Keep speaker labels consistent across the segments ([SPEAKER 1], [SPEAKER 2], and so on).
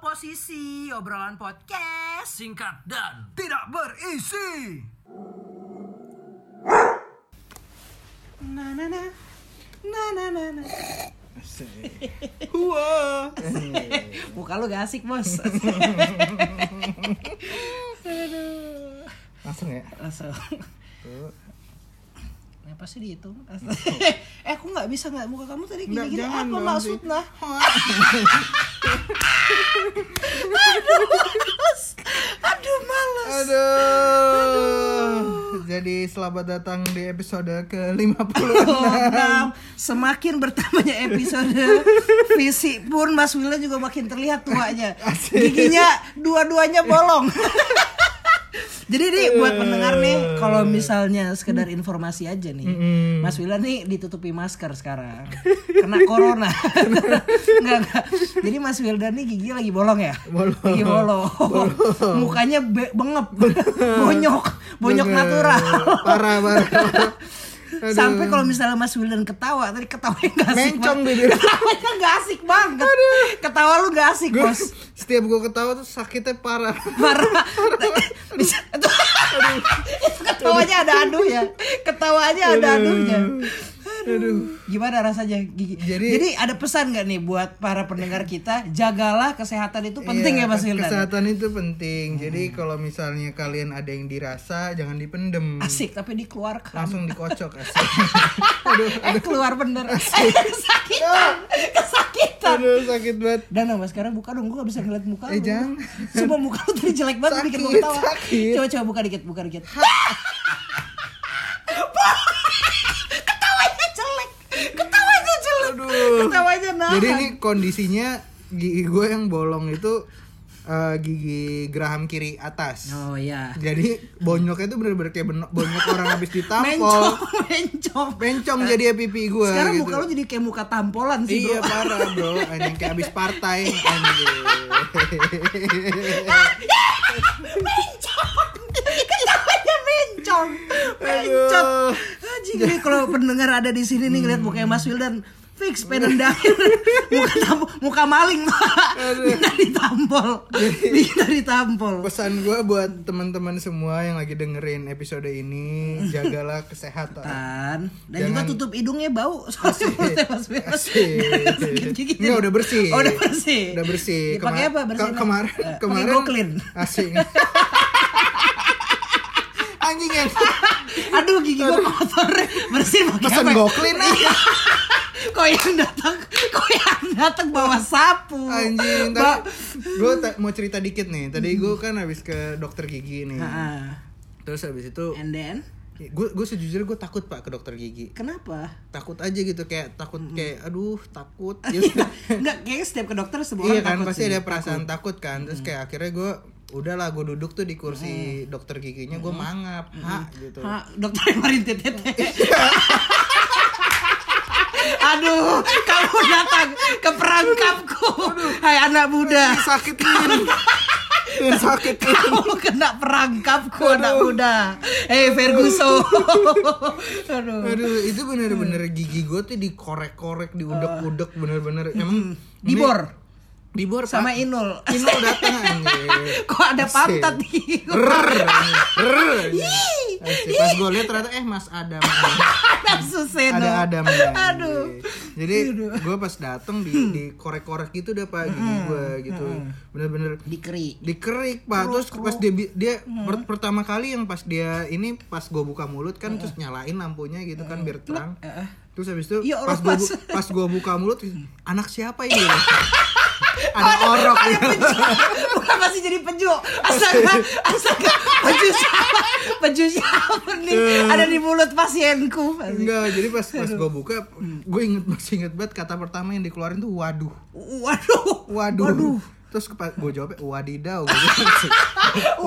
[SPEAKER 1] posisi obrolan podcast.
[SPEAKER 2] Singkat dan
[SPEAKER 3] Tidak berisi.
[SPEAKER 1] Na na na. Na na na na.
[SPEAKER 3] Wah.
[SPEAKER 1] Muka lu gak asik, Bos. Aduh.
[SPEAKER 3] Langsung ya.
[SPEAKER 1] Langsung.
[SPEAKER 3] Tuh.
[SPEAKER 1] Kenapa sih dihitung? eh, aku nggak bisa nggak muka kamu tadi
[SPEAKER 3] Nggak,
[SPEAKER 1] gini-gini.
[SPEAKER 3] jangan
[SPEAKER 1] Apa Nah?
[SPEAKER 3] dong,
[SPEAKER 1] maksudnya? Aduh, males.
[SPEAKER 3] Aduh. Jadi selamat datang di episode ke-56.
[SPEAKER 1] Oh. Enam. Semakin bertambahnya episode visi pun Mas Willy juga makin terlihat tuanya.
[SPEAKER 3] Asik.
[SPEAKER 1] Giginya dua-duanya bolong. Jadi nih buat pendengar nih kalau misalnya sekedar informasi aja nih. Mas Willy nih ditutupi masker sekarang. Kena corona. Enggak enggak. Jadi Mas Wildan nih giginya lagi bolong ya?
[SPEAKER 3] Bolong.
[SPEAKER 1] Lagi bolong. Mukanya be- bengep. bonyok, bonyok natural.
[SPEAKER 3] Parah, parah. parah. Aduh.
[SPEAKER 1] Sampai kalau misalnya Mas Wildan ketawa, tadi ketawanya gak asik
[SPEAKER 3] Mencong
[SPEAKER 1] banget.
[SPEAKER 3] bibir.
[SPEAKER 1] Ketawanya gak asik banget. Ketawa lu gak asik,
[SPEAKER 3] Gua-
[SPEAKER 1] Bos.
[SPEAKER 3] setiap gue ketawa tuh sakitnya parah.
[SPEAKER 1] Marah. Bisa itu itu ketawanya ada aduh ya. Ketawanya ada aduhnya.
[SPEAKER 3] Aduh.
[SPEAKER 1] Gimana rasanya gigi? Jadi,
[SPEAKER 3] Jadi-
[SPEAKER 1] ada pesan nggak nih buat para pendengar kita? Jagalah kesehatan itu penting
[SPEAKER 3] Iya,
[SPEAKER 1] ya Hmm. Mas
[SPEAKER 3] kes-
[SPEAKER 1] Wildan.
[SPEAKER 3] Kesehatan itu penting. Jadi kalau misalnya kalian ada yang dirasa jangan dipendem.
[SPEAKER 1] Asik tapi dikeluarkan.
[SPEAKER 3] Langsung dikocok asik.
[SPEAKER 1] Eh keluar bener. Eh, kesakitan. Kesakitan.
[SPEAKER 3] Aduh sakit banget.
[SPEAKER 1] Dan sama sekarang buka dong, gue gak bisa ngeliat muka
[SPEAKER 3] Eh,
[SPEAKER 1] lu.
[SPEAKER 3] jangan.
[SPEAKER 1] Sumpah muka lu tadi jelek banget bikin gue
[SPEAKER 3] Sakit,
[SPEAKER 1] ketawa
[SPEAKER 3] sakit.
[SPEAKER 1] Coba coba buka dikit, buka dikit Ketawanya jelek Ketawanya jelek Ketawanya nahan
[SPEAKER 3] Jadi ini kondisinya gigi gue yang bolong itu eh, gigi geraham kiri atas.
[SPEAKER 1] Oh iya
[SPEAKER 3] Jadi bonyoknya itu bener-bener kayak beno- bonyok orang habis
[SPEAKER 1] Mencong,
[SPEAKER 3] ditampol.
[SPEAKER 1] mencong
[SPEAKER 3] Bencong jadi pipi gue.
[SPEAKER 1] Sekarang
[SPEAKER 3] gitu.
[SPEAKER 1] muka lu jadi kayak muka tampolan sih
[SPEAKER 3] Iya
[SPEAKER 1] bro
[SPEAKER 3] parah bro, anjing kayak abis partai anjing.
[SPEAKER 1] Mencong Ketawanya mencong Mencong
[SPEAKER 3] Aduh.
[SPEAKER 1] Anjing nih kalau pendengar ada di sini nih ngeliat mukanya Mas Wildan fix pengen dahil muka tampol, muka maling Pak. minta ditampol minta ditampol
[SPEAKER 3] Pesan gue buat teman-teman semua yang lagi dengerin episode ini, jagalah kesehatan.
[SPEAKER 1] Tan. Kan? dan juga
[SPEAKER 3] Jangan-
[SPEAKER 1] tutup hidungnya bau soalnya mulutnya Mas Wildan
[SPEAKER 3] Asik. Enggak udah bersih.
[SPEAKER 1] oh, udah bersih
[SPEAKER 3] Udah bersih.
[SPEAKER 1] pakai
[SPEAKER 3] Kema-
[SPEAKER 1] apa bersih
[SPEAKER 3] ke- kemarin kemarin
[SPEAKER 1] pakai Goclean.
[SPEAKER 3] Asik. anjing ya.
[SPEAKER 1] aduh gigi gua kotor bersih pakai
[SPEAKER 3] Pesan
[SPEAKER 1] apa?
[SPEAKER 3] Goclean, ah.
[SPEAKER 1] Iya. kok yang datang kok yang datang bawa sapu
[SPEAKER 3] Anjing,
[SPEAKER 1] Ba-
[SPEAKER 3] tadi gue mau cerita dikit nih. Tadi
[SPEAKER 1] Hmm.
[SPEAKER 3] gue kan habis ke dokter gigi nih.
[SPEAKER 1] Ah,
[SPEAKER 3] Terus habis itu
[SPEAKER 1] and then
[SPEAKER 3] gue gue sejujurnya gue takut pak ke dokter gigi.
[SPEAKER 1] kenapa
[SPEAKER 3] takut aja gitu kayak takut kayak aduh takut gitu.
[SPEAKER 1] Hmm. Iya, Enggak, kayaknya setiap ke dokter semua orang
[SPEAKER 3] iya kan
[SPEAKER 1] takut
[SPEAKER 3] pasti
[SPEAKER 1] sih. Hmm.
[SPEAKER 3] ada perasaan takut, kan terus kayak akhirnya gue udahlah gue duduk tuh di kursi dokter giginya gue
[SPEAKER 1] Hmm.
[SPEAKER 3] mangap ha gitu
[SPEAKER 1] Ha, dokter yang merintit tete. Aduh, kamu datang ke perangkapku. Hai anak muda.
[SPEAKER 3] sakitin sakitin
[SPEAKER 1] Kamu kena perangkapku anak muda. Eh Ferguson. Aduh.
[SPEAKER 3] aduh itu bener-bener
[SPEAKER 1] Hmm.
[SPEAKER 3] gigi gue tuh dikorek-korek diudek-udek bener-bener emang
[SPEAKER 1] Dibor
[SPEAKER 3] ini- dibor
[SPEAKER 1] sama
[SPEAKER 3] Pak.
[SPEAKER 1] Inul.
[SPEAKER 3] Inul datang anjir
[SPEAKER 1] Kok ada pantat di
[SPEAKER 3] Rrrr, rrrr.
[SPEAKER 1] Ih,
[SPEAKER 3] Asik. pas gue liat ternyata eh Mas Adam
[SPEAKER 1] Nafsu seno.
[SPEAKER 3] ada Adam ya.
[SPEAKER 1] Aduh.
[SPEAKER 3] Jadi gue pas dateng di, di korek-korek gitu udah pak gigi gue gitu, bener-bener
[SPEAKER 1] Dikeri.
[SPEAKER 3] dikerik pak. Terus pas dia bi- dia per- pertama kali yang pas dia ini pas gue buka mulut kan terus nyalain lampunya gitu kan biar terang. Terus habis itu
[SPEAKER 1] eh, Ya Allah,
[SPEAKER 3] pas gue
[SPEAKER 1] Mas. Mm.
[SPEAKER 3] pas gua buka mulut anak siapa ini? Ada orok ya.
[SPEAKER 1] Bukan masih jadi penju. Astaga, astaga, penju siapa? Penju siapa nih? Ada di mulut pasienku.
[SPEAKER 3] Eh. Enggak, jadi pas pas gue buka, gue inget masih inget banget kata pertama yang dikeluarin tuh waduh.
[SPEAKER 1] Waduh.
[SPEAKER 3] waduh,
[SPEAKER 1] Waduh.
[SPEAKER 3] terus gue jawabnya wadidau gitu.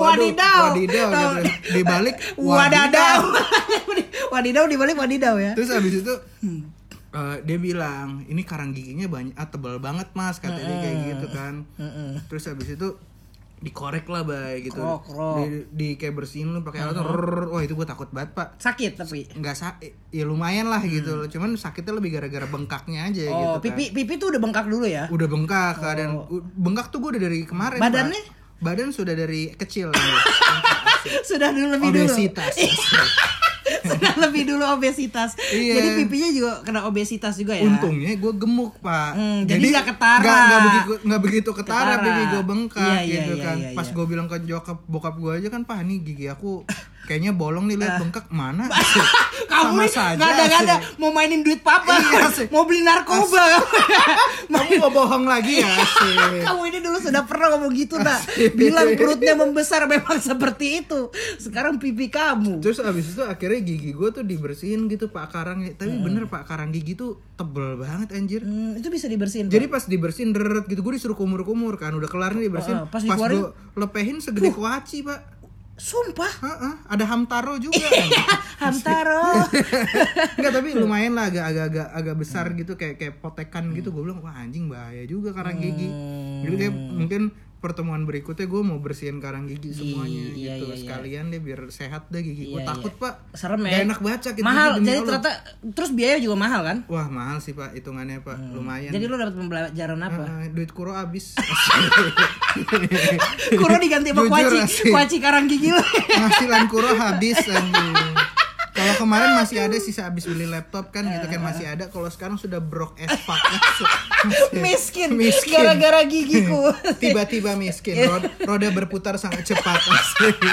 [SPEAKER 3] Waduh,
[SPEAKER 1] Wadidau.
[SPEAKER 3] wadidau gitu. dia bilang. Di balik,
[SPEAKER 1] Wadadau. Wadidau dibalik wadidau ya.
[SPEAKER 3] terus abis itu
[SPEAKER 1] Hmm.
[SPEAKER 3] eh, dia bilang ini karang giginya banyak ah, tebal banget mas katanya dia kayak gitu kan terus abis itu dikorek lah bay gitu
[SPEAKER 1] Krok, krok.
[SPEAKER 3] di, di kayak bersihin lu pakai alat tuh, rrrr. wah itu gue takut banget pak
[SPEAKER 1] Sakit tapi.
[SPEAKER 3] nggak sakit ya lumayan lah gitu loh cuman sakitnya lebih gara-gara bengkaknya aja gitu
[SPEAKER 1] Hmm. Oh,
[SPEAKER 3] kan.
[SPEAKER 1] pipi pipi tuh udah bengkak dulu ya.
[SPEAKER 3] udah bengkak keadaan bengkak tuh gue udah dari kemarin
[SPEAKER 1] Badannya?
[SPEAKER 3] Pak. badan sudah dari kecil
[SPEAKER 1] Sudah dulu lebih dulu.
[SPEAKER 3] obesitas
[SPEAKER 1] Sudah lebih dulu obesitas.
[SPEAKER 3] Iya.
[SPEAKER 1] Jadi pipinya juga kena obesitas juga ya.
[SPEAKER 3] untungnya gue gemuk pak
[SPEAKER 1] Hmm, jadi nggak ketara.
[SPEAKER 3] nggak nggak begitu nggak begitu ketara,
[SPEAKER 1] Ketara.
[SPEAKER 3] pipi gue bengkak
[SPEAKER 1] Iya, iya,
[SPEAKER 3] gitu
[SPEAKER 1] iya,
[SPEAKER 3] kan
[SPEAKER 1] iya,
[SPEAKER 3] pas
[SPEAKER 1] iya.
[SPEAKER 3] gue bilang ke jokap bokap gue aja kan pak ini gigi aku kayaknya bolong nih lihat bengkak mana
[SPEAKER 1] Kamu nih nggak ada nggak ada
[SPEAKER 3] sih.
[SPEAKER 1] mau mainin duit papa,
[SPEAKER 3] Iya sih.
[SPEAKER 1] mau beli narkoba.
[SPEAKER 3] kamu nggak bohong lagi ya sih
[SPEAKER 1] Kamu ini dulu sudah pernah ngomong gitu tak?
[SPEAKER 3] Asik.
[SPEAKER 1] Bilang perutnya membesar memang seperti itu. Sekarang pipi kamu.
[SPEAKER 3] Terus abis itu akhirnya gigi gue tuh dibersihin gitu pak karangnya Tapi bener pak karang gigi tuh tebel banget anjir
[SPEAKER 1] Hmm, itu bisa dibersihin.
[SPEAKER 3] Jadi pas dibersihin deret gitu gue disuruh kumur-kumur kan udah kelar nih
[SPEAKER 1] Oh,
[SPEAKER 3] dibersihin.
[SPEAKER 1] oh, pas
[SPEAKER 3] pas
[SPEAKER 1] dikeluarin-
[SPEAKER 3] gue lepehin segede kuaci, Pak.
[SPEAKER 1] Pak. sumpah.
[SPEAKER 3] Heeh, ada hamtaro juga.
[SPEAKER 1] Hamtaro.
[SPEAKER 3] Enggak, tapi lumayan lah agak agak agak, agak besar gitu kayak kayak
[SPEAKER 1] Hmm.
[SPEAKER 3] potekan gitu. Gue bilang wah anjing bahaya juga karang gigi. Jadi kayak mungkin pertemuan berikutnya gue mau bersihin karang gigi semuanya
[SPEAKER 1] iya,
[SPEAKER 3] gitu
[SPEAKER 1] iya, iya.
[SPEAKER 3] sekalian deh biar sehat deh gigi gue
[SPEAKER 1] Iya,
[SPEAKER 3] takut pak
[SPEAKER 1] Serem ya.
[SPEAKER 3] Gak enak baca gitu
[SPEAKER 1] Mahal.
[SPEAKER 3] demi
[SPEAKER 1] Jadi
[SPEAKER 3] Allah.
[SPEAKER 1] ternyata terus biaya juga mahal kan?
[SPEAKER 3] wah mahal sih pak hitungannya pak
[SPEAKER 1] Hmm.
[SPEAKER 3] lumayan
[SPEAKER 1] Jadi lu dapat pembelajaran apa?
[SPEAKER 3] Eh, duit kuro habis
[SPEAKER 1] Kuro diganti sama
[SPEAKER 3] Jujur,
[SPEAKER 1] kuaci,
[SPEAKER 3] asik.
[SPEAKER 1] kuaci karang gigi lu.
[SPEAKER 3] penghasilan kuro habis aduh. kalau kemarin masih ada sisa habis beli laptop kan gitu kan masih ada kalau sekarang sudah brok es fuck
[SPEAKER 1] Miskin,
[SPEAKER 3] Iya. Miskin.
[SPEAKER 1] gara-gara gigiku.
[SPEAKER 3] tiba-tiba
[SPEAKER 1] Iya.
[SPEAKER 3] miskin rod- roda berputar sangat cepat asik.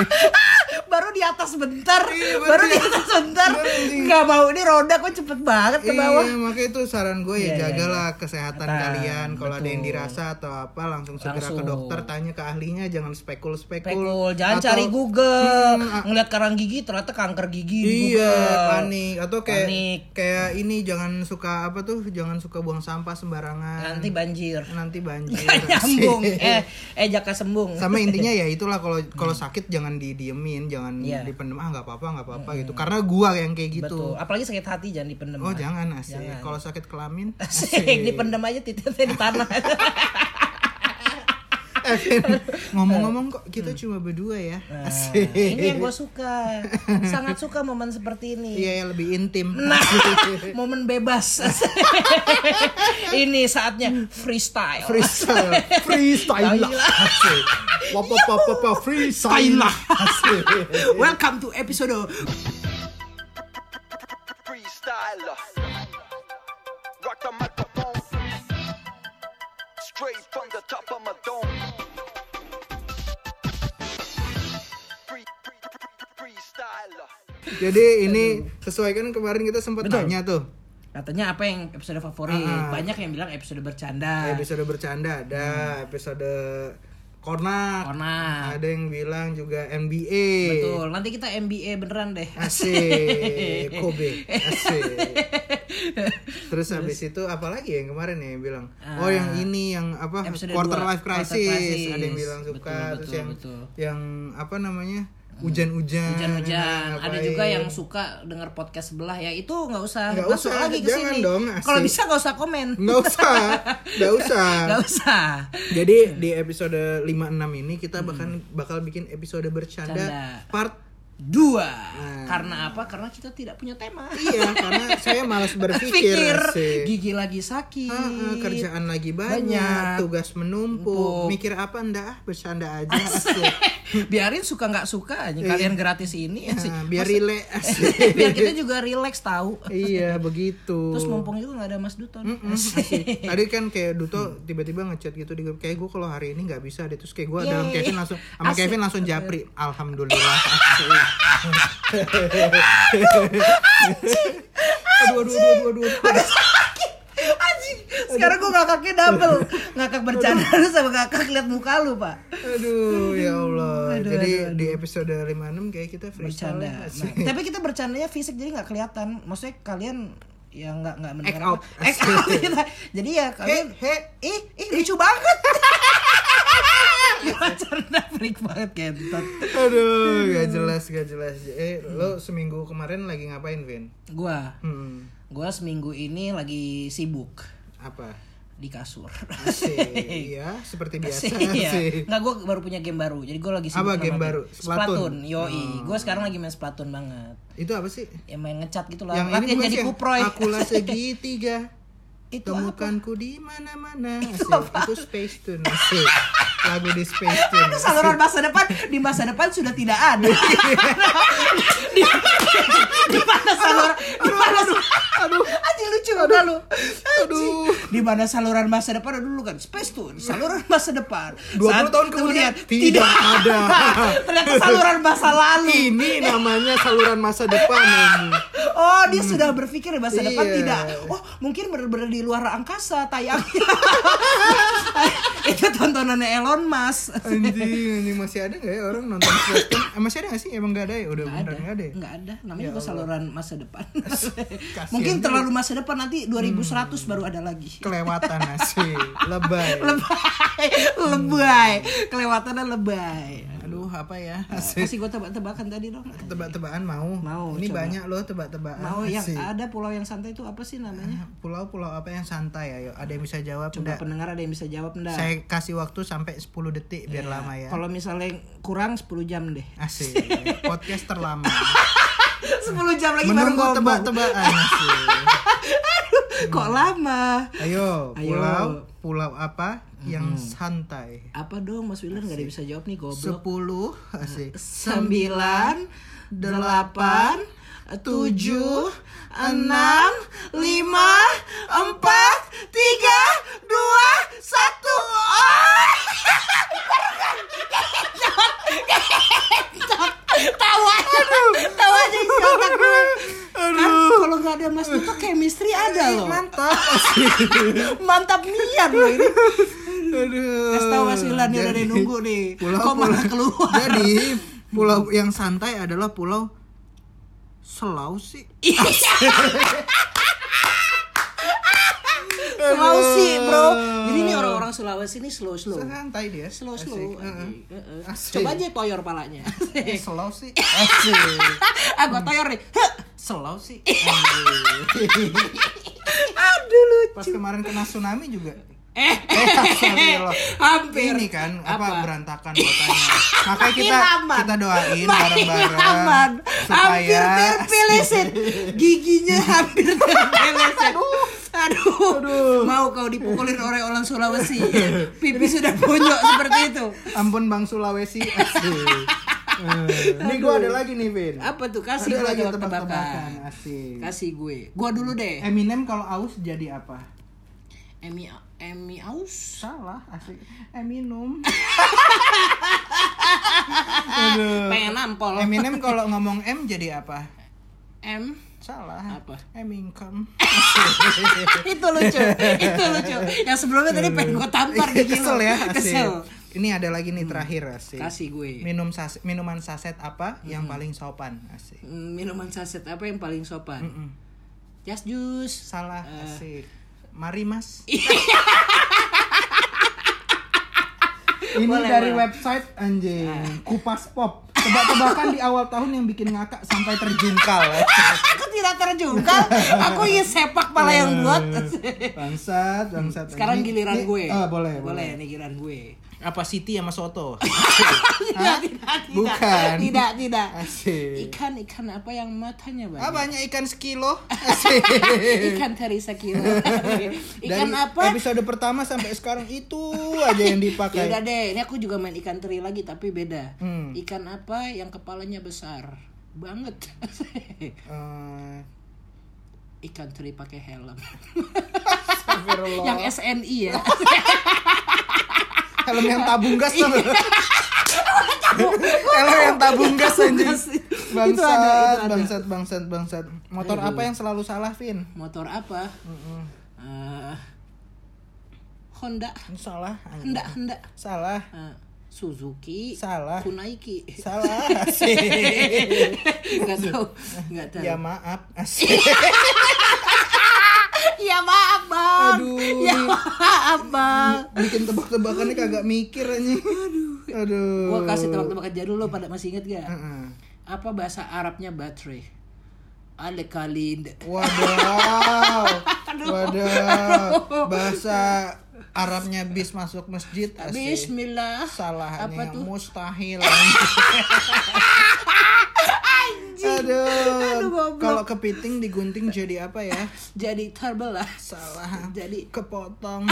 [SPEAKER 1] baru di atas bentar,
[SPEAKER 3] Iya,
[SPEAKER 1] baru
[SPEAKER 3] berarti-
[SPEAKER 1] di atas bentar.
[SPEAKER 3] berarti.
[SPEAKER 1] Nggak mau ini roda kok cepet banget ke bawah.
[SPEAKER 3] Iya, makanya itu saran gue
[SPEAKER 1] Iya,
[SPEAKER 3] ya
[SPEAKER 1] iya,
[SPEAKER 3] jagalah kesehatan
[SPEAKER 1] Kesehatan,
[SPEAKER 3] kalian. Kalau ada yang
[SPEAKER 1] betul.
[SPEAKER 3] dirasa atau apa langsung segera ke
[SPEAKER 1] Langsung.
[SPEAKER 3] dokter, tanya ke ahlinya, jangan spekul-spekul.
[SPEAKER 1] Pekul, jangan
[SPEAKER 3] Hmm, Atau-
[SPEAKER 1] cari Google.
[SPEAKER 3] Hmm, a-
[SPEAKER 1] Ngeliat karang gigi ternyata kanker gigi di
[SPEAKER 3] Iya,
[SPEAKER 1] Google.
[SPEAKER 3] panik atau kayak
[SPEAKER 1] Panik.
[SPEAKER 3] kayak ini jangan suka apa tuh, jangan suka buang sampah sembarangan.
[SPEAKER 1] Nanti banjir.
[SPEAKER 3] Nanti banjir.
[SPEAKER 1] Nyambung. eh, eh jaka sembung.
[SPEAKER 3] Hmm, iya Sama intinya ya itulah kalau kalau sakit jangan didiemin, jangan
[SPEAKER 1] Iya.
[SPEAKER 3] dipendem ah nggak apa-apa, nggak apa-apa gitu. Karena gua yang kayak gitu.
[SPEAKER 1] Betul. Apalagi sakit hati jangan dipendem.
[SPEAKER 3] Oh,
[SPEAKER 1] Ah.
[SPEAKER 3] jangan asik. Kalau sakit kelamin
[SPEAKER 1] Asik, dipendem aja titiknya di tanah.
[SPEAKER 3] Evin, ngomong-ngomong kok kita cuma berdua ya
[SPEAKER 1] Mm.
[SPEAKER 3] asik
[SPEAKER 1] Nah, ini yang gue suka. Sangat suka momen seperti ini.
[SPEAKER 3] iya ya lebih intim
[SPEAKER 1] Nah. Momen bebas. ini saatnya freestyle.
[SPEAKER 3] freestyle freestyle lah asik pop pop pop pop, pop freestyle lah
[SPEAKER 1] Nah.
[SPEAKER 3] asik
[SPEAKER 1] Welcome to episode
[SPEAKER 2] freestyler. Rock the microphone. Straight from the top of my dome. Free, free, free, freestyler.
[SPEAKER 3] jadi ini sesuai kan kemarin kita sempat
[SPEAKER 1] Betul.
[SPEAKER 3] tanya tuh
[SPEAKER 1] Katanya apa yang episode favorit?
[SPEAKER 3] Ah.
[SPEAKER 1] Banyak yang bilang episode bercanda.
[SPEAKER 3] episode bercanda ada
[SPEAKER 1] Hmm.
[SPEAKER 3] episode kornak
[SPEAKER 1] Karena
[SPEAKER 3] ada yang bilang juga NBA
[SPEAKER 1] betul. Nanti kita MBA beneran deh.
[SPEAKER 3] Asik, Kobe, asik. Terus habis itu apa lagi yang kemarin ya yang bilang? oh yang ini yang apa
[SPEAKER 1] Ah. episode
[SPEAKER 3] quarter
[SPEAKER 1] dua,
[SPEAKER 3] life crisis.
[SPEAKER 1] quarter crisis.
[SPEAKER 3] Ada yang bilang suka
[SPEAKER 1] Betul,
[SPEAKER 3] terus
[SPEAKER 1] betul,
[SPEAKER 3] yang
[SPEAKER 1] betul. Hmm.
[SPEAKER 3] yang apa namanya? Hujan-hujan.
[SPEAKER 1] Hujan-hujan. Ada
[SPEAKER 3] ngapain.
[SPEAKER 1] juga yang suka denger podcast sebelah ya. Itu nggak usah
[SPEAKER 3] Nggak
[SPEAKER 1] masuk
[SPEAKER 3] usah,
[SPEAKER 1] lagi ke
[SPEAKER 3] jangan
[SPEAKER 1] sini.
[SPEAKER 3] dong, asik.
[SPEAKER 1] Kalau bisa nggak usah komen.
[SPEAKER 3] nggak usah, nggak usah.
[SPEAKER 1] Nggak usah.
[SPEAKER 3] Jadi di episode 56 ini kita bahkan bakal bikin episode bercanda
[SPEAKER 1] Hmm. Bercanda.
[SPEAKER 3] part
[SPEAKER 1] Dua. Karena apa? Karena kita tidak punya tema.
[SPEAKER 3] Nah. iya karena saya malas berpikir.
[SPEAKER 1] Pikir
[SPEAKER 3] asik.
[SPEAKER 1] gigi lagi sakit.
[SPEAKER 3] Heeh, kerjaan lagi banyak,
[SPEAKER 1] Banyak.
[SPEAKER 3] tugas menumpuk.
[SPEAKER 1] Numpuk.
[SPEAKER 3] Mikir apa ndak ah, bercanda aja. asik. Nah,
[SPEAKER 1] Eh, Biarin suka nggak suka aja. Kalian gratis ini. asik.
[SPEAKER 3] Iya. Nah, biar
[SPEAKER 1] Mas-
[SPEAKER 3] rileks. asik.
[SPEAKER 1] biar kita juga relax tahu.
[SPEAKER 3] iya, begitu.
[SPEAKER 1] Terus mumpung juga nggak ada Mas Duton.
[SPEAKER 3] Asik. Tadi kan kayak Duto tiba-tiba ngechat gitu di grup kayak gue kalau hari ini nggak bisa deh terus kayak gue dalam
[SPEAKER 1] Yeay.
[SPEAKER 3] Kevin langsung
[SPEAKER 1] Iya,
[SPEAKER 3] sama
[SPEAKER 1] Asik.
[SPEAKER 3] Kevin langsung japri alhamdulillah asik. aduh aduh aduh aduh aduh
[SPEAKER 1] Anjing, sekarang gue ngakaknya double. Ngakak bercanda lu sama ngakak lihat muka lu, Pak.
[SPEAKER 3] aduh ya Allah
[SPEAKER 1] Aduh,
[SPEAKER 3] jadi
[SPEAKER 1] aduh,
[SPEAKER 3] di episode 56 kayak kita freestyle
[SPEAKER 1] Bercanda.
[SPEAKER 3] ya,
[SPEAKER 1] Nah, tapi kita bercandanya fisik jadi nggak kelihatan. Maksudnya kalian ya nggak nggak mendengar
[SPEAKER 3] Act out.
[SPEAKER 1] apa. Act out kita. Jadi ya kalian
[SPEAKER 3] he.
[SPEAKER 1] ih ih lucu banget. bercanda freak banget kentot. Hmm.
[SPEAKER 3] Aduh, gak jelas, gak jelas. Eh, lo seminggu kemarin lagi ngapain, Vin?
[SPEAKER 1] Gua
[SPEAKER 3] Hmm,
[SPEAKER 1] gua seminggu ini lagi sibuk.
[SPEAKER 3] apa?
[SPEAKER 1] di kasur.
[SPEAKER 3] Asik, ya seperti biasa
[SPEAKER 1] Iya.
[SPEAKER 3] sih.
[SPEAKER 1] Nggak gue baru punya game baru. Jadi gue lagi
[SPEAKER 3] Apa
[SPEAKER 1] sama
[SPEAKER 3] game baru? Splatoon? Oh.
[SPEAKER 1] Splatoon. Yoi. Gue sekarang lagi main Splatoon banget.
[SPEAKER 3] Itu apa sih?
[SPEAKER 1] Ya main ngecat gitu lah.
[SPEAKER 3] yang
[SPEAKER 1] Latihan
[SPEAKER 3] ini bukan
[SPEAKER 1] jadi
[SPEAKER 3] sih yang
[SPEAKER 1] kuproy.
[SPEAKER 3] Akulah segitiga.
[SPEAKER 1] Itu
[SPEAKER 3] Temukanku di mana-mana. Asik. Itu Space Tune. Asik. Lagu di Space Tune.
[SPEAKER 1] Itu saluran masa depan di masa depan sudah tidak ada. di, di mana saluran di mana aduh anjing lucu udah lu. Anjing. Di mana saluran masa depan dulu kan space tuh saluran masa depan.
[SPEAKER 3] 20 tahun kemudian, tidak ada.
[SPEAKER 1] Ternyata saluran masa lalu.
[SPEAKER 3] Ini namanya saluran masa depan. Nemi.
[SPEAKER 1] Oh, dia sudah berpikir di masa depan
[SPEAKER 3] Iya.
[SPEAKER 1] tidak. Oh, mungkin bener-bener di luar angkasa tayangnya. Itu tontonannya Elon Musk.
[SPEAKER 3] Anjing, anjing masih ada nggak ya orang nonton Space Tune? Eh, masih ada nggak sih? Emang nggak ada ya? Udah
[SPEAKER 1] Nggak
[SPEAKER 3] beneran nggak ada. ya?
[SPEAKER 1] Nggak ada. Namanya juga saluran masa depan.
[SPEAKER 3] Kasian Hmm.
[SPEAKER 1] Mungkin
[SPEAKER 3] juga.
[SPEAKER 1] terlalu masa depan nanti 2100 baru ada lagi.
[SPEAKER 3] Kelewatan asik. Lebay.
[SPEAKER 1] Lebay, lebay, kelewatannya lebay.
[SPEAKER 3] Aduh, apa ya? Asik.
[SPEAKER 1] Kasih gue tebak-tebakan tadi dong.
[SPEAKER 3] Tebak-tebakan mau.
[SPEAKER 1] Mau,
[SPEAKER 3] Ini
[SPEAKER 1] coba.
[SPEAKER 3] banyak loh tebak-tebakan.
[SPEAKER 1] Mau yang
[SPEAKER 3] Asik.
[SPEAKER 1] ada pulau yang santai itu apa sih namanya?
[SPEAKER 3] Pulau-pulau apa yang santai ayo? Ada yang bisa jawab?
[SPEAKER 1] Coba
[SPEAKER 3] Nggak.
[SPEAKER 1] pendengar ada yang bisa jawab enggak?
[SPEAKER 3] Ah. Saya kasih waktu sampai 10 detik biar lama ya.
[SPEAKER 1] Iya. Kalau misalnya kurang 10 jam deh.
[SPEAKER 3] Asik. Podcast terlama.
[SPEAKER 1] 10 jam lagi baru
[SPEAKER 3] Menunggu
[SPEAKER 1] ngomong.
[SPEAKER 3] tebak-tebakan. asik.
[SPEAKER 1] Kok lama?
[SPEAKER 3] Ayo,
[SPEAKER 1] Ayo.
[SPEAKER 3] pulau pulau apa yang santai?
[SPEAKER 1] Apa dong Mas William nggak ada yang bisa jawab nih goblok.
[SPEAKER 3] 10 asik.
[SPEAKER 1] sembilan, delapan, tujuh, enam, lima, empat, tiga, dua, satu. Oh! Tawa aja, tawa aja isi otak gue. Kan kalau nggak ada Mas Duto chemistry ada loh.
[SPEAKER 3] Mantap.
[SPEAKER 1] Mantap niat loh ini.
[SPEAKER 3] Aduh.
[SPEAKER 1] Kasih tahu Mas Wilan dia udah ada
[SPEAKER 3] Jadi,
[SPEAKER 1] yang nunggu nih.
[SPEAKER 3] Pulau,
[SPEAKER 1] Kok malah
[SPEAKER 3] pulau-
[SPEAKER 1] keluar?
[SPEAKER 3] Jadi pulau yang santai adalah pulau Sulawesi.
[SPEAKER 1] Sulawesi bro Jadi ini orang-orang Sulawesi ini slow-slow
[SPEAKER 3] Santai dia.
[SPEAKER 1] Slow-slow
[SPEAKER 3] Asik. Heeh.
[SPEAKER 1] anjing. Heeh.
[SPEAKER 3] Asik.
[SPEAKER 1] Coba aja toyor palanya
[SPEAKER 3] Eh, Sulawesi. Asik.
[SPEAKER 1] Ah
[SPEAKER 3] Hmm.
[SPEAKER 1] gua toyor nih Heh.
[SPEAKER 3] Sulawesi. Anjir.
[SPEAKER 1] Aduh lucu
[SPEAKER 3] Pas kemarin kena tsunami juga.
[SPEAKER 1] Eh
[SPEAKER 3] Astagfirullah.
[SPEAKER 1] Hampir
[SPEAKER 3] Ini kan apa,
[SPEAKER 1] Apa?
[SPEAKER 3] berantakan kotanya. Makanya kita
[SPEAKER 1] Makin
[SPEAKER 3] kita doain
[SPEAKER 1] Makin aman.
[SPEAKER 3] bareng-bareng
[SPEAKER 1] Hampir
[SPEAKER 3] supaya
[SPEAKER 1] terpeleset Giginya hampir terpeleset Aduh. Mau kau dipukulin oleh orang Sulawesi Pipi sudah bonyok seperti itu
[SPEAKER 3] Ampun Bang Sulawesi. Asik. Eh, Ini gua ada lagi nih, Vin.
[SPEAKER 1] Apa tuh kasih
[SPEAKER 3] Ada
[SPEAKER 1] gua
[SPEAKER 3] lagi
[SPEAKER 1] jawab
[SPEAKER 3] tebak-tebakan.
[SPEAKER 1] tebakan
[SPEAKER 3] Asik.
[SPEAKER 1] Kasih gue Gua dulu deh
[SPEAKER 3] Eminem kalau aus jadi apa?
[SPEAKER 1] Emi Emi Aus
[SPEAKER 3] Salah, asik. Eh, Eminem. Eh,
[SPEAKER 1] pengen nampol
[SPEAKER 3] Eminem kalau ngomong M jadi apa?
[SPEAKER 1] M
[SPEAKER 3] Salah. Eh,
[SPEAKER 1] Apa?
[SPEAKER 3] Eminem.
[SPEAKER 1] itu lucu itu lucu yang sebelumnya tadi pengen gue tampar gigi
[SPEAKER 3] Kesel
[SPEAKER 1] lo.
[SPEAKER 3] ya, asik.
[SPEAKER 1] kesel Hmm.
[SPEAKER 3] Ini ada lagi nih terakhir, asik.
[SPEAKER 1] kasih Hmm. gue
[SPEAKER 3] Minum sas- minuman saset apa yang paling sopan, asik.
[SPEAKER 1] Mm, minuman saset apa yang paling sopan
[SPEAKER 3] Mm-mm.
[SPEAKER 1] jas jus
[SPEAKER 3] Salah, asik. Mari Mas. Ini
[SPEAKER 1] Boleh,
[SPEAKER 3] dari
[SPEAKER 1] boleh. Eh.
[SPEAKER 3] website anjing Kupas Pop. Tebak-tebakan di awal tahun yang bikin ngakak sampai terjungkal. asik.
[SPEAKER 1] aku tidak terjungkal aku ingin sepak pala yang buat
[SPEAKER 3] Bangsat, bangsat.
[SPEAKER 1] sekarang
[SPEAKER 3] Eh. Ini-
[SPEAKER 1] giliran
[SPEAKER 3] ini-
[SPEAKER 1] gue
[SPEAKER 3] Ah, boleh,
[SPEAKER 1] boleh
[SPEAKER 3] boleh.
[SPEAKER 1] nih giliran gue
[SPEAKER 3] Apa Siti sama Soto?
[SPEAKER 1] tidak tidak tidak
[SPEAKER 3] Bukan.
[SPEAKER 1] tidak tidak
[SPEAKER 3] Asik.
[SPEAKER 1] ikan ikan apa yang matanya
[SPEAKER 3] Ah,
[SPEAKER 1] banyak
[SPEAKER 3] banyak ikan sekilo. Asik.
[SPEAKER 1] ikan terisa kilo ikan
[SPEAKER 3] Dari
[SPEAKER 1] apa
[SPEAKER 3] Episode pertama sampai sekarang itu aja yang
[SPEAKER 1] Ya udah
[SPEAKER 3] dipakai.
[SPEAKER 1] deh, ini aku juga main ikan teri lagi tapi beda.
[SPEAKER 3] Hmm.
[SPEAKER 1] Ikan apa yang kepalanya besar? Banget.
[SPEAKER 3] Eh,
[SPEAKER 1] ikan teri pakai helm.
[SPEAKER 3] Astagfirullah.
[SPEAKER 1] yang SNI ya.
[SPEAKER 3] Helm yang tabung gas tuh. Helm yang tabung gas anjing.
[SPEAKER 1] Itu ada, itu
[SPEAKER 3] Bangsat,
[SPEAKER 1] ada.
[SPEAKER 3] bangsat, bangsat, bangsat. Motor apa yang selalu salah, Vin?
[SPEAKER 1] Motor apa? Eh, Honda,
[SPEAKER 3] Salah. anjing.
[SPEAKER 1] Honda, Honda.
[SPEAKER 3] Salah.
[SPEAKER 1] Eh, Suzuki,
[SPEAKER 3] Salah.
[SPEAKER 1] Kunaiki.
[SPEAKER 3] Salah. Asik.
[SPEAKER 1] Enggak tahu, enggak tahu.
[SPEAKER 3] Ya maaf. Asik.
[SPEAKER 1] Ya maaf, Bang.
[SPEAKER 3] Aduh.
[SPEAKER 1] Ya maaf, Bang.
[SPEAKER 3] Bikin tebak-tebakan nih kagak mikir anjing. Aduh.
[SPEAKER 1] Gua kasih tebak-tebakan jadul lo pada masih inget gak?
[SPEAKER 3] Heeh.
[SPEAKER 1] apa bahasa Arabnya baterai? Alekalind.
[SPEAKER 3] Waduh. Waduh, bahasa Arabnya bis masuk masjid. asik.
[SPEAKER 1] Bismillah.
[SPEAKER 3] Salahnya
[SPEAKER 1] Apa tuh?
[SPEAKER 3] mustahil. Aduh,
[SPEAKER 1] goblok.
[SPEAKER 3] kalau kepiting digunting jadi apa ya?
[SPEAKER 1] Jadi terbelah.
[SPEAKER 3] Salah.
[SPEAKER 1] Jadi- Ah,
[SPEAKER 3] kepotong.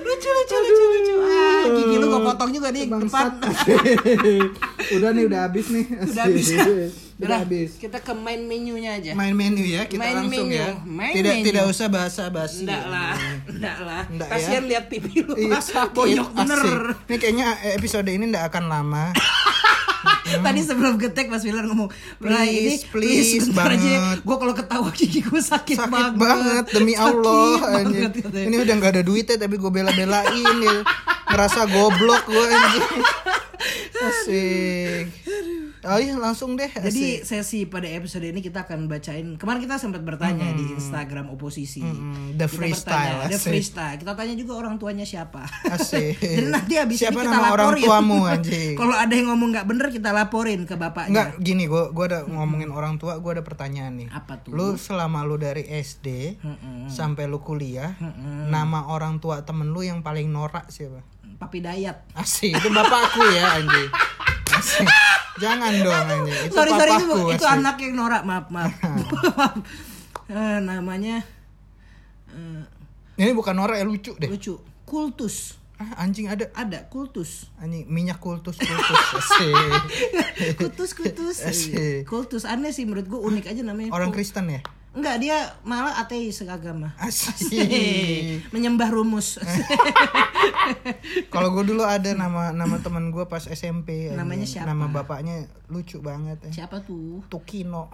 [SPEAKER 1] Lucu lucu lucu lucu. Ah, gigi lu gue potong juga nih
[SPEAKER 3] Bangsat.
[SPEAKER 1] depan.
[SPEAKER 3] udah nih, udah habis nih.
[SPEAKER 1] Udah
[SPEAKER 3] Asik.
[SPEAKER 1] habis.
[SPEAKER 3] Udah
[SPEAKER 1] Udah
[SPEAKER 3] habis.
[SPEAKER 1] Kita ke main menunya aja.
[SPEAKER 3] Main menu ya, kita
[SPEAKER 1] Main
[SPEAKER 3] langsung
[SPEAKER 1] menu.
[SPEAKER 3] ya.
[SPEAKER 1] Main
[SPEAKER 3] tidak
[SPEAKER 1] menu.
[SPEAKER 3] tidak usah bahasa-basi.
[SPEAKER 1] Enggak lah, enggak lah.
[SPEAKER 3] Nggak ya?
[SPEAKER 1] Kasihan lihat pipi lu.
[SPEAKER 3] Iya,
[SPEAKER 1] Pak.
[SPEAKER 3] sakit.
[SPEAKER 1] Bonyok
[SPEAKER 3] Asik.
[SPEAKER 1] bener.
[SPEAKER 3] Ini kayaknya episode ini nggak akan lama.
[SPEAKER 1] Tadi sebelum getek Mas Wilan ngomong, "Bra, ini
[SPEAKER 3] Please, please
[SPEAKER 1] bentar aja.
[SPEAKER 3] banget."
[SPEAKER 1] Gue kalau ketawa gigi gue sakit,
[SPEAKER 3] Sakit
[SPEAKER 1] banget.
[SPEAKER 3] banget, demi
[SPEAKER 1] Sakit
[SPEAKER 3] Allah. anjing.
[SPEAKER 1] banget," katanya.
[SPEAKER 3] ini udah nggak ada duitnya tapi gue bela-belain ya. Ngerasa goblok gue anjing. Asik. Oh iya langsung deh. Asik.
[SPEAKER 1] Jadi sesi pada episode ini kita akan bacain. Kemarin kita sempat bertanya di Instagram oposisi.
[SPEAKER 3] Hmm, the
[SPEAKER 1] Kita
[SPEAKER 3] freestyle,
[SPEAKER 1] bertanya, the
[SPEAKER 3] asik.
[SPEAKER 1] freestyle. Kita tanya juga orang tuanya siapa.
[SPEAKER 3] Asik.
[SPEAKER 1] Jadi nanti habis ini
[SPEAKER 3] Siapa
[SPEAKER 1] kita
[SPEAKER 3] nama
[SPEAKER 1] laporin.
[SPEAKER 3] orang tuamu, anjing?
[SPEAKER 1] Kalau ada yang ngomong nggak bener kita laporin ke bapaknya.
[SPEAKER 3] Enggak gini gue gua ada ngomongin orang tua gue ada pertanyaan nih.
[SPEAKER 1] Apa tuh?
[SPEAKER 3] Lu selama lu dari SD sampai lu kuliah, nama orang tua temen lu yang paling norak siapa?
[SPEAKER 1] Papi Dayat.
[SPEAKER 3] Asih, itu bapakku ya anjing. Asih. Jangan dong anjing. Itu
[SPEAKER 1] sorry sorry itu,
[SPEAKER 3] bapakku,
[SPEAKER 1] itu
[SPEAKER 3] asih.
[SPEAKER 1] anak yang norak maaf maaf. Eh, namanya eh,
[SPEAKER 3] Ini bukan norak ya lucu deh.
[SPEAKER 1] lucu kultus
[SPEAKER 3] Ah, anjing ada
[SPEAKER 1] ada kultus
[SPEAKER 3] anjing minyak kultus kultus. Asih.
[SPEAKER 1] kultus kultus
[SPEAKER 3] Eh. Asik.
[SPEAKER 1] kultus aneh sih menurut gue unik aja namanya
[SPEAKER 3] Orang
[SPEAKER 1] Kul-
[SPEAKER 3] Kristen ya?
[SPEAKER 1] Enggak, dia malah ateis agama.
[SPEAKER 3] Asih.
[SPEAKER 1] Menyembah rumus.
[SPEAKER 3] Kalau gue dulu ada nama nama teman gue pas SMP. anjing.
[SPEAKER 1] Namanya siapa?
[SPEAKER 3] Nama bapaknya lucu banget. anjing.
[SPEAKER 1] Siapa tuh?
[SPEAKER 3] Tukino.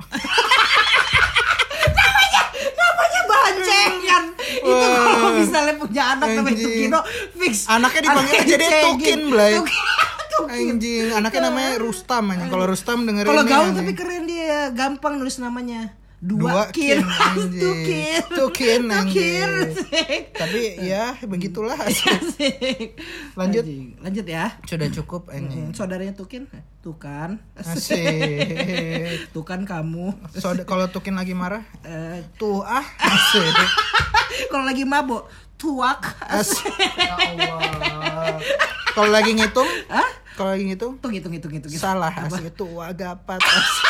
[SPEAKER 1] Namanya bancengan. Iya, itu kalau misalnya punya anak namanya
[SPEAKER 3] Anjing.
[SPEAKER 1] Tukino, fix.
[SPEAKER 3] Anaknya dipanggil
[SPEAKER 1] Anaknya
[SPEAKER 3] jadi
[SPEAKER 1] dicengin.
[SPEAKER 3] Tukin, Blay.
[SPEAKER 1] Tukin.
[SPEAKER 3] Anjing, anaknya namanya Rustam anjing. Kalau Rustam dengerin
[SPEAKER 1] Kalau
[SPEAKER 3] nih,
[SPEAKER 1] gaul
[SPEAKER 3] anjing.
[SPEAKER 1] tapi keren dia, gampang nulis namanya.
[SPEAKER 3] Dua
[SPEAKER 1] Dua, kin,
[SPEAKER 3] kin, anjing.
[SPEAKER 1] tukin,
[SPEAKER 3] Tukin,
[SPEAKER 1] tukin,
[SPEAKER 3] anjing. Tapi ya begitulah. Lanjut.
[SPEAKER 1] Anjing. lanjut ya.
[SPEAKER 3] Sudah cukup anjing.
[SPEAKER 1] Hmm, saudaranya Tukin, Tukan,
[SPEAKER 3] Asik.
[SPEAKER 1] Tukan kan kamu.
[SPEAKER 3] Soda, kalau Tukin lagi marah,
[SPEAKER 1] Eh,
[SPEAKER 3] tuh ah asik.
[SPEAKER 1] kalau lagi mabuk tuak
[SPEAKER 3] Asik. Ya Allah. Kalau lagi ngitung,
[SPEAKER 1] Hah?
[SPEAKER 3] kalau lagi ngitung
[SPEAKER 1] Tung, hitung hitung hitung hitung.
[SPEAKER 3] salah asik tua gapat. Asik.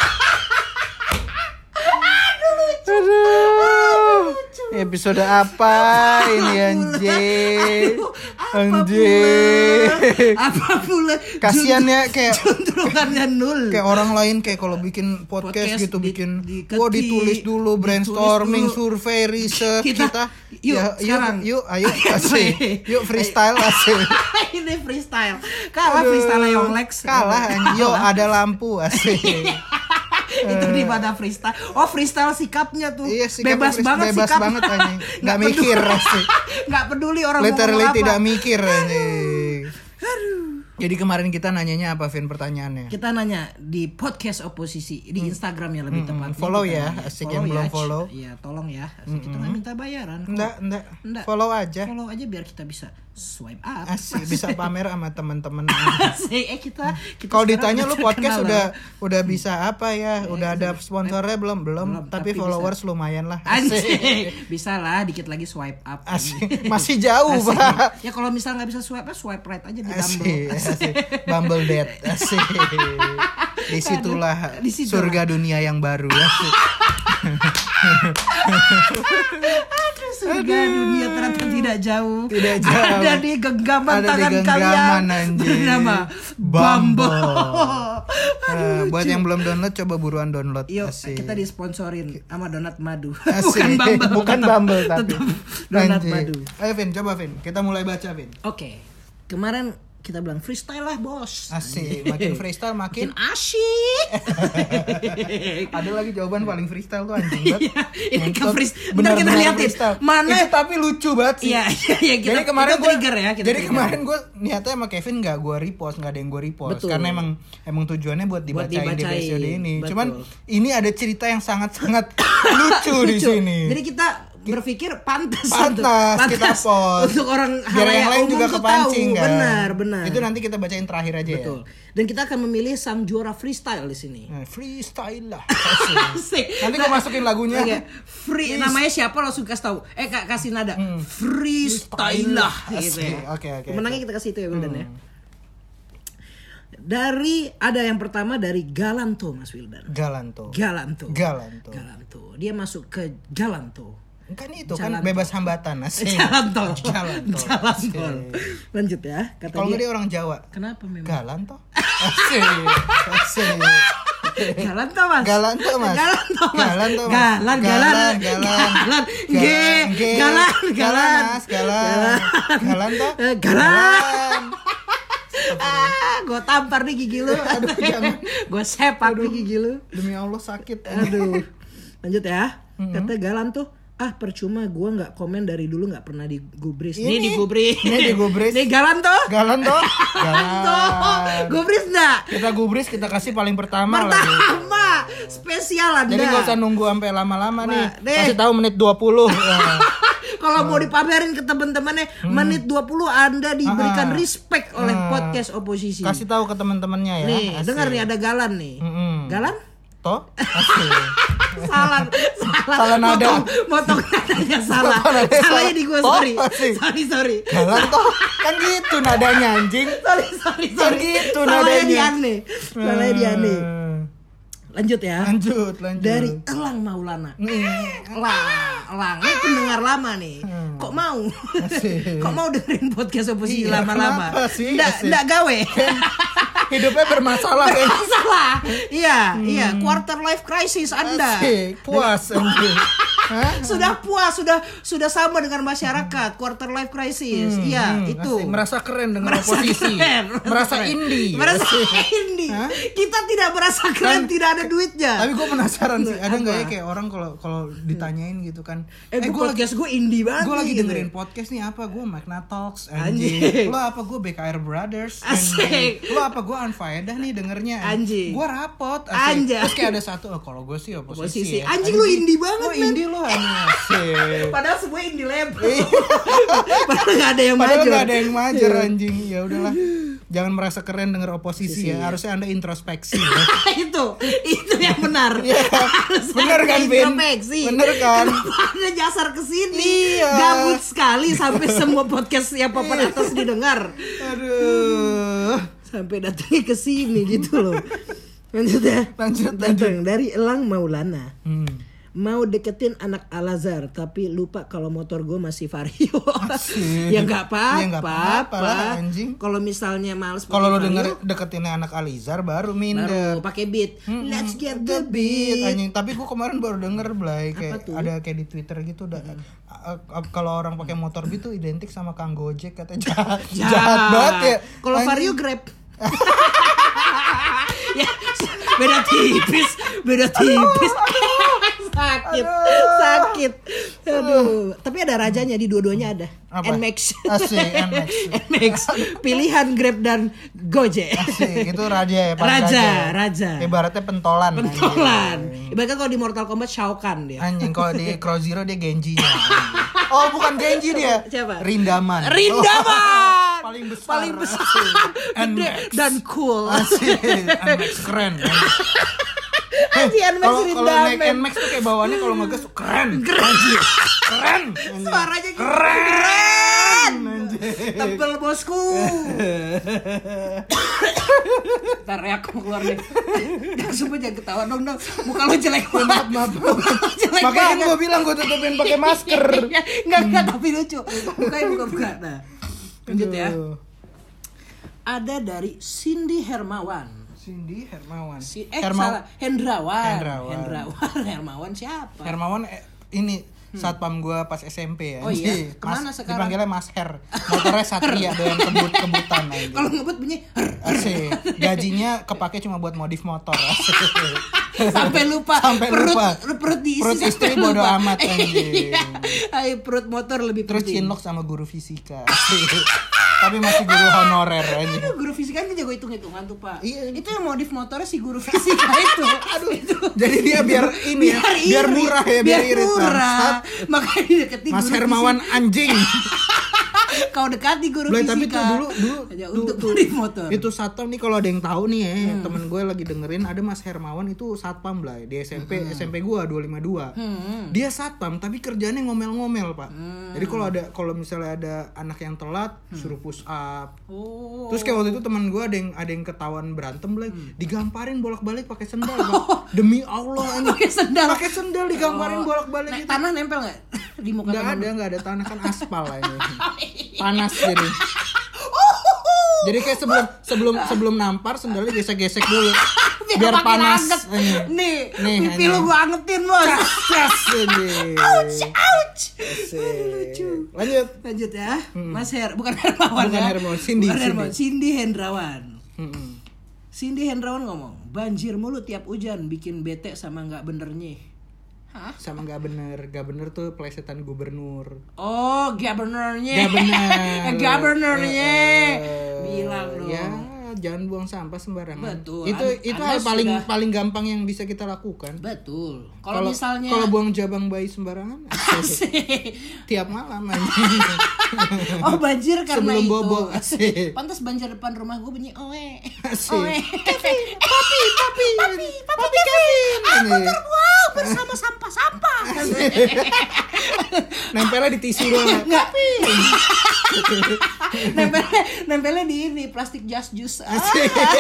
[SPEAKER 3] Aduh. Episode apa ini anjing?
[SPEAKER 1] Aduh, apa
[SPEAKER 3] Anjing.
[SPEAKER 1] pula? apa pula
[SPEAKER 3] Kasian ya kayak
[SPEAKER 1] juntrungannya nul
[SPEAKER 3] kayak orang lain kayak kalau bikin podcast,
[SPEAKER 1] Podcast
[SPEAKER 3] gitu
[SPEAKER 1] di-
[SPEAKER 3] bikin
[SPEAKER 1] diketik,
[SPEAKER 3] oh ditulis dulu brainstorming
[SPEAKER 1] dulu.
[SPEAKER 3] survei riset kita, ya,
[SPEAKER 1] Kita- yuk, sekarang.
[SPEAKER 3] yuk ayo asik
[SPEAKER 1] Play.
[SPEAKER 3] yuk freestyle asik
[SPEAKER 1] ini freestyle kalah freestyle yang Lex Iya.
[SPEAKER 3] kalah anjing. yuk ada lampu asik
[SPEAKER 1] itu di mana freestyle oh freestyle sikapnya tuh
[SPEAKER 3] Iya, sikapnya
[SPEAKER 1] bebas
[SPEAKER 3] freestyle,
[SPEAKER 1] banget
[SPEAKER 3] bebas
[SPEAKER 1] sikap
[SPEAKER 3] banget, anjing. Nggak
[SPEAKER 1] peduli.
[SPEAKER 3] mikir, asik.
[SPEAKER 1] nggak peduli orang mau
[SPEAKER 3] literally
[SPEAKER 1] ngomong apa.
[SPEAKER 3] tidak mikir anjing jadi kemarin kita nanyanya apa Vin pertanyaannya
[SPEAKER 1] kita nanya di podcast oposisi di Instagram ya lebih tepat
[SPEAKER 3] Hmm. follow ya, asik yang belum follow. Hmm.
[SPEAKER 1] ya tolong ya Asik, kita nggak minta bayaran kok.
[SPEAKER 3] enggak enggak
[SPEAKER 1] Nggak.
[SPEAKER 3] follow aja
[SPEAKER 1] follow aja biar kita bisa swipe up
[SPEAKER 3] asik bisa pamer sama teman-teman
[SPEAKER 1] Asik. eh kita, kita
[SPEAKER 3] Kalau
[SPEAKER 1] sekarang
[SPEAKER 3] ditanya
[SPEAKER 1] udah
[SPEAKER 3] lu podcast
[SPEAKER 1] terkenal ya. Iya,
[SPEAKER 3] udah
[SPEAKER 1] loh.
[SPEAKER 3] udah bisa apa ya? Udah ada sponsornya belum? Belum,
[SPEAKER 1] Belum, tapi
[SPEAKER 3] tapi, followers lumayan lah.
[SPEAKER 1] Anjing, bisa lah, dikit lagi swipe up.
[SPEAKER 3] Asik. Masih jauh,
[SPEAKER 1] Asik.
[SPEAKER 3] Pak.
[SPEAKER 1] Ya kalau misalnya nggak bisa swipe up, swipe right aja di
[SPEAKER 3] Asik,
[SPEAKER 1] Dumble.
[SPEAKER 3] asik. Bumble date, asik. Disitulah
[SPEAKER 1] Aduh, disitulah.
[SPEAKER 3] surga dunia yang baru. Asik.
[SPEAKER 1] Aduh, surga dunia ternyata tidak jauh.
[SPEAKER 3] Tidak jauh.
[SPEAKER 1] Ada di genggaman
[SPEAKER 3] Ada di
[SPEAKER 1] tangan
[SPEAKER 3] genggaman,
[SPEAKER 1] kalian.
[SPEAKER 3] anjing.
[SPEAKER 1] Bernama
[SPEAKER 3] Bumble.
[SPEAKER 1] Bumble.
[SPEAKER 3] Nah,
[SPEAKER 1] Aduh,
[SPEAKER 3] buat
[SPEAKER 1] lucu.
[SPEAKER 3] yang belum download coba buruan download.
[SPEAKER 1] Yuk
[SPEAKER 3] Asik.
[SPEAKER 1] kita disponsorin sama donat madu. Bukan
[SPEAKER 3] Asik.
[SPEAKER 1] Bumble.
[SPEAKER 3] Bukan
[SPEAKER 1] tetap-
[SPEAKER 3] Bumble tapi.
[SPEAKER 1] tetap donat
[SPEAKER 3] Anjing.
[SPEAKER 1] madu.
[SPEAKER 3] Ayo Vin, coba Vin. Kita mulai baca Vin.
[SPEAKER 1] Oke. Kemarin kita bilang freestyle lah, Bos.
[SPEAKER 3] Asik, makin freestyle
[SPEAKER 1] Makin
[SPEAKER 3] makin
[SPEAKER 1] asyik.
[SPEAKER 3] ada lagi jawaban paling freestyle tuh anjing banget.
[SPEAKER 1] Iya, ini ke
[SPEAKER 3] Ngentot.
[SPEAKER 1] freest- ntar
[SPEAKER 3] Benar-benar
[SPEAKER 1] kita liatin.
[SPEAKER 3] freestyle.
[SPEAKER 1] Mana-
[SPEAKER 3] Itu tapi lucu banget sih.
[SPEAKER 1] Iya, iya, iya, kita-
[SPEAKER 3] jadi kemarin
[SPEAKER 1] kita
[SPEAKER 3] gua-
[SPEAKER 1] trigger ya, kita
[SPEAKER 3] jadi
[SPEAKER 1] trigger.
[SPEAKER 3] kemarin gue niatnya sama Kevin nggak gue repost, nggak ada yang gue repost
[SPEAKER 1] Betul.
[SPEAKER 3] karena emang emang tujuannya buat dibacain, di
[SPEAKER 1] dibacain,
[SPEAKER 3] episode ini.
[SPEAKER 1] betul.
[SPEAKER 3] Cuman ini ada cerita yang sangat-sangat lucu, di
[SPEAKER 1] Lucu.
[SPEAKER 3] sini.
[SPEAKER 1] Jadi kita berpikir pantas
[SPEAKER 3] Pantas, kita post.
[SPEAKER 1] untuk orang
[SPEAKER 3] Biar yang
[SPEAKER 1] halayak
[SPEAKER 3] lain
[SPEAKER 1] umum
[SPEAKER 3] juga
[SPEAKER 1] tuh
[SPEAKER 3] kepancing
[SPEAKER 1] tahu.
[SPEAKER 3] kan.
[SPEAKER 1] benar benar
[SPEAKER 3] Itu nanti kita bacain terakhir aja
[SPEAKER 1] betul dan kita akan memilih sang juara freestyle di sini
[SPEAKER 3] ya. Nah, Freestyle lah. Hmm.
[SPEAKER 1] Asik.
[SPEAKER 3] nanti gue masukin lagunya.
[SPEAKER 1] Oke, free
[SPEAKER 3] Please.
[SPEAKER 1] namanya siapa langsung kasih tahu. Eh kak kasih nada. Freestyle lah gitu
[SPEAKER 3] Hmm. Asik.
[SPEAKER 1] ya.
[SPEAKER 3] Oke, oke, Hmm.
[SPEAKER 1] Pemenangnya kita kasih itu ya Wildan ya. Dari ada yang pertama dari Galanto Mas Wildan.
[SPEAKER 3] Galanto.
[SPEAKER 1] Galanto.
[SPEAKER 3] Hmm. Galanto.
[SPEAKER 1] Galanto. Dia masuk ke Galanto.
[SPEAKER 3] Kan itu kan
[SPEAKER 1] Jalan
[SPEAKER 3] bebas hambatan. asik.
[SPEAKER 1] Jalan tol.
[SPEAKER 3] Iya, Jalan tol.
[SPEAKER 1] Jalan
[SPEAKER 3] Asik.
[SPEAKER 1] tol. Lanjut ya. Kata
[SPEAKER 3] Kalau nggak
[SPEAKER 1] dia,
[SPEAKER 3] dia orang Jawa.
[SPEAKER 1] kenapa memang?
[SPEAKER 3] Galanto. Asik. Asik.
[SPEAKER 1] Galanto Mas.
[SPEAKER 3] Galanto, Mas.
[SPEAKER 1] Galanto Mas.
[SPEAKER 3] Galanto, Mas.
[SPEAKER 1] Galan, galan,
[SPEAKER 3] Galan, galan.
[SPEAKER 1] galan. Ge,
[SPEAKER 3] Galan, ge.
[SPEAKER 1] galan, galan.
[SPEAKER 3] Mas, galan. Galan toh?
[SPEAKER 1] Eh, galan. Ah, gue tampar nih gigi lu.
[SPEAKER 3] Aduh, jangan.
[SPEAKER 1] gue sepak nih gigi lu.
[SPEAKER 3] Demi Allah sakit.
[SPEAKER 1] Aduh. Lanjut ya. Kata Galan tuh, ah percuma gue nggak komen dari dulu nggak pernah digubris. Ini,
[SPEAKER 3] Ini.
[SPEAKER 1] digubris.
[SPEAKER 3] Ini digubris.
[SPEAKER 1] Nih Galan tuh.
[SPEAKER 3] Galan toh?
[SPEAKER 1] Galan tuh.
[SPEAKER 3] Galan.
[SPEAKER 1] Gubris nggak?
[SPEAKER 3] Kita gubris kita kasih paling pertama, lagi.
[SPEAKER 1] Pertama. Spesial anda.
[SPEAKER 3] Jadi gak usah nunggu sampai lama-lama nih.
[SPEAKER 1] Nah, deh.
[SPEAKER 3] Kasih tahu menit 20. Ya.
[SPEAKER 1] Kalau
[SPEAKER 3] Hmm.
[SPEAKER 1] mau dipamerin ke teman-temannya menit 20 Anda diberikan
[SPEAKER 3] Ah.
[SPEAKER 1] respect oleh
[SPEAKER 3] Ah.
[SPEAKER 1] podcast oposisi.
[SPEAKER 3] Kasih Hmm. tahu ke teman-temannya
[SPEAKER 1] Iya.
[SPEAKER 3] ya.
[SPEAKER 1] nih,
[SPEAKER 3] Asik.
[SPEAKER 1] dengar nih ada Galan nih.
[SPEAKER 3] Mm-mm.
[SPEAKER 1] Galan?
[SPEAKER 3] Toh? Asik.
[SPEAKER 1] salah salah
[SPEAKER 3] Salah nada.
[SPEAKER 1] motong, motong nadanya salah
[SPEAKER 3] Motong nadanya
[SPEAKER 1] salahnya
[SPEAKER 3] salah.
[SPEAKER 1] di gua
[SPEAKER 3] Oh,
[SPEAKER 1] sorry
[SPEAKER 3] masih.
[SPEAKER 1] sorry sorry
[SPEAKER 3] Galan toh? Kan gitu nadanya anjing.
[SPEAKER 1] sorry sorry
[SPEAKER 3] Kan
[SPEAKER 1] sorry
[SPEAKER 3] gitu
[SPEAKER 1] salahnya
[SPEAKER 3] nadanya.
[SPEAKER 1] di Ane salahnya di Ane
[SPEAKER 3] Eh,
[SPEAKER 1] lanjut ya
[SPEAKER 3] Lanjut, lanjut.
[SPEAKER 1] dari Elang Maulana
[SPEAKER 3] Mm.
[SPEAKER 1] Elang Elang ini pendengar lama nih kok mau
[SPEAKER 3] Hmm. Asik.
[SPEAKER 1] kok mau dengerin podcast oposisi
[SPEAKER 3] Iya,
[SPEAKER 1] lama-lama
[SPEAKER 3] kenapa sih?
[SPEAKER 1] nggak
[SPEAKER 3] Asik.
[SPEAKER 1] nggak gawe
[SPEAKER 3] Hidupnya bermasalah kan.
[SPEAKER 1] salah iya iya quarter life crisis anda
[SPEAKER 3] Hmm. Asik. Puas anjing. Hah?
[SPEAKER 1] sudah puas sudah sudah sama dengan masyarakat quarter life crisis iya
[SPEAKER 3] Hmm,
[SPEAKER 1] itu
[SPEAKER 3] asik. merasa keren dengan
[SPEAKER 1] Merasa
[SPEAKER 3] oposisi.
[SPEAKER 1] keren,
[SPEAKER 3] merasa
[SPEAKER 1] keren.
[SPEAKER 3] indie.
[SPEAKER 1] merasa
[SPEAKER 3] Asik.
[SPEAKER 1] indie
[SPEAKER 3] Hah?
[SPEAKER 1] kita tidak merasa keren
[SPEAKER 3] Kan-
[SPEAKER 1] tidak ada duitnya
[SPEAKER 3] Tapi gue penasaran sih, ada nggak ya
[SPEAKER 1] Apa?
[SPEAKER 3] kayak orang kalau kalau ditanyain gitu kan,
[SPEAKER 1] eh, gue
[SPEAKER 3] gua
[SPEAKER 1] podcast gue indie banget
[SPEAKER 3] gue lagi
[SPEAKER 1] gitu.
[SPEAKER 3] dengerin podcast nih apa gue Magna Talks
[SPEAKER 1] Anjing.
[SPEAKER 3] anjing lo apa gue BKR Brothers
[SPEAKER 1] Asik.
[SPEAKER 3] lo apa gue Anfaedah nih dengernya
[SPEAKER 1] Anjing.
[SPEAKER 3] gue rapot
[SPEAKER 1] Anjay.
[SPEAKER 3] terus kayak ada satu oh, kalau gue sih oposisi,
[SPEAKER 1] Oposisi.
[SPEAKER 3] ya.
[SPEAKER 1] Anjing, lu indie banget,
[SPEAKER 3] lo
[SPEAKER 1] men.
[SPEAKER 3] indie lo anjing
[SPEAKER 1] padahal semua indie label
[SPEAKER 3] Iya,
[SPEAKER 1] padahal nggak ada yang
[SPEAKER 3] padahal
[SPEAKER 1] maju
[SPEAKER 3] gak ada yang majer
[SPEAKER 1] Iya.
[SPEAKER 3] anjing ya udahlah jangan merasa keren denger oposisi
[SPEAKER 1] iya.
[SPEAKER 3] ya harusnya anda introspeksi ya.
[SPEAKER 1] Ah, itu itu yang benar Harus
[SPEAKER 3] Iya. Benar
[SPEAKER 1] ada
[SPEAKER 3] kan, Vin?
[SPEAKER 1] introspeksi.
[SPEAKER 3] Benar kan?
[SPEAKER 1] Kenapa Anda nyasar ke sini
[SPEAKER 3] Iya.
[SPEAKER 1] gabut sekali sampai semua podcast yang papan atas didengar
[SPEAKER 3] aduh
[SPEAKER 1] sampai datangnya ke sini gitu loh lanjut ya
[SPEAKER 3] Lanjut,
[SPEAKER 1] datang dari Elang Maulana
[SPEAKER 3] hmm.
[SPEAKER 1] mau deketin anak Alazar tapi lupa kalau motor gue masih vario ya nggak
[SPEAKER 3] Ya nggak
[SPEAKER 1] apa-apa
[SPEAKER 3] apa-apa lah,
[SPEAKER 1] Pak.
[SPEAKER 3] anjing.
[SPEAKER 1] kalau misalnya males pakai
[SPEAKER 3] kalau lo
[SPEAKER 1] Vario,
[SPEAKER 3] denger deketin anak Alizar baru minder
[SPEAKER 1] iya. baru pakai beat let's get the
[SPEAKER 3] Beat,
[SPEAKER 1] beat
[SPEAKER 3] anjing tapi gue kemarin baru denger Blay kayak ada kayak di twitter gitu udah a- a- kalau orang pakai motor gitu identik sama kang gojek katanya jahat, jahat, banget ya
[SPEAKER 1] Ah. Kalau
[SPEAKER 3] Anjing,
[SPEAKER 1] Vario Grab. ya, beda tipis, beda tipis. sakit, sakit. Aduh, tapi ada rajanya di dua-duanya ada.
[SPEAKER 3] Apa? Ah,
[SPEAKER 1] Nmax.
[SPEAKER 3] Asik, NMAX.
[SPEAKER 1] Nmax. Pilihan Grab dan Gojek.
[SPEAKER 3] sih, itu raja ya pas
[SPEAKER 1] Raja,
[SPEAKER 3] ya.
[SPEAKER 1] raja.
[SPEAKER 3] ibaratnya pentolan anjing.
[SPEAKER 1] Pentolan. Ibaratnya kalau di Mortal Kombat Shao Kahn dia.
[SPEAKER 3] anjing kalau di Crow Zero dia Genji ya. oh bukan Genji dia
[SPEAKER 1] Siapa?
[SPEAKER 3] Rindaman
[SPEAKER 1] Rindaman.
[SPEAKER 3] Oh. paling besar
[SPEAKER 1] Paling besar. Gede
[SPEAKER 3] Nmax.
[SPEAKER 1] dan cool.
[SPEAKER 3] Asik, NMAX keren anjing.
[SPEAKER 1] Anjir, Nmax
[SPEAKER 3] kalau kalau naik
[SPEAKER 1] Rindaman.
[SPEAKER 3] NMAX tuh kayak bawaannya kalau ngegas tuh keren anjing. keren anjing.
[SPEAKER 1] Suaranya gitu.
[SPEAKER 3] keren anjing.
[SPEAKER 1] Tebel bosku. Ntar ya aku keluar deh. Jangan sebut jangan ketawa dong dong. Muka lo jelek banget.
[SPEAKER 3] Ya, maaf.
[SPEAKER 1] Muka lo jelek
[SPEAKER 3] makanya kan
[SPEAKER 1] banget.
[SPEAKER 3] gue bilang gue tutupin pakai masker
[SPEAKER 1] Enggak enggak tapi lucu. Mukanya buka-buka. Nah. Lanjut ya.
[SPEAKER 3] Aduh.
[SPEAKER 1] Ada dari Cindy Hermawan.
[SPEAKER 3] Cindy Hermawan
[SPEAKER 1] Si eh salah
[SPEAKER 3] Herma-
[SPEAKER 1] Hendrawan.
[SPEAKER 3] Hendrawan.
[SPEAKER 1] Hendrawan. Hermawan siapa?
[SPEAKER 3] Hermawan eh, ini satpam gue pas SMP ya
[SPEAKER 1] Hmm. Oh iya?
[SPEAKER 3] Mas-
[SPEAKER 1] Kemana sekarang?
[SPEAKER 3] dipanggilnya Mas Her motornya Satria doyan kebut kebutan anjing.
[SPEAKER 1] Kalau ngebut bunyi "Her."
[SPEAKER 3] Asik. gajinya kepake cuma buat modif motor asik.
[SPEAKER 1] sampai lupa
[SPEAKER 3] Sampai
[SPEAKER 1] perut
[SPEAKER 3] lupa.
[SPEAKER 1] perut diisi
[SPEAKER 3] Perut istri
[SPEAKER 1] sampai
[SPEAKER 3] bodo
[SPEAKER 1] lupa.
[SPEAKER 3] amat, anjing.
[SPEAKER 1] Iya. Ay, perut motor lebih
[SPEAKER 3] Terus
[SPEAKER 1] penting.
[SPEAKER 3] cinlok sama guru fisika. tapi masih guru honorer aja
[SPEAKER 1] Aduh, guru fisika kan jago hitung-hitungan tuh, Pak.
[SPEAKER 3] Iya.
[SPEAKER 1] Itu yang modif motornya si guru fisika itu. Aduh, itu.
[SPEAKER 3] jadi dia biar ini ya, biar
[SPEAKER 1] irit,
[SPEAKER 3] murah ya biar, irit
[SPEAKER 1] murah.
[SPEAKER 3] bangsat.
[SPEAKER 1] Makanya dideketin
[SPEAKER 3] Mas
[SPEAKER 1] guru
[SPEAKER 3] Hermawan anjing
[SPEAKER 1] fisika. Kau dekati guru
[SPEAKER 3] Blay,
[SPEAKER 1] fisika.
[SPEAKER 3] tapi tuh dulu dulu
[SPEAKER 1] Ya,
[SPEAKER 3] tuh-
[SPEAKER 1] untuk
[SPEAKER 3] tuh-
[SPEAKER 1] modif motor.
[SPEAKER 3] itu satpam nih kalau ada yang tahu nih ya
[SPEAKER 1] Hmm.
[SPEAKER 3] temen gue lagi dengerin ada Mas Hermawan itu satpam lah ya, di SMP
[SPEAKER 1] Hmm.
[SPEAKER 3] SMP gue 252 dia satpam tapi kerjanya ngomel-ngomel pak
[SPEAKER 1] Hmm.
[SPEAKER 3] jadi kalau ada kalau misalnya ada anak yang telat suruh push up
[SPEAKER 1] Oh. Hmm.
[SPEAKER 3] Terus kayak waktu itu teman gue ada yang ada yang ketahuan berantem lagi, digamparin bolak-balik pakai sendal, Bang. Demi Allah anjing.
[SPEAKER 1] Pakai sendal. Oh. Nah,
[SPEAKER 3] Pakai sendal digamparin bolak-balik
[SPEAKER 1] Nek,
[SPEAKER 3] gitu.
[SPEAKER 1] tanah nempel nggak di muka
[SPEAKER 3] Enggak
[SPEAKER 1] tanah?
[SPEAKER 3] ada, enggak ada tanah kan aspal
[SPEAKER 1] Oh,
[SPEAKER 3] ini.
[SPEAKER 1] iya.
[SPEAKER 3] Panas jadi. Jadi kayak sebelum sebelum sebelum nampar sendalnya gesek-gesek dulu. Biar,
[SPEAKER 1] makin
[SPEAKER 3] panas.
[SPEAKER 1] anget.
[SPEAKER 3] anjing.
[SPEAKER 1] Nih,
[SPEAKER 3] Nih,
[SPEAKER 1] pipi
[SPEAKER 3] anjing.
[SPEAKER 1] lu gua angetin, Bos.
[SPEAKER 3] Cas ini.
[SPEAKER 1] Ouch, ouch. Aduh, lucu.
[SPEAKER 3] Lanjut.
[SPEAKER 1] Lanjut ya. Mas Her, bukan Hermawan
[SPEAKER 3] Hmm. Bukan
[SPEAKER 1] ya.
[SPEAKER 3] Hermawan, Cindy,
[SPEAKER 1] Bukan Hermawan, Cindy Hendrawan.
[SPEAKER 3] Mm-mm.
[SPEAKER 1] Cindy Hendrawan ngomong, banjir mulu tiap hujan bikin bete sama nggak benernya. Hah?
[SPEAKER 3] Sama nggak bener, nggak bener tuh plesetan gubernur.
[SPEAKER 1] Oh, governornya.
[SPEAKER 3] Governor.
[SPEAKER 1] Governornya.
[SPEAKER 3] Eh,
[SPEAKER 1] Bilang dong.
[SPEAKER 3] Ya, jangan buang sampah sembarangan.
[SPEAKER 1] Betul.
[SPEAKER 3] Itu
[SPEAKER 1] An-
[SPEAKER 3] itu
[SPEAKER 1] Anda
[SPEAKER 3] hal paling
[SPEAKER 1] sudah-
[SPEAKER 3] paling gampang yang bisa kita lakukan.
[SPEAKER 1] Betul. Kalau misalnya
[SPEAKER 3] kalau buang jabang bayi sembarangan tiap malam anjing.
[SPEAKER 1] Oh banjir karena itu.
[SPEAKER 3] Sebelum bobo, asik.
[SPEAKER 1] Pantas banjir depan rumah gue bunyi oe.
[SPEAKER 3] Asik.
[SPEAKER 1] Oe.
[SPEAKER 3] papi, papi, papi, papi Kevin. Ini.
[SPEAKER 1] Wow, bersama sampah-sampah.
[SPEAKER 3] Nempelnya di tisu doang.
[SPEAKER 1] Enggak. nempelnya, nempelnya di ini plastik jas jus.
[SPEAKER 3] Asik.
[SPEAKER 1] Ah,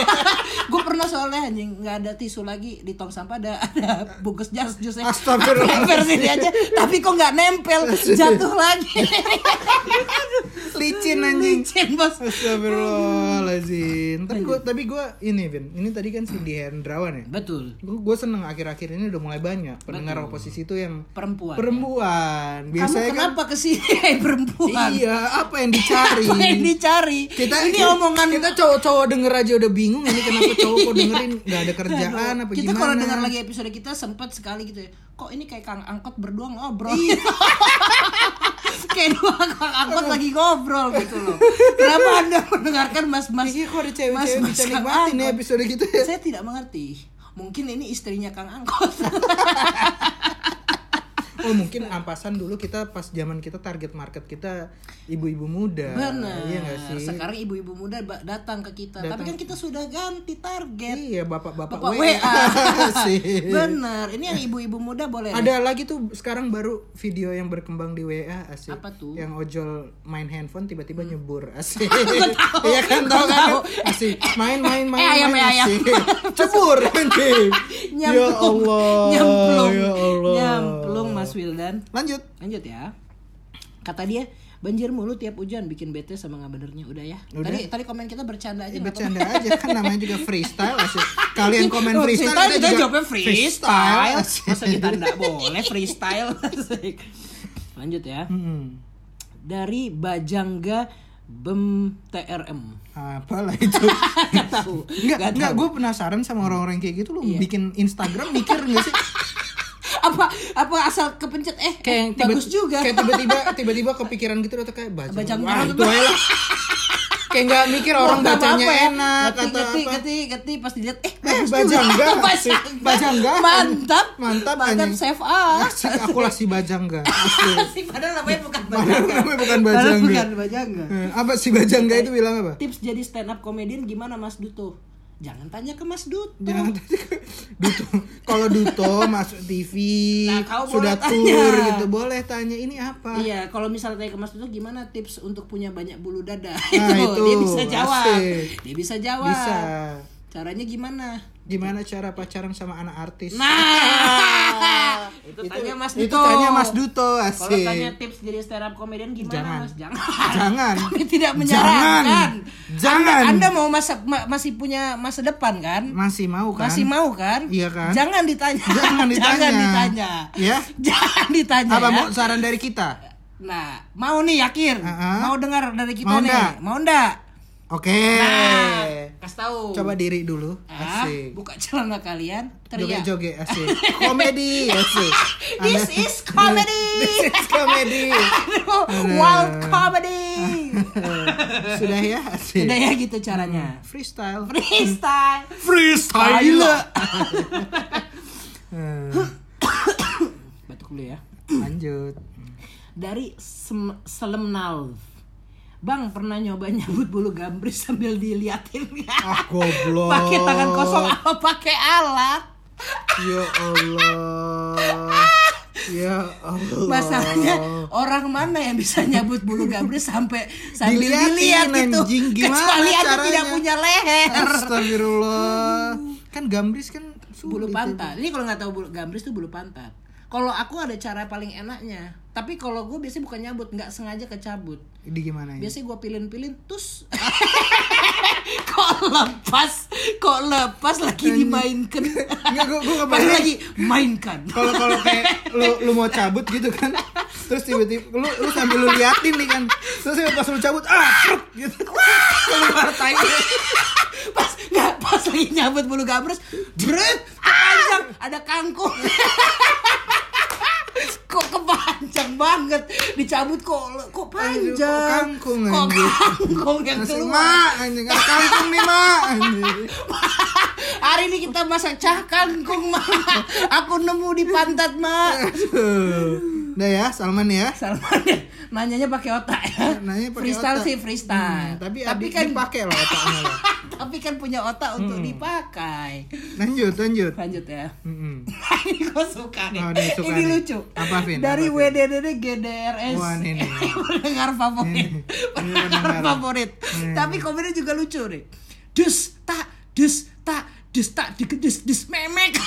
[SPEAKER 1] gue pernah soalnya anjing nggak ada tisu lagi di tong sampah ada ada bungkus jas jusnya.
[SPEAKER 3] Astagfirullahaladzim.
[SPEAKER 1] Nempel sini aja, tapi kok nggak nempel, jatuh lagi.
[SPEAKER 3] Licin anjing.
[SPEAKER 1] Licin, bos.
[SPEAKER 3] Astagfirullahaladzim. Tapi gua tapi gua ini Vin, ini tadi kan si Hendrawan ya.
[SPEAKER 1] Betul.
[SPEAKER 3] Gue seneng akhir-akhir ini udah mulai banyak pendengar oposisi itu yang
[SPEAKER 1] Perempuan.
[SPEAKER 3] perempuan.
[SPEAKER 1] Kamu
[SPEAKER 3] Biasanya kan
[SPEAKER 1] kenapa kesini hai perempuan?
[SPEAKER 3] iya apa yang dicari?
[SPEAKER 1] Apa yang dicari?
[SPEAKER 3] kita
[SPEAKER 1] ini omongan
[SPEAKER 3] kita cowok-cowok denger aja udah bingung ini kenapa cowok kok dengerin nggak ada kerjaan apa
[SPEAKER 1] kita
[SPEAKER 3] gimana?
[SPEAKER 1] kalau dengar lagi episode kita sempat sekali gitu ya. Kok ini kayak Kang Angkot berdua ngobrol.
[SPEAKER 3] Iya.
[SPEAKER 1] kayak dua Kang Angkot lagi ngobrol gitu loh. Kenapa Anda mendengarkan Mas-mas?
[SPEAKER 3] Iya kok ada cewek-cewek
[SPEAKER 1] mas-mas
[SPEAKER 3] bisa
[SPEAKER 1] Kang
[SPEAKER 3] nikmatin ya
[SPEAKER 1] Angkot?
[SPEAKER 3] episode gitu ya
[SPEAKER 1] Saya tidak mengerti. Mungkin ini istrinya Kang Angkot.
[SPEAKER 3] Oh mungkin ampasan dulu kita pas zaman kita target market kita ibu-ibu muda
[SPEAKER 1] Benar.
[SPEAKER 3] Iya gak sih?
[SPEAKER 1] Sekarang ibu-ibu muda ba- datang ke kita. Tapi
[SPEAKER 3] Datang.
[SPEAKER 1] kan kita sudah ganti target.
[SPEAKER 3] Iya bapak-bapak
[SPEAKER 1] Bapak
[SPEAKER 3] WA.
[SPEAKER 1] WA.
[SPEAKER 3] Iya sih.
[SPEAKER 1] Bener. Ini yang ibu-ibu muda boleh. nih.
[SPEAKER 3] Ada lagi tuh sekarang baru video yang berkembang di WA asik.
[SPEAKER 1] Apa tuh? Hmm.
[SPEAKER 3] Yang ojol main handphone tiba-tiba nyebur asik. Iya kan tau kan? Asik. Main main main.
[SPEAKER 1] Eh, ayam,
[SPEAKER 3] main,
[SPEAKER 1] eh, ayam.
[SPEAKER 3] asik. Cebur anjing. ya
[SPEAKER 1] Nyemplung.
[SPEAKER 3] Allah.
[SPEAKER 1] Nyemplung.
[SPEAKER 3] Ya Allah.
[SPEAKER 1] Nyemplung Mas Wildan.
[SPEAKER 3] Lanjut.
[SPEAKER 1] Lanjut ya. Kata dia, banjir mulu tiap hujan bikin bete sama nggak benernya. Udah ya.
[SPEAKER 3] Udah. Eh,
[SPEAKER 1] Tadi tadi komen kita bercanda aja. nggak
[SPEAKER 3] bercanda
[SPEAKER 1] apa-apa.
[SPEAKER 3] aja kan namanya juga freestyle asik. Kalian komen
[SPEAKER 1] Oh,
[SPEAKER 3] freestyle,
[SPEAKER 1] kita
[SPEAKER 3] juga
[SPEAKER 1] jawabnya freestyle.
[SPEAKER 3] asik.
[SPEAKER 1] Masa kita nggak boleh freestyle. Asik. Lanjut ya.
[SPEAKER 3] Hmm.
[SPEAKER 1] Dari Bajangga Bem TRM.
[SPEAKER 3] Apalah itu
[SPEAKER 1] Gak tahu.
[SPEAKER 3] Enggak,
[SPEAKER 1] Nggak
[SPEAKER 3] enggak,
[SPEAKER 1] tahu.
[SPEAKER 3] gue penasaran sama orang-orang kayak gitu Lu
[SPEAKER 1] Iya.
[SPEAKER 3] bikin Instagram mikir gak sih?
[SPEAKER 1] apa apa asal kepencet eh
[SPEAKER 3] kayak yang
[SPEAKER 1] kayak
[SPEAKER 3] tiba-
[SPEAKER 1] bagus juga
[SPEAKER 3] kayak tiba-tiba tiba-tiba kepikiran gitu atau kayak baca
[SPEAKER 1] Bacang
[SPEAKER 3] wah
[SPEAKER 1] banget.
[SPEAKER 3] itu aja lah. kayak nggak mikir orang
[SPEAKER 1] Wah, nggak
[SPEAKER 3] bacanya
[SPEAKER 1] apa-apa ya. Ngerti,
[SPEAKER 3] enak atau
[SPEAKER 1] ngerti,
[SPEAKER 3] apa
[SPEAKER 1] ngerti, ngerti, pas dilihat eh
[SPEAKER 3] Eh,
[SPEAKER 1] bagus
[SPEAKER 3] bajangga
[SPEAKER 1] juga.
[SPEAKER 3] asik.
[SPEAKER 1] Bajangga.
[SPEAKER 3] Bajangga.
[SPEAKER 1] mantap
[SPEAKER 3] Mantap,
[SPEAKER 1] mantap
[SPEAKER 3] anjing.
[SPEAKER 1] save ah
[SPEAKER 3] Asik, aku lah si bajangga
[SPEAKER 1] Asik, padahal namanya bukan
[SPEAKER 3] Padahal
[SPEAKER 1] bajangga
[SPEAKER 3] namanya bukan
[SPEAKER 1] Padahal
[SPEAKER 3] bajangga.
[SPEAKER 1] bukan bajangga
[SPEAKER 3] Eh, apa si bajangga itu bilang apa
[SPEAKER 1] tips jadi stand up comedian gimana mas Duto jangan tanya ke mas Duto
[SPEAKER 3] Jangan tanya ke- Iya, Duto. Kalau Duto masuk TV
[SPEAKER 1] Nah, kau boleh
[SPEAKER 3] sudah
[SPEAKER 1] tanya.
[SPEAKER 3] tur gitu, boleh tanya ini apa?
[SPEAKER 1] Iya, kalau misalnya tanya ke Mas Duto gimana tips untuk punya banyak bulu dada?
[SPEAKER 3] Nah, itu.
[SPEAKER 1] dia bisa jawab.
[SPEAKER 3] Asik.
[SPEAKER 1] Dia bisa jawab.
[SPEAKER 3] Bisa.
[SPEAKER 1] Caranya gimana?
[SPEAKER 3] Gimana cara pacaran sama anak artis?
[SPEAKER 1] Nah, itu, tanya Mas Duto.
[SPEAKER 3] Itu tanya Mas Duto,
[SPEAKER 1] Kalau
[SPEAKER 3] asik.
[SPEAKER 1] tanya tips jadi stand up comedian gimana
[SPEAKER 3] Jangan.
[SPEAKER 1] Mas? Jangan.
[SPEAKER 3] Jangan.
[SPEAKER 1] Kami tidak menyarankan.
[SPEAKER 3] Jangan. Jangan.
[SPEAKER 1] kan? Anda mau masa ma- masih punya masa depan kan?
[SPEAKER 3] Masih mau kan?
[SPEAKER 1] Masih mau kan?
[SPEAKER 3] Iya kan?
[SPEAKER 1] Jangan ditanya.
[SPEAKER 3] Jangan ditanya.
[SPEAKER 1] Jangan ditanya.
[SPEAKER 3] Ya?
[SPEAKER 1] Jangan ditanya.
[SPEAKER 3] Apa
[SPEAKER 1] ya.
[SPEAKER 3] mau saran dari kita?
[SPEAKER 1] Nah, mau nih Yakir.
[SPEAKER 3] Uh-uh.
[SPEAKER 1] Mau dengar dari kita
[SPEAKER 3] Mau
[SPEAKER 1] nih.
[SPEAKER 3] nggak?
[SPEAKER 1] Mau ndak?
[SPEAKER 3] Oke.
[SPEAKER 1] Nah, kasih tahu.
[SPEAKER 3] Coba diri dulu.
[SPEAKER 1] Ah,
[SPEAKER 3] Asik.
[SPEAKER 1] buka celana kalian, teriak.
[SPEAKER 3] Joget-joget asik. Komedi asik.
[SPEAKER 1] This
[SPEAKER 3] Anda-
[SPEAKER 1] is comedy.
[SPEAKER 3] This is comedy.
[SPEAKER 1] Aduh, Wild comedy.
[SPEAKER 3] Eh, Sudah ya? Asik.
[SPEAKER 1] Udah ya gitu caranya.
[SPEAKER 3] Freestyle.
[SPEAKER 1] Freestyle.
[SPEAKER 3] Freestyle.
[SPEAKER 1] Batuk dulu ya.
[SPEAKER 3] Lanjut.
[SPEAKER 1] Dari Sem- Selemnal. Bang pernah nyoba nyabut bulu gambris sambil diliatin
[SPEAKER 3] Ah, goblok.
[SPEAKER 1] pakai tangan kosong apa pakai alat?
[SPEAKER 3] Ya Allah. Ya Allah.
[SPEAKER 1] Masalahnya
[SPEAKER 3] Oh.
[SPEAKER 1] orang mana yang bisa nyabut bulu gambris sampai sambil
[SPEAKER 3] Diliatin,
[SPEAKER 1] dilihat gitu?
[SPEAKER 3] anjing. Gimana
[SPEAKER 1] Kecuali anda
[SPEAKER 3] caranya?
[SPEAKER 1] tidak punya leher.
[SPEAKER 3] Astagfirullah. Kan gambris kan sulit
[SPEAKER 1] bulu
[SPEAKER 3] itu.
[SPEAKER 1] pantat. Ini kalau nggak tahu bulu gambris tuh bulu pantat. Kalau aku ada cara paling enaknya. Tapi kalau gue biasanya bukan nyabut, nggak sengaja kecabut.
[SPEAKER 3] Di gimana ini?
[SPEAKER 1] Biasanya gue pilin-pilin, terus kok lepas, kok lepas lagi dimainkan.
[SPEAKER 3] Enggak, gua gua
[SPEAKER 1] Pas
[SPEAKER 3] kebayang
[SPEAKER 1] lagi mainkan.
[SPEAKER 3] kalau kalau kayak lu lu mau cabut gitu kan terus tiba-tiba lu lu sambil lu liatin nih kan terus pas lu cabut ah prut, gitu keluar tai
[SPEAKER 1] Pas nggak pas lagi nyabut bulu gambris, jeret kepanjang ada kangkung. kok kepanjang banget dicabut kok kok
[SPEAKER 3] Aduh, kok
[SPEAKER 1] panjang
[SPEAKER 3] kangkung,
[SPEAKER 1] kok
[SPEAKER 3] anjing.
[SPEAKER 1] kangkung yang
[SPEAKER 3] Masih,
[SPEAKER 1] keluar
[SPEAKER 3] mak anjing ada kangkung nih mak anjing
[SPEAKER 1] Hari ini kita masak cah kangkung, Ma. Aku nemu di pantat, Ma.
[SPEAKER 3] Aduh. udah ya Salman ya
[SPEAKER 1] Salman ya, nanyanya pakai otak ya.
[SPEAKER 3] Nanya Iya, pakai
[SPEAKER 1] freestyle
[SPEAKER 3] otak.
[SPEAKER 1] sih freestyle.
[SPEAKER 3] Hmm, tapi
[SPEAKER 1] tapi
[SPEAKER 3] adik
[SPEAKER 1] kan
[SPEAKER 3] dipakai lah otaknya lah.
[SPEAKER 1] tapi kan punya otak untuk
[SPEAKER 3] Hmm.
[SPEAKER 1] dipakai.
[SPEAKER 3] lanjut lanjut
[SPEAKER 1] Lanjut ya.
[SPEAKER 3] Mm-mm.
[SPEAKER 1] ini gue suka nih.
[SPEAKER 3] Oh, ini suka
[SPEAKER 1] ini
[SPEAKER 3] nih.
[SPEAKER 1] lucu.
[SPEAKER 3] Apa, Vin?
[SPEAKER 1] Dari
[SPEAKER 3] Apa, Vin?
[SPEAKER 1] WDDD GDRS.
[SPEAKER 3] Wah, ini nih.
[SPEAKER 1] pendengar favorit.
[SPEAKER 3] Ini, ini
[SPEAKER 1] pendengar
[SPEAKER 3] pendengar.
[SPEAKER 1] favorit. Tapi komennya juga lucu nih. Dus tak dus tak dus tak digedus dus memek.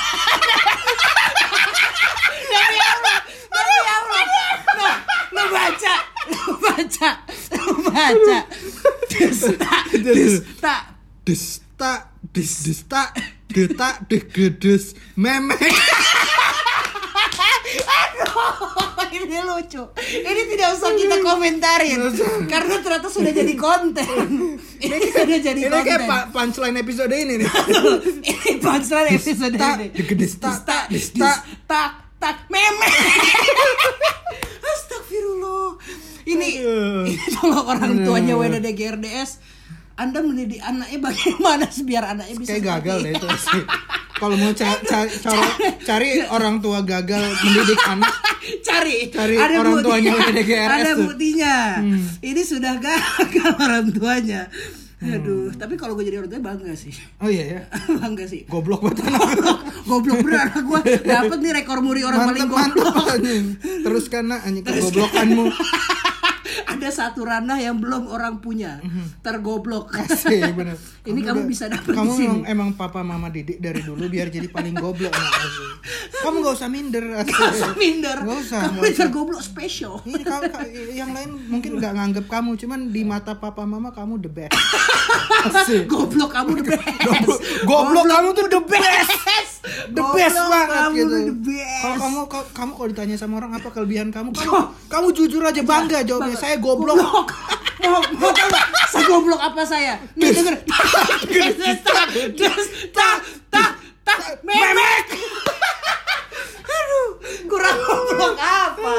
[SPEAKER 1] Demi Allah, demi Allah. Nah, lu baca, lu baca, lu baca. Dus tak dus tak
[SPEAKER 3] desta des desta deta degedes memek
[SPEAKER 1] Aduh, ini lucu. Ini tidak usah kita komentarin karena ternyata sudah jadi konten. Ini sudah jadi
[SPEAKER 3] ini
[SPEAKER 1] konten.
[SPEAKER 3] kayak pa- punchline episode ini nih
[SPEAKER 1] Ini punchline episode
[SPEAKER 3] Desta,
[SPEAKER 1] ini.
[SPEAKER 3] digedesta,
[SPEAKER 1] Desta,
[SPEAKER 3] desta.
[SPEAKER 1] tak, tak, meme. Astagfirullah. Ini
[SPEAKER 3] Aduh.
[SPEAKER 1] ini kalau orang tuanya
[SPEAKER 3] Aduh.
[SPEAKER 1] WDD GRDS, Anda mendidik anaknya bagaimana biar anaknya bisa
[SPEAKER 3] kayak gagal
[SPEAKER 1] seperti
[SPEAKER 3] deh itu sih. Kalau mau ca- ca- coro- cari orang tua gagal mendidik anak,
[SPEAKER 1] cari
[SPEAKER 3] Cari orang tuanya udah DGRS
[SPEAKER 1] ada
[SPEAKER 3] tuh. Hmm.
[SPEAKER 1] buktinya ini sudah gagal orang tuanya
[SPEAKER 3] Hmm.
[SPEAKER 1] aduh tapi kalau gue jadi orang tua bangga sih
[SPEAKER 3] oh iya ya,
[SPEAKER 1] bangga sih
[SPEAKER 3] goblok banget anak.
[SPEAKER 1] goblok bener anak gue dapet nih rekor muri orang paling
[SPEAKER 3] Mantep
[SPEAKER 1] goblok
[SPEAKER 3] mantep anjing. Teruskan nak anjing kegoblokanmu.
[SPEAKER 1] kan. ada satu ranah yang belum orang punya
[SPEAKER 3] Hmm.
[SPEAKER 1] tergoblok
[SPEAKER 3] Kasih Iya, bener.
[SPEAKER 1] ini kamu,
[SPEAKER 3] udah-
[SPEAKER 1] bisa dapet
[SPEAKER 3] Kamu
[SPEAKER 1] di sini
[SPEAKER 3] emang, emang papa mama didik dari dulu biar jadi paling goblok nak. asli. Kamu gak usah minder. asli.
[SPEAKER 1] Gak usah minder
[SPEAKER 3] Gak usah,
[SPEAKER 1] kamu
[SPEAKER 3] gak usah. Iya
[SPEAKER 1] tergoblok spesial
[SPEAKER 3] Ini kau- kau- yang lain mungkin nggak nganggep kamu, cuman di mata papa mama kamu the best. Asli.
[SPEAKER 1] goblok kamu the
[SPEAKER 3] Goblok,
[SPEAKER 1] best
[SPEAKER 3] goblok kamu tuh the best. the
[SPEAKER 1] Goblok
[SPEAKER 3] best banget
[SPEAKER 1] kamu
[SPEAKER 3] gitu.
[SPEAKER 1] tuh the best.
[SPEAKER 3] Kalau kamu kalau, kamu kalau ditanya sama orang apa kelebihan kamu, kamu,
[SPEAKER 1] Yo.
[SPEAKER 3] kamu jujur aja bangga jawabnya. Saya goblok.
[SPEAKER 1] goblok. Mau mau tahu nggak? Segoblok apa saya? Nih denger. Tak, des, tak, tak, tak, memek. Aduh, kurang goblok apa?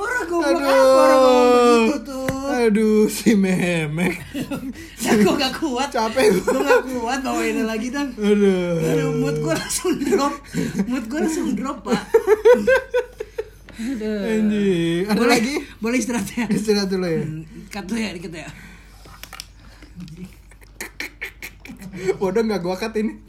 [SPEAKER 1] Kurang goblok apa orang ngomong begitu tuh?
[SPEAKER 3] Aduh, si memek.
[SPEAKER 1] Dan gue gak kuat.
[SPEAKER 3] Capek
[SPEAKER 1] Gue
[SPEAKER 3] gua.
[SPEAKER 1] gak kuat bawa ini lagi dan. Aduh,
[SPEAKER 3] Aduh.
[SPEAKER 1] mood gue langsung drop. Mood gue langsung drop, Pak. Aduh.
[SPEAKER 3] Anjir. Ada
[SPEAKER 1] Boleh,
[SPEAKER 3] lagi?
[SPEAKER 1] boleh istirahat ya?
[SPEAKER 3] Istirahat dulu ya.
[SPEAKER 1] Cut dulu ya dikit ya.
[SPEAKER 3] Bodoh nggak gua cut ini.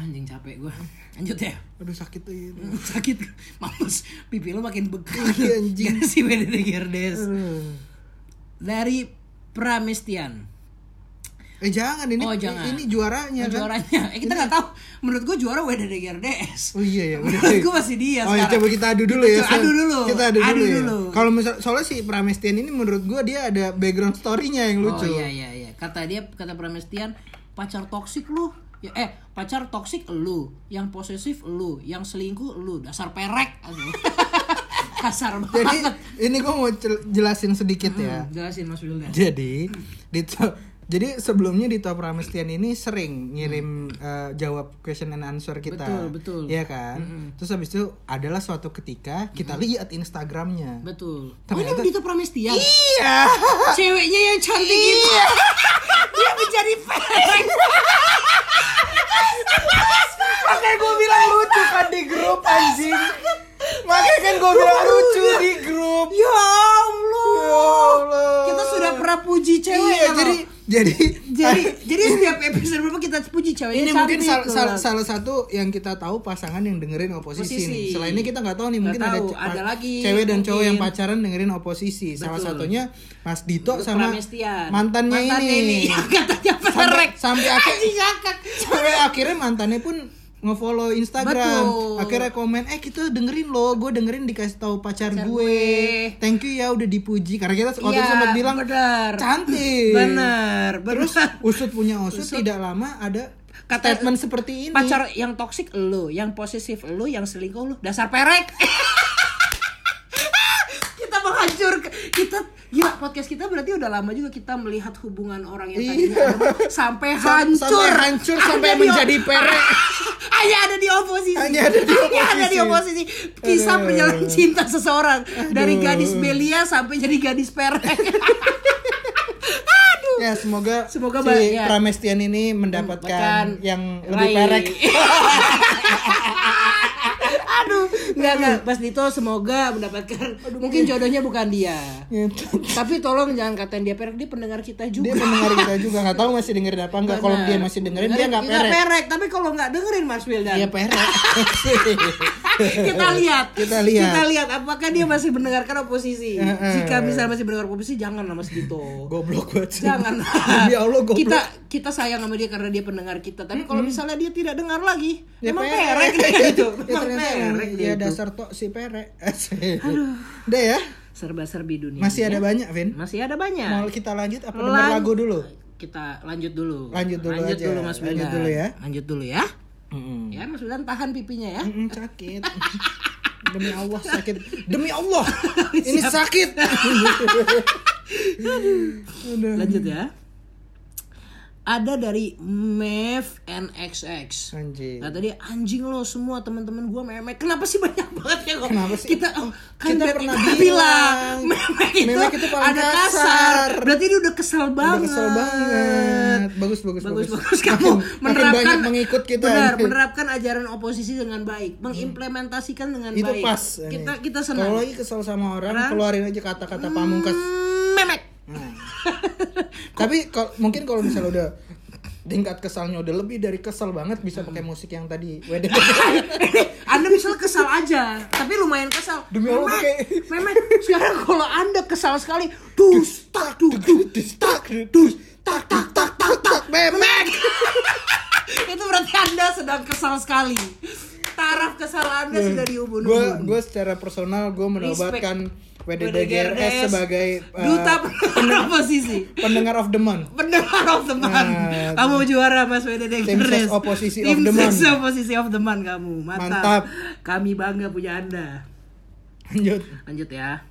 [SPEAKER 1] Anjing capek gue. Lanjut ya.
[SPEAKER 3] Aduh sakit ini.
[SPEAKER 1] sakit mampus pipi lu makin beku
[SPEAKER 3] Iya, anjing.
[SPEAKER 1] Gara si WDD Gerdes
[SPEAKER 3] Aduh.
[SPEAKER 1] Hmm. dari Pramestian
[SPEAKER 3] Eh jangan ini
[SPEAKER 1] Oh, jangan.
[SPEAKER 3] ini juaranya kan.
[SPEAKER 1] juaranya eh, kita nggak tahu menurut gua juara WDD Gerdes
[SPEAKER 3] Oh iya ya.
[SPEAKER 1] menurut gua masih dia
[SPEAKER 3] Oh ya
[SPEAKER 1] sekarang
[SPEAKER 3] coba kita adu dulu ya.
[SPEAKER 1] Kita adu dulu.
[SPEAKER 3] Kita adu,
[SPEAKER 1] Adu
[SPEAKER 3] dulu.
[SPEAKER 1] dulu.
[SPEAKER 3] Ya. Kalau misal soalnya si Pramestian ini menurut gua dia ada background story-nya yang
[SPEAKER 1] oh
[SPEAKER 3] lucu.
[SPEAKER 1] iya iya iya kata dia kata Pramestian pacar toksik lu ya eh pacar toksik lu yang posesif lu yang selingkuh lu dasar perek Aduh. kasar
[SPEAKER 3] Jadi
[SPEAKER 1] banget Hmm.
[SPEAKER 3] ini gua mau cel- jelasin sedikit ya.
[SPEAKER 1] jelasin Mas Wildan
[SPEAKER 3] Jadi di to- Jadi sebelumnya di Top Ramestian ini sering ngirim eh, jawab question and answer kita.
[SPEAKER 1] Hmm. Betul, betul.
[SPEAKER 3] Iya kan? Terus habis itu adalah suatu ketika kita lihat Instagramnya.
[SPEAKER 1] Betul. Oh ini
[SPEAKER 3] Ternyata-
[SPEAKER 1] Dita Pramestia.
[SPEAKER 3] Iya.
[SPEAKER 1] Ceweknya yang cantik itu. Dia menjadi fan.
[SPEAKER 3] Makanya gue bilang lucu kan di grup anjing. Makanya kan gue bilang lucu di grup.
[SPEAKER 1] Ya Allah.
[SPEAKER 3] Ya Allah.
[SPEAKER 1] Kita sudah pernah puji cewek ya,
[SPEAKER 3] Iya, jadi jadi
[SPEAKER 1] jadi jadi setiap episode berapa kita puji ceweknya
[SPEAKER 3] ini mungkin
[SPEAKER 1] cantik, gitu.
[SPEAKER 3] sal-
[SPEAKER 1] tuh.
[SPEAKER 3] sal- salah satu yang kita tahu pasangan yang dengerin oposisi,
[SPEAKER 1] Oposisi.
[SPEAKER 3] nih. Selain ini kita nggak tahu nih
[SPEAKER 1] Nggak
[SPEAKER 3] mungkin
[SPEAKER 1] tahu,
[SPEAKER 3] ce- pa-
[SPEAKER 1] ada lagi
[SPEAKER 3] cewek dan cowok
[SPEAKER 1] mungkin.
[SPEAKER 3] yang pacaran dengerin oposisi. Salah
[SPEAKER 1] Betul.
[SPEAKER 3] satunya Mas Dito
[SPEAKER 1] Untuk
[SPEAKER 3] sama
[SPEAKER 1] Pramestian.
[SPEAKER 3] mantannya, ini.
[SPEAKER 1] yang katanya Iya,
[SPEAKER 3] sampai,
[SPEAKER 1] perek.
[SPEAKER 3] sampai akhir-
[SPEAKER 1] Anjing ngakak.
[SPEAKER 3] sampai akhirnya mantannya pun ngefollow Instagram.
[SPEAKER 1] Betul.
[SPEAKER 3] Akhirnya komen, "Eh, kita dengerin loh. Gue dengerin dikasih tahu pacar,
[SPEAKER 1] Pacar
[SPEAKER 3] gue.
[SPEAKER 1] gue.
[SPEAKER 3] Thank you ya udah dipuji." Karena kita
[SPEAKER 1] Iya,
[SPEAKER 3] waktu itu sempat bilang
[SPEAKER 1] benar.
[SPEAKER 3] cantik.
[SPEAKER 1] Bener,
[SPEAKER 3] Terus
[SPEAKER 1] bener.
[SPEAKER 3] usut punya usut, tidak lama ada
[SPEAKER 1] Kata-
[SPEAKER 3] statement seperti ini.
[SPEAKER 1] pacar yang toksik lu, yang posesif lu, yang selingkuh lu, dasar perek. kita menghancur kita gila podcast kita berarti udah lama juga kita melihat hubungan orang yang tadinya
[SPEAKER 3] Iya.
[SPEAKER 1] ada, sampai
[SPEAKER 3] Sam-
[SPEAKER 1] hancur
[SPEAKER 3] sampai hancur, sampai
[SPEAKER 1] Ada di-
[SPEAKER 3] menjadi perek.
[SPEAKER 1] hanya ada di oposisi
[SPEAKER 3] Hanya ada di
[SPEAKER 1] Hanya ada di
[SPEAKER 3] oposisi.
[SPEAKER 1] oposisi. kisah
[SPEAKER 3] Aduh.
[SPEAKER 1] perjalanan cinta seseorang dari gadis belia sampai jadi gadis perek aduh
[SPEAKER 3] Ya semoga,
[SPEAKER 1] Semoga ba-
[SPEAKER 3] si
[SPEAKER 1] ya.
[SPEAKER 3] Pramestian ini mendapatkan
[SPEAKER 1] Bahkan
[SPEAKER 3] yang
[SPEAKER 1] Rai.
[SPEAKER 3] lebih perek.
[SPEAKER 1] Aduh, nggak nggak. Mas Dito semoga mendapatkan. mungkin jodohnya bukan dia.
[SPEAKER 3] Gitu.
[SPEAKER 1] Tapi tolong jangan katain dia perek, dia pendengar kita
[SPEAKER 3] dia
[SPEAKER 1] juga.
[SPEAKER 3] pendengar kita juga nggak tahu masih dengerin apa nggak. Kalau
[SPEAKER 1] Benar.
[SPEAKER 3] dia masih dengerin dia nggak
[SPEAKER 1] Nggak
[SPEAKER 3] perek. Iya,
[SPEAKER 1] Tapi kalau nggak dengerin Mas Wildan,
[SPEAKER 3] Dia perek.
[SPEAKER 1] kita lihat.
[SPEAKER 3] Kita lihat.
[SPEAKER 1] Kita lihat apakah dia masih mendengarkan oposisi.
[SPEAKER 3] Heeh.
[SPEAKER 1] Jika misalnya masih mendengar oposisi, jangan lah Mas Dito.
[SPEAKER 3] goblok banget. sih.
[SPEAKER 1] Jangan.
[SPEAKER 3] Demi Allah goblok.
[SPEAKER 1] Kita kita sayang sama dia karena dia pendengar kita. Tapi kalau misalnya dia tidak dengar lagi,
[SPEAKER 3] Ya,
[SPEAKER 1] emang
[SPEAKER 3] perek.
[SPEAKER 1] perek dia itu.
[SPEAKER 3] Ya,
[SPEAKER 1] Emang
[SPEAKER 3] ternyata
[SPEAKER 1] perek
[SPEAKER 3] emang
[SPEAKER 1] dia gitu.
[SPEAKER 3] dia
[SPEAKER 1] itu.
[SPEAKER 3] dasar tok si perek. Aduh. Udah ya.
[SPEAKER 1] Serba-serbi dunia. Ya?
[SPEAKER 3] Masih ada banyak, Vin.
[SPEAKER 1] Masih ada Iya. banyak.
[SPEAKER 3] Mau kita lanjut apa denger
[SPEAKER 1] Lan-
[SPEAKER 3] lagu dulu?
[SPEAKER 1] Kita lanjut dulu.
[SPEAKER 3] Lanjut dulu
[SPEAKER 1] lanjut
[SPEAKER 3] aja.
[SPEAKER 1] dulu Mas
[SPEAKER 3] Lanjut
[SPEAKER 1] Wildan.
[SPEAKER 3] dulu ya.
[SPEAKER 1] Lanjut dulu ya.
[SPEAKER 3] Mm-mm.
[SPEAKER 1] Ya Mas Wildan tahan pipinya ya.
[SPEAKER 3] Mm-mm, sakit. Demi Allah sakit. Demi Allah. Ini sakit. Aduh.
[SPEAKER 1] Lanjut ya. Ada dari Mev NXX.
[SPEAKER 3] Anjing.
[SPEAKER 1] Nah tadi anjing lo semua teman-teman gua memek. Kenapa sih banyak banget ya kok?
[SPEAKER 3] Kenapa sih?
[SPEAKER 1] Kita oh, kan
[SPEAKER 3] Kita
[SPEAKER 1] kita
[SPEAKER 3] pernah
[SPEAKER 1] pernah
[SPEAKER 3] bilang,
[SPEAKER 1] bilang memek itu,
[SPEAKER 3] memek itu paling
[SPEAKER 1] ada
[SPEAKER 3] kasar.
[SPEAKER 1] kasar. Berarti dia udah kesel banget.
[SPEAKER 3] kesel banget. Bagus, bagus,
[SPEAKER 1] bagus.
[SPEAKER 3] bagus.
[SPEAKER 1] bagus. kamu
[SPEAKER 3] Makin- makin
[SPEAKER 1] menerapkan
[SPEAKER 3] banyak mengikut kita.
[SPEAKER 1] Benar, menerapkan ajaran oposisi dengan baik, mengimplementasikan dengan
[SPEAKER 3] Itu
[SPEAKER 1] baik.
[SPEAKER 3] pas.
[SPEAKER 1] Kita
[SPEAKER 3] ini.
[SPEAKER 1] kita
[SPEAKER 3] Kalau iya,
[SPEAKER 1] senang.
[SPEAKER 3] lagi kesel sama orang,
[SPEAKER 1] Orang. Hmm.
[SPEAKER 3] keluarin aja kata-kata pamungkas.
[SPEAKER 1] Mm, memek.
[SPEAKER 3] Nah. Tapi kalau mungkin kalau misalnya udah tingkat kesalnya udah lebih dari kesel banget bisa pakai
[SPEAKER 1] Hmm.
[SPEAKER 3] musik yang tadi. Wedding.
[SPEAKER 1] Anda misalnya kesal aja, tapi lumayan kesal.
[SPEAKER 3] Demi Allah,
[SPEAKER 1] Memek,
[SPEAKER 3] kayak-
[SPEAKER 1] memek. Sekarang kalau Anda kesal sekali, dus tak dus dus tak dus tak tak tak tak tak memek. Itu berarti Anda sedang kesal sekali. Taraf kesal Anda
[SPEAKER 3] Hmm.
[SPEAKER 1] sudah
[SPEAKER 3] gue
[SPEAKER 1] diubun-ubun.
[SPEAKER 3] gue secara personal gue menobatkan WDDGRS
[SPEAKER 1] WDGRS,
[SPEAKER 3] sebagai uh,
[SPEAKER 1] duta pendengar oposisi.
[SPEAKER 3] pendengar of the month
[SPEAKER 1] Pendengar of the month.
[SPEAKER 3] Nah,
[SPEAKER 1] kamu juara Mas WDD
[SPEAKER 3] Tim ses
[SPEAKER 1] Gres.
[SPEAKER 3] oposisi
[SPEAKER 1] Tim
[SPEAKER 3] of the
[SPEAKER 1] ses
[SPEAKER 3] month.
[SPEAKER 1] oposisi of the month kamu. Mantap.
[SPEAKER 3] Mantap.
[SPEAKER 1] Kami bangga punya Anda.
[SPEAKER 3] lanjut
[SPEAKER 1] Lanjut ya.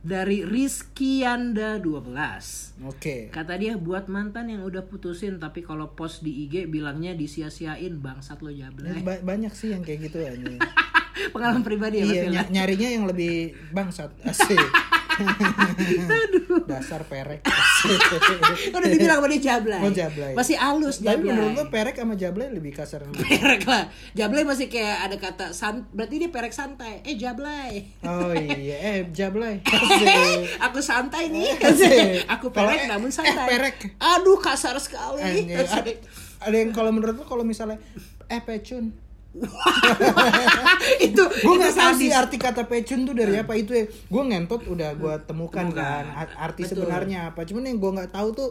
[SPEAKER 1] Dari Rizkyanda 12.
[SPEAKER 3] oke
[SPEAKER 1] Kata dia buat mantan yang udah putusin tapi kalau post di IG bilangnya disia-siain bangsat lo
[SPEAKER 3] Ini
[SPEAKER 1] jable.
[SPEAKER 3] ba- banyak sih yang kayak gitu anjing.
[SPEAKER 1] Pengalaman pribadi ya Mas
[SPEAKER 3] iya
[SPEAKER 1] Bella?
[SPEAKER 3] ny- nyarinya yang lebih bangsat asik dasar perek asik.
[SPEAKER 1] Udah dibilang sama dia jablay.
[SPEAKER 3] Oh, jablay.
[SPEAKER 1] Masih halus
[SPEAKER 3] tapi
[SPEAKER 1] jablay.
[SPEAKER 3] menurut lo perek sama jablay lebih kasar mana?
[SPEAKER 1] perek lah. Jablay masih kayak ada kata san, berarti dia perek santai. Eh jablay.
[SPEAKER 3] oh iya eh jablay
[SPEAKER 1] Eh,
[SPEAKER 3] Asik.
[SPEAKER 1] aku santai nih.
[SPEAKER 3] Asik.
[SPEAKER 1] Aku
[SPEAKER 3] Kalau
[SPEAKER 1] perek
[SPEAKER 3] eh,
[SPEAKER 1] namun
[SPEAKER 3] eh,
[SPEAKER 1] santai.
[SPEAKER 3] perek.
[SPEAKER 1] Aduh kasar sekali.
[SPEAKER 3] Anjing. ada, ada yang kalau menurut lo kalau misalnya eh pecun
[SPEAKER 1] itu
[SPEAKER 3] gue
[SPEAKER 1] itu
[SPEAKER 3] nggak tahu sih
[SPEAKER 1] sadis. Nah.
[SPEAKER 3] arti kata pecun tuh dari apa itu ya gue ngentot udah gue temukan kan a- arti
[SPEAKER 1] Hmm. Betul.
[SPEAKER 3] sebenarnya apa cuman yang gue nggak tahu tuh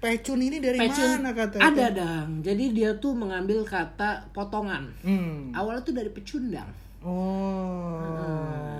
[SPEAKER 3] pecun ini dari
[SPEAKER 1] Pecun
[SPEAKER 3] mana kata itu?
[SPEAKER 1] ada dang jadi dia tuh mengambil kata potongan
[SPEAKER 3] hmm.
[SPEAKER 1] awalnya tuh dari pecundang
[SPEAKER 3] oh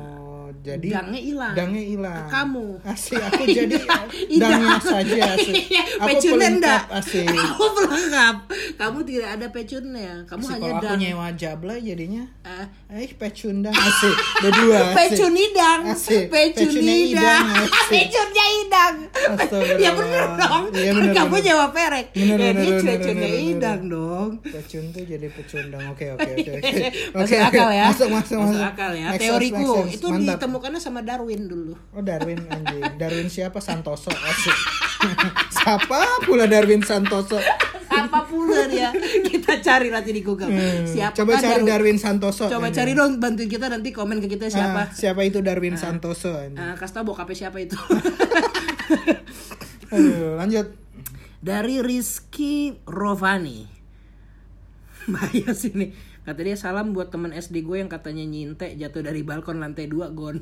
[SPEAKER 3] jadi
[SPEAKER 1] dangnya hilang
[SPEAKER 3] dangnya hilang
[SPEAKER 1] kamu
[SPEAKER 3] asik aku jadi
[SPEAKER 1] Iya.
[SPEAKER 3] dangnya saja asik
[SPEAKER 1] Iya,
[SPEAKER 3] aku
[SPEAKER 1] pecundang
[SPEAKER 3] pelengkap
[SPEAKER 1] enggak
[SPEAKER 3] asik
[SPEAKER 1] aku pelengkap Kamu tidak ada pecunnya, kamu
[SPEAKER 3] Si
[SPEAKER 1] hanya
[SPEAKER 3] kalau aku
[SPEAKER 1] dang.
[SPEAKER 3] nyewa jabla jadinya
[SPEAKER 1] Eh,
[SPEAKER 3] eh pecundang asik berdua asik.
[SPEAKER 1] pecunidang,
[SPEAKER 3] Asik.
[SPEAKER 1] pecunidang,
[SPEAKER 3] Pecunnya idang, asik.
[SPEAKER 1] pecunnya idang.
[SPEAKER 3] Astagfirullah.
[SPEAKER 1] Ya bener dong,
[SPEAKER 3] Iya,
[SPEAKER 1] kan
[SPEAKER 3] bener,
[SPEAKER 1] kamu
[SPEAKER 3] bener.
[SPEAKER 1] nyewa perek,
[SPEAKER 3] Bener,
[SPEAKER 1] ya
[SPEAKER 3] bener,
[SPEAKER 1] dia
[SPEAKER 3] bener,
[SPEAKER 1] cucunya
[SPEAKER 3] bener, bener.
[SPEAKER 1] idang dong.
[SPEAKER 3] pecun tuh jadi pecundang oke oke oke
[SPEAKER 1] Iya, Masuk
[SPEAKER 3] oke Oke, oke.
[SPEAKER 1] akal ya,
[SPEAKER 3] masuk masuk masuk,
[SPEAKER 1] akal ya.
[SPEAKER 3] Make sense,
[SPEAKER 1] Teoriku
[SPEAKER 3] make sense.
[SPEAKER 1] itu
[SPEAKER 3] Mantap.
[SPEAKER 1] ditemukannya sama Darwin dulu.
[SPEAKER 3] Oh Darwin anjing. Darwin siapa? Santoso asik. siapa pula Darwin Santoso?
[SPEAKER 1] Apa pula dia? Kita cari nanti di Google.
[SPEAKER 3] Hmm,
[SPEAKER 1] Siapa
[SPEAKER 3] Coba cari
[SPEAKER 1] Darwin?
[SPEAKER 3] Darwin Santoso.
[SPEAKER 1] Coba
[SPEAKER 3] anjing.
[SPEAKER 1] cari dong bantuin kita nanti komen ke kita
[SPEAKER 3] Ah,
[SPEAKER 1] siapa.
[SPEAKER 3] siapa itu Darwin Santoso? anjing.
[SPEAKER 1] Nah, kasih tau bokapnya siapa itu.
[SPEAKER 3] Aduh, lanjut.
[SPEAKER 1] Dari Rizky Rovani. Bahaya sih nih. Kata dia salam buat teman SD gue yang katanya nyintek jatuh dari balkon lantai 2 gon.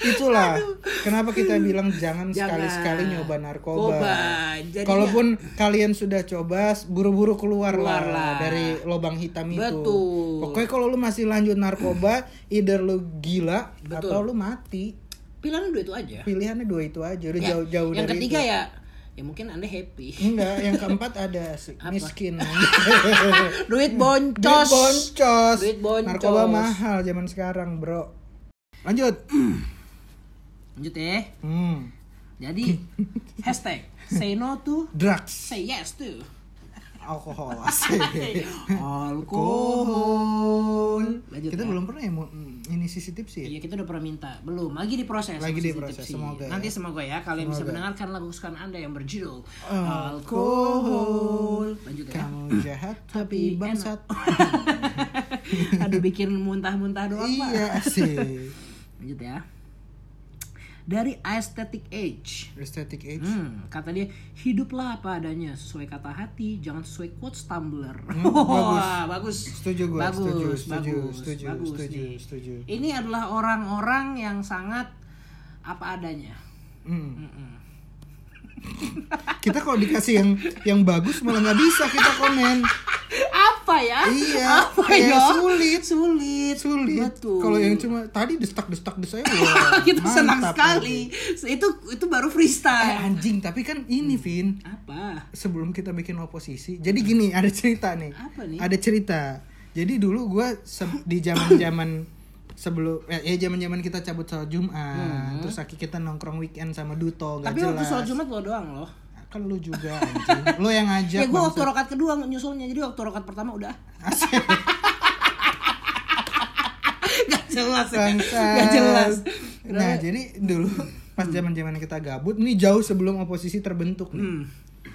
[SPEAKER 3] Itulah kenapa kita bilang
[SPEAKER 1] Jangan.
[SPEAKER 3] jangan, sekali-sekali nyoba narkoba.
[SPEAKER 1] Koba. Jadinya-
[SPEAKER 3] Kalaupun kalian sudah coba, buru-buru keluar,
[SPEAKER 1] Keluar lah.
[SPEAKER 3] lah dari lubang hitam itu.
[SPEAKER 1] Betul.
[SPEAKER 3] Pokoknya kalau lu masih lanjut narkoba, either lu gila
[SPEAKER 1] Betul.
[SPEAKER 3] atau lu mati.
[SPEAKER 1] Pilihan dua itu aja.
[SPEAKER 3] Pilihannya dua itu aja, udah
[SPEAKER 1] Ya,
[SPEAKER 3] jauh-jauh
[SPEAKER 1] yang
[SPEAKER 3] dari
[SPEAKER 1] ketiga
[SPEAKER 3] itu.
[SPEAKER 1] ya ya mungkin Anda happy.
[SPEAKER 3] Enggak, yang keempat ada si miskin.
[SPEAKER 1] Duit
[SPEAKER 3] Duit
[SPEAKER 1] boncos.
[SPEAKER 3] boncos.
[SPEAKER 1] Duit boncos.
[SPEAKER 3] Narkoba mahal zaman sekarang, Bro. Lanjut.
[SPEAKER 1] Lanjut ya.
[SPEAKER 3] Hmm.
[SPEAKER 1] Jadi hashtag say no to
[SPEAKER 3] Drugs,
[SPEAKER 1] say yes to
[SPEAKER 3] alkohol. asik.
[SPEAKER 1] alkohol. Lanjut
[SPEAKER 3] Kita
[SPEAKER 1] ya.
[SPEAKER 3] belum pernah ya mau- mm, inisiatif sih. ya?
[SPEAKER 1] Iya kita udah pernah minta, belum lagi diproses.
[SPEAKER 3] Lagi
[SPEAKER 1] masih
[SPEAKER 3] diproses,
[SPEAKER 1] skripsi.
[SPEAKER 3] semoga ya.
[SPEAKER 1] Nanti semoga ya kalian bisa mendengarkan lagu kesukaan anda yang berjudul
[SPEAKER 3] Alkohol.
[SPEAKER 1] Lanjut ya.
[SPEAKER 3] Kamu jahat
[SPEAKER 1] Tapi
[SPEAKER 3] tapi bangsat.
[SPEAKER 1] Aduh bikin muntah-muntah doang pak.
[SPEAKER 3] iya sih.
[SPEAKER 1] Lanjut ya. Dari aesthetic age.
[SPEAKER 3] Aesthetic age.
[SPEAKER 1] Hmm, kata dia hiduplah apa adanya sesuai kata hati, jangan sesuai quotes Tumblr.
[SPEAKER 3] Hmm, bagus.
[SPEAKER 1] Wah, bagus.
[SPEAKER 3] Setuju gua,
[SPEAKER 1] Bagus,
[SPEAKER 3] setuju, setuju,
[SPEAKER 1] bagus,
[SPEAKER 3] setuju,
[SPEAKER 1] bagus
[SPEAKER 3] setuju,
[SPEAKER 1] nih.
[SPEAKER 3] setuju.
[SPEAKER 1] Ini adalah orang-orang yang sangat apa adanya.
[SPEAKER 3] Hmm. kita kalau dikasih yang yang bagus malah nggak bisa kita komen.
[SPEAKER 1] apa ya?
[SPEAKER 3] Iya,
[SPEAKER 1] apa ya?
[SPEAKER 3] kayak sulit.
[SPEAKER 1] sulit,
[SPEAKER 3] Sulit.
[SPEAKER 1] Betul.
[SPEAKER 3] Kalau yang cuma tadi destak-destak des saya. wah,
[SPEAKER 1] kita senang
[SPEAKER 3] mantap,
[SPEAKER 1] sekali. Itu itu baru
[SPEAKER 3] anjing. Eh,
[SPEAKER 1] freestyle.
[SPEAKER 3] anjing, tapi kan ini
[SPEAKER 1] Hmm.
[SPEAKER 3] Vin,
[SPEAKER 1] Apa?
[SPEAKER 3] sebelum kita bikin oposisi. Jadi gini, ada cerita nih.
[SPEAKER 1] Apa nih?
[SPEAKER 3] Ada cerita. Jadi dulu gua se- di zaman-zaman sebelum eh, ya zaman-zaman kita cabut sholat Jumat, terus akhirnya kita nongkrong weekend sama Duto,
[SPEAKER 1] Hmm.
[SPEAKER 3] gak
[SPEAKER 1] Tapi waktu
[SPEAKER 3] jelas.
[SPEAKER 1] sholat Jumat lo doang loh.
[SPEAKER 3] Kan lu juga anjing. Lu yang ngajak.
[SPEAKER 1] Ya gue waktu
[SPEAKER 3] bangsat.
[SPEAKER 1] rokat kedua nyusulnya Jadi waktu rokat pertama udah Gak jelas ya
[SPEAKER 3] Bangsat.
[SPEAKER 1] Gak jelas
[SPEAKER 3] Nah, jadi dulu pas zaman-zaman kita gabut nih jauh sebelum oposisi terbentuk nih.
[SPEAKER 1] Hmm.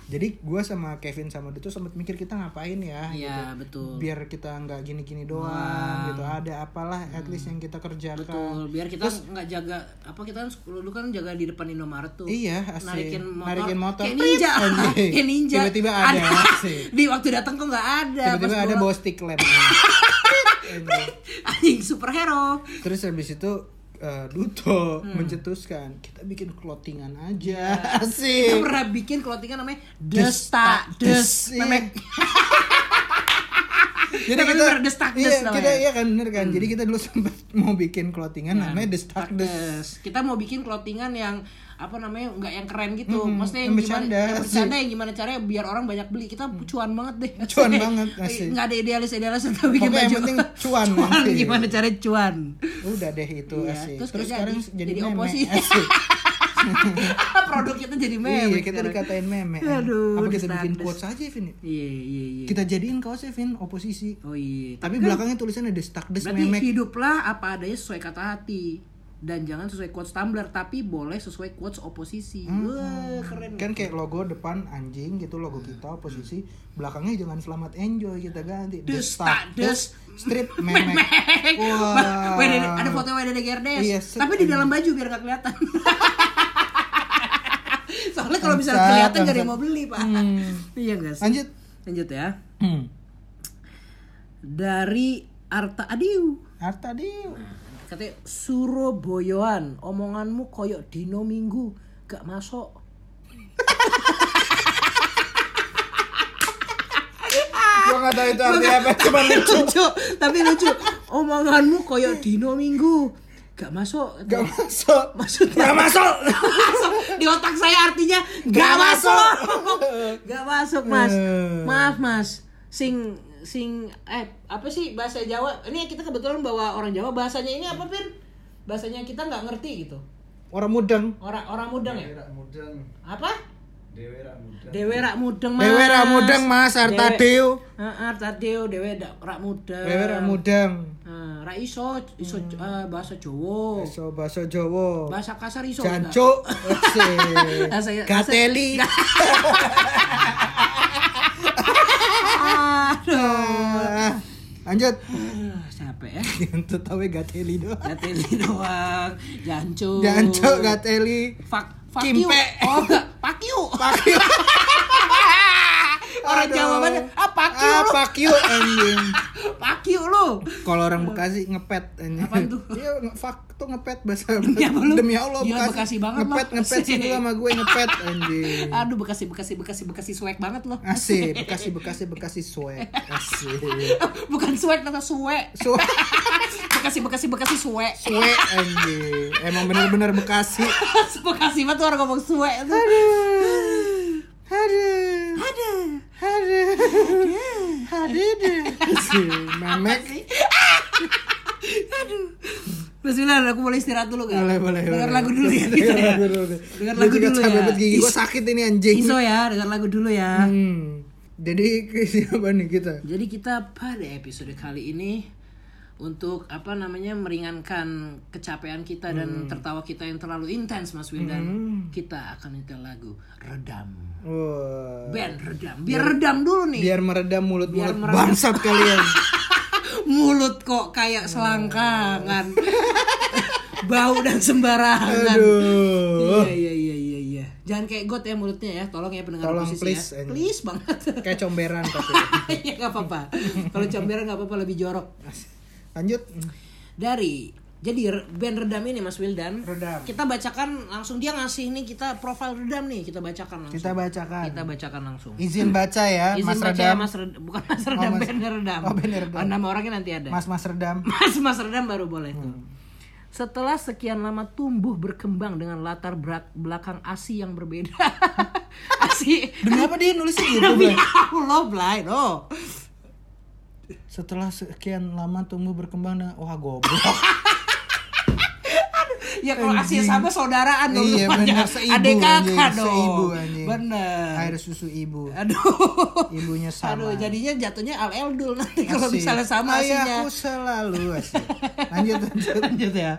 [SPEAKER 3] Jadi gua sama Kevin sama Duto sempat mikir kita ngapain ya
[SPEAKER 1] Iya betul
[SPEAKER 3] biar kita nggak gini-gini doang gitu ada apalah at least yang kita kerjakan
[SPEAKER 1] Hmm. Betul Biar kita nggak jaga Apa kita kan dulu kan jaga di depan Indomaret tuh
[SPEAKER 3] Iya, asik.
[SPEAKER 1] Narikin motor,
[SPEAKER 3] Narikin motor.
[SPEAKER 1] Kayak ninja
[SPEAKER 3] Anjing.
[SPEAKER 1] Kayak ninja
[SPEAKER 3] Tiba-tiba ada, asik.
[SPEAKER 1] Di waktu datang kok nggak ada
[SPEAKER 3] tiba-tiba
[SPEAKER 1] Iya, Pas
[SPEAKER 3] ada
[SPEAKER 1] gua-
[SPEAKER 3] bawa stick lamp
[SPEAKER 1] Anjing superhero
[SPEAKER 3] terus habis itu eh, Duto
[SPEAKER 1] Hmm.
[SPEAKER 3] mencetuskan kita bikin clothingan aja
[SPEAKER 1] Kita
[SPEAKER 3] asik
[SPEAKER 1] pernah bikin clothingan namanya Desta Des
[SPEAKER 3] Iya. Des, iya.
[SPEAKER 1] Memek
[SPEAKER 3] jadi
[SPEAKER 1] Tapi
[SPEAKER 3] kita
[SPEAKER 1] bener, destak des ya. Hmm.
[SPEAKER 3] iya,
[SPEAKER 1] namanya.
[SPEAKER 3] kita iya kan bener kan jadi kita dulu sempat mau bikin clothingan namanya destak des
[SPEAKER 1] Iya. Des. Kita mau bikin clothingan yang apa namanya nggak yang keren gitu, maksudnya yang,
[SPEAKER 3] yang
[SPEAKER 1] gimana
[SPEAKER 3] bercanda, Mm.
[SPEAKER 1] yang bercanda yang gimana caranya biar orang banyak beli. Kita cuan banget deh.
[SPEAKER 3] Cuan banget, asik.
[SPEAKER 1] Nggak ada idealis idealis kita bikin
[SPEAKER 3] Pokoknya yang
[SPEAKER 1] baju.
[SPEAKER 3] penting cuan nanti.
[SPEAKER 1] gimana caranya cuan?
[SPEAKER 3] udah deh itu
[SPEAKER 1] Iya,
[SPEAKER 3] asik
[SPEAKER 1] terus
[SPEAKER 3] terus,
[SPEAKER 1] kayak
[SPEAKER 3] sekarang
[SPEAKER 1] jadi-
[SPEAKER 3] jadi,
[SPEAKER 1] jadi
[SPEAKER 3] meme,
[SPEAKER 1] oposisi.
[SPEAKER 3] asik
[SPEAKER 1] Produk kita jadi
[SPEAKER 3] iya
[SPEAKER 1] meme.
[SPEAKER 3] kita
[SPEAKER 1] sekarang.
[SPEAKER 3] dikatain meme
[SPEAKER 1] Aduh,
[SPEAKER 3] apa kita
[SPEAKER 1] destak
[SPEAKER 3] bikin
[SPEAKER 1] des.
[SPEAKER 3] quotes aja Vin
[SPEAKER 1] Iya iya iya.
[SPEAKER 3] kita jadiin kaosnya Vin oposisi
[SPEAKER 1] Oh iya.
[SPEAKER 3] tapi belakangnya tulisannya destak des
[SPEAKER 1] Berarti
[SPEAKER 3] memek
[SPEAKER 1] hiduplah apa adanya sesuai kata hati dan jangan sesuai quotes Tumblr tapi boleh sesuai quotes oposisi. Wah keren.
[SPEAKER 3] kan kayak logo depan anjing gitu logo kita posisi belakangnya jangan selamat enjoy kita ganti
[SPEAKER 1] Des,
[SPEAKER 3] Destak
[SPEAKER 1] tak, des,
[SPEAKER 3] strip memek wah
[SPEAKER 1] WDD ada foto WDD Gerdes.
[SPEAKER 3] Ah. Iya, set-
[SPEAKER 1] tapi di dalam baju biar gak kelihatan. Soalnya kalau bisa
[SPEAKER 3] Bangsat,
[SPEAKER 1] kelihatan gak ada yang
[SPEAKER 3] bangsat.
[SPEAKER 1] mau beli, Pak. Iya guys.
[SPEAKER 3] Hmm. lanjut
[SPEAKER 1] Lanjut ya.
[SPEAKER 3] hmm.
[SPEAKER 1] Dari Arta Adiu.
[SPEAKER 3] harta dia
[SPEAKER 1] Katanya Surabayaan, omonganmu koyok dino minggu, gak masuk. Ah.
[SPEAKER 3] gua nggak tahu itu artinya apa cuman lucu
[SPEAKER 1] Lucu, tapi lucu. Omonganmu koyok dino minggu, gak masuk
[SPEAKER 3] Gak masuk.
[SPEAKER 1] Maksudnya-
[SPEAKER 3] Gak masuk.
[SPEAKER 1] di otak saya artinya gak masuk gak masuk mas
[SPEAKER 3] Hmm.
[SPEAKER 1] maaf mas sing sing eh apa sih bahasa Jawa ini kita kebetulan bawa orang Jawa bahasanya ini apa Pin bahasanya kita nggak ngerti gitu
[SPEAKER 3] Orang mudeng.
[SPEAKER 1] orang orang mudeng ya
[SPEAKER 4] mudeng
[SPEAKER 1] apa
[SPEAKER 4] dewe rak mudeng
[SPEAKER 1] Dewe rak mudeng mas
[SPEAKER 3] Dewe rak mudeng, Mas. Arta
[SPEAKER 1] Dewe-
[SPEAKER 3] Deu.
[SPEAKER 1] Heeh, Arta Deu Dewe dak- rak mudeng
[SPEAKER 3] Wewe rak mudeng.
[SPEAKER 1] Eh, rak iso iso eh, bahasa Jawa
[SPEAKER 3] Hmm. Iso bahasa Jawa.
[SPEAKER 1] bahasa kasar iso enggak?
[SPEAKER 3] Jancuk.
[SPEAKER 1] Asik, asik.
[SPEAKER 3] Gateli.
[SPEAKER 1] aduh
[SPEAKER 3] Ah, Lanjut.
[SPEAKER 1] Aduh, capek ya
[SPEAKER 3] Untuk tahu gateli doang.
[SPEAKER 1] Gateli doang Jancuk
[SPEAKER 3] Jancuk gateli.
[SPEAKER 1] Fuck fuck you
[SPEAKER 3] Kimpe.
[SPEAKER 1] Oh enggak Fuck you
[SPEAKER 3] Pakyu.
[SPEAKER 1] Orang
[SPEAKER 3] Aduh.
[SPEAKER 1] Jawa banget Ah fuck you
[SPEAKER 3] Ah,
[SPEAKER 1] lu
[SPEAKER 3] pakyu anjing.
[SPEAKER 1] Fuck you lu
[SPEAKER 3] Kalau orang Bekasi ngepet anjing.
[SPEAKER 1] Apaan tuh?
[SPEAKER 3] Iya, nge- fuck tuh ngepet bahasa.
[SPEAKER 1] Demi apa lu?
[SPEAKER 3] Demi Allah
[SPEAKER 1] Gila, Bekasi banget,
[SPEAKER 3] Ngepet
[SPEAKER 1] Mak.
[SPEAKER 3] ngepet sini sama gue ngepet anjing.
[SPEAKER 1] Aduh Bekasi Bekasi Bekasi Bekasi swag banget lo
[SPEAKER 3] Asik, Bekasi Bekasi Bekasi suek. Asik.
[SPEAKER 1] Bukan swag tapi suwe
[SPEAKER 3] Suek,
[SPEAKER 1] Bekasi Bekasi Bekasi suwe
[SPEAKER 3] suek anjing. Emang bener-bener Bekasi.
[SPEAKER 1] Bekasi banget tuh orang ngomong suwe tuh
[SPEAKER 3] Aduh.
[SPEAKER 1] Aduh
[SPEAKER 3] Aduh. Aduh. deh. Asik, Memek.
[SPEAKER 1] Bismillah, aku boleh istirahat dulu gak?
[SPEAKER 3] Boleh, boleh.
[SPEAKER 1] Dengar
[SPEAKER 3] boleh.
[SPEAKER 1] lagu dulu ya kita
[SPEAKER 3] Dengar
[SPEAKER 1] ya.
[SPEAKER 3] lagu dulu deh.
[SPEAKER 1] Dengar
[SPEAKER 3] Gua
[SPEAKER 1] lagu
[SPEAKER 3] juga
[SPEAKER 1] dulu
[SPEAKER 3] capek
[SPEAKER 1] ya.
[SPEAKER 3] banget gigi gue sakit ini anjing.
[SPEAKER 1] Iso ya, dengar lagu dulu ya.
[SPEAKER 3] Hmm. Jadi siapa nih kita?
[SPEAKER 1] Jadi kita pada episode kali ini untuk apa namanya meringankan kecapean kita dan
[SPEAKER 3] Hmm.
[SPEAKER 1] tertawa kita yang terlalu intens Mas Wildan. Kita akan nyetel lagu Redam.
[SPEAKER 3] Wah.
[SPEAKER 1] Band Redam. Biar redam dulu nih.
[SPEAKER 3] Hmm. Biar meredam mulut-mulut
[SPEAKER 1] Biar meredam. Nah.
[SPEAKER 3] bangsat kalian.
[SPEAKER 1] Mulut kok kayak selangkangan.
[SPEAKER 3] Hmm.
[SPEAKER 1] Bau dan sembarangan.
[SPEAKER 3] Aduh.
[SPEAKER 1] Iya iya iya iya iya. Jangan kayak got ya mulutnya ya. Tolong ya pendengar
[SPEAKER 3] Tolong,
[SPEAKER 1] oposisi
[SPEAKER 3] please,
[SPEAKER 1] ya.
[SPEAKER 3] anjing.
[SPEAKER 1] Please banget.
[SPEAKER 3] Kayak comberan tapi.
[SPEAKER 1] ya nggak apa-apa. Kalau comberan nggak apa-apa lebih jorok.
[SPEAKER 3] Lanjut.
[SPEAKER 1] Dari jadi re- band Redam ini Mas Wildan.
[SPEAKER 3] Redam.
[SPEAKER 1] Kita bacakan langsung dia ngasih nih kita profil Redam nih kita bacakan langsung.
[SPEAKER 3] Kita bacakan.
[SPEAKER 1] Kita bacakan langsung.
[SPEAKER 3] Izin baca ya,
[SPEAKER 1] Izin
[SPEAKER 3] Mas
[SPEAKER 1] baca ya,
[SPEAKER 3] Redam.
[SPEAKER 1] Mas Redam. Bukan Mas Redam,
[SPEAKER 3] Mas-
[SPEAKER 1] band Redam.
[SPEAKER 3] Oh, band Redam.
[SPEAKER 1] Oh, nama orangnya nanti ada.
[SPEAKER 3] Mas Mas Redam.
[SPEAKER 1] Mas Mas Redam baru boleh tuh.
[SPEAKER 3] Hmm.
[SPEAKER 1] Setelah sekian lama tumbuh berkembang dengan latar berat- belakang ASI yang berbeda. ASI
[SPEAKER 3] Demi apa dia nulis gitu,
[SPEAKER 1] Demi
[SPEAKER 3] Blay?
[SPEAKER 1] Allah, Blay, no.
[SPEAKER 3] Setelah sekian lama tumbuh berkembang dan wah goblok.
[SPEAKER 1] Ya kalau ASI
[SPEAKER 3] Anjing.
[SPEAKER 1] sama saudaraan dong.
[SPEAKER 3] iya
[SPEAKER 1] namanya.
[SPEAKER 3] benar seibu
[SPEAKER 1] Adik
[SPEAKER 3] anjing,
[SPEAKER 1] kakak dong.
[SPEAKER 3] seibu anjing.
[SPEAKER 1] Bener.
[SPEAKER 3] Air susu ibu.
[SPEAKER 1] Aduh.
[SPEAKER 3] Ibunya sama. Iya
[SPEAKER 1] Aduh, jadinya jatuhnya LL dul nanti kalau
[SPEAKER 3] Asik.
[SPEAKER 1] misalnya sama asinya.
[SPEAKER 3] Ayahku selalu asik. Lanjut ya. lanjut.
[SPEAKER 1] Lanjut ya.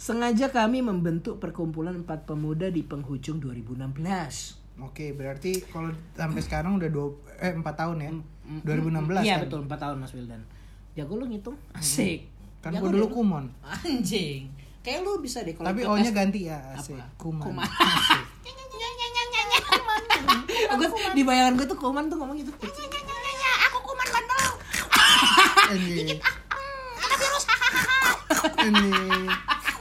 [SPEAKER 1] Sengaja kami membentuk perkumpulan empat pemuda di penghujung 2016.
[SPEAKER 3] Oke, berarti kalau sampai sekarang udah dua eh 4 tahun ya. 2016
[SPEAKER 1] Iya
[SPEAKER 3] kan.
[SPEAKER 1] betul 4 tahun Mas Wildan. Jago lu ngitung. Asik.
[SPEAKER 3] Kan
[SPEAKER 1] Jago
[SPEAKER 3] gua
[SPEAKER 1] deh
[SPEAKER 3] dulu
[SPEAKER 1] lu.
[SPEAKER 3] kumon.
[SPEAKER 1] Anjing. Kayak lu bisa deh kalau
[SPEAKER 3] Tapi
[SPEAKER 1] ikut
[SPEAKER 3] O-nya
[SPEAKER 1] tes.
[SPEAKER 3] ganti ya, asik.
[SPEAKER 1] Apa?
[SPEAKER 3] Kuman.
[SPEAKER 1] Kuman.
[SPEAKER 3] Asik.
[SPEAKER 1] Gua- di bayangan gue tuh kuman tuh ngomong gitu.
[SPEAKER 5] aku kuman bandel
[SPEAKER 3] Anjing.
[SPEAKER 5] ada virus
[SPEAKER 3] Anjing.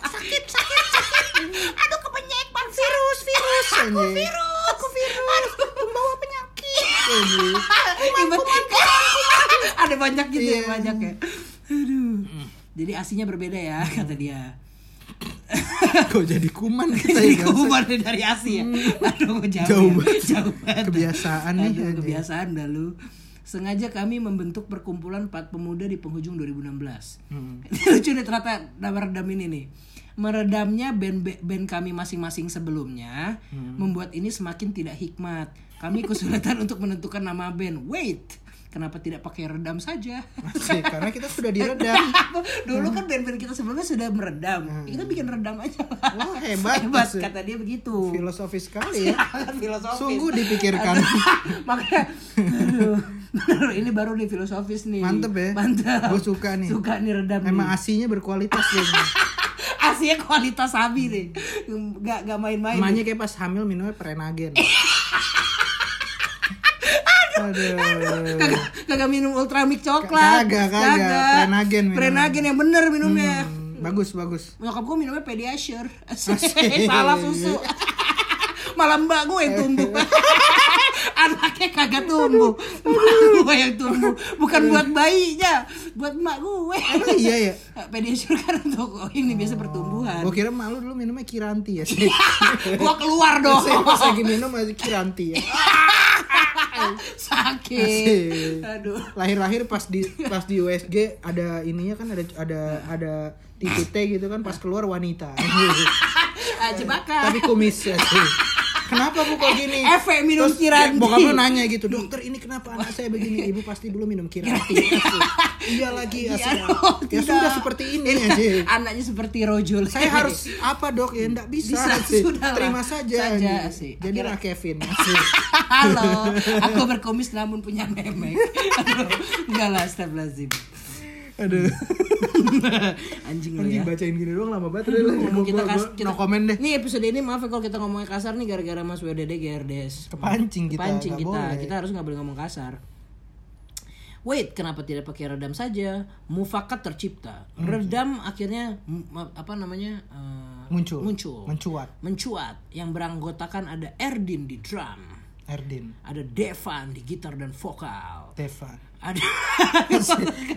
[SPEAKER 5] sakit sakit sakit aduh kebanyakan virus virus aku
[SPEAKER 3] Anjing.
[SPEAKER 5] virus aku virus aduh pembawa penyakit
[SPEAKER 3] Anjing.
[SPEAKER 1] Tiba- Ada banyak gitu ya,
[SPEAKER 3] Iya.
[SPEAKER 1] banyak ya. Aduh. Jadi asinya berbeda ya kata dia.
[SPEAKER 3] Kok jadi kuman kita
[SPEAKER 1] Jadi
[SPEAKER 3] ya? Hmm.
[SPEAKER 1] kumannya Iya, dari asi ya. Aduh gua jauh.
[SPEAKER 3] Jauh
[SPEAKER 1] ya.
[SPEAKER 3] banget.
[SPEAKER 1] Jauh banget.
[SPEAKER 3] Kebiasaan ya, nih,
[SPEAKER 1] Aduh,
[SPEAKER 3] anjing.
[SPEAKER 1] kebiasaan dah lu. Sengaja kami membentuk perkumpulan empat pemuda di penghujung 2016.
[SPEAKER 3] Hmm.
[SPEAKER 1] Lucu nih ternyata nama redam ini nih. Meredamnya band band kami masing-masing sebelumnya
[SPEAKER 3] Hmm.
[SPEAKER 1] membuat ini semakin tidak hikmat. Kami kesulitan untuk menentukan nama band. Wait, kenapa tidak pakai redam saja?
[SPEAKER 3] Asik, karena kita sudah diredam.
[SPEAKER 1] Dulu kan band-band kita sebelumnya sudah meredam. Kita bikin redam aja.
[SPEAKER 3] Hmm. Wah, hebat.
[SPEAKER 1] hebat
[SPEAKER 3] Asik.
[SPEAKER 1] kata dia begitu.
[SPEAKER 3] Filosofis sekali ya.
[SPEAKER 1] Sangat filosofis.
[SPEAKER 3] Sungguh kan. dipikirkan.
[SPEAKER 1] Makanya aduh, bener, ini baru nih filosofis nih.
[SPEAKER 3] Mantep ya.
[SPEAKER 1] Mantep.
[SPEAKER 3] Gua suka nih.
[SPEAKER 1] Suka nih redam
[SPEAKER 3] Emang
[SPEAKER 1] nih.
[SPEAKER 3] asinya berkualitas ya.
[SPEAKER 1] Aslinya kualitas sabi nih. Gak gak main-main.
[SPEAKER 3] Emaknya kayak pas hamil minumnya prenagen. Aduh.
[SPEAKER 1] Kagak kagak minum ultramik coklat.
[SPEAKER 3] Kagak, kagak. Prenagen minum.
[SPEAKER 1] Prenagen yang bener minumnya.
[SPEAKER 3] Hmm, Bagus, bagus.
[SPEAKER 1] Nyokap gue minumnya Pediasure. Salah susu. Malah mbak gue yang tumbuh. Anaknya kagak tumbuh mak gue yang tumbuh bukan buat bayinya buat mak gue
[SPEAKER 3] Iya. Emang iya ya
[SPEAKER 1] pediasure kan untuk ini biasa pertumbuhan
[SPEAKER 3] gue kira malu dulu minumnya kiranti ya sih
[SPEAKER 1] gua keluar dong
[SPEAKER 3] saya pas lagi minum masih kiranti ya
[SPEAKER 1] sakit
[SPEAKER 3] Iya. Asik.
[SPEAKER 1] aduh
[SPEAKER 3] lahir-lahir pas di pas di USG ada ininya kan ada ada ada titiknya gitu kan pas keluar wanita
[SPEAKER 1] ah, jebakan
[SPEAKER 3] tapi kumis ya sih. Kenapa bu kok gini?
[SPEAKER 1] Efek minum
[SPEAKER 3] Terus
[SPEAKER 1] kiranti.
[SPEAKER 3] Bokap lu nanya gitu, dokter ini kenapa anak saya begini? Ibu pasti belum minum kiranti. Asli. iya lagi asli.
[SPEAKER 1] Iya dong, tidak.
[SPEAKER 3] ya
[SPEAKER 1] Iya.
[SPEAKER 3] sudah seperti ini aja.
[SPEAKER 1] anaknya seperti rojo
[SPEAKER 3] ya, Saya harus apa dok ya ndak bisa,
[SPEAKER 1] Bisa,
[SPEAKER 3] asli.
[SPEAKER 1] sudahlah.
[SPEAKER 3] terima saja.
[SPEAKER 1] Saja,
[SPEAKER 3] Jadi
[SPEAKER 1] asli.
[SPEAKER 3] Jadilah Kevin. asli.
[SPEAKER 1] halo aku berkomis namun punya memek Aduh, enggak lah astagfirullahaladzim
[SPEAKER 3] Aduh,
[SPEAKER 1] Iya. anjing lu
[SPEAKER 3] anjing
[SPEAKER 1] ya
[SPEAKER 3] bacain gini doang lama banget. Udah lah,
[SPEAKER 1] Ngomong
[SPEAKER 3] gua- gua-
[SPEAKER 1] kas-
[SPEAKER 3] gua no comment deh.
[SPEAKER 1] Nih episode ini maaf ya kalau kita ngomongnya kasar nih gara-gara Mas WDD GRDS.
[SPEAKER 3] Kepancing kita,
[SPEAKER 1] Kepancing
[SPEAKER 3] nggak
[SPEAKER 1] kita.
[SPEAKER 3] boleh.
[SPEAKER 1] Kita harus nggak boleh ngomong kasar. Wait, kenapa tidak pakai redam saja? Mufakat tercipta.
[SPEAKER 3] Hmm.
[SPEAKER 1] Redam akhirnya mm, ma- apa namanya? eh,
[SPEAKER 3] Muncul.
[SPEAKER 1] Muncul.
[SPEAKER 3] Mencuat.
[SPEAKER 1] Mencuat yang beranggotakan ada Erdin di drum,
[SPEAKER 3] Erdin,
[SPEAKER 1] ada Devan di gitar dan vokal.
[SPEAKER 3] Tevan.
[SPEAKER 1] Ada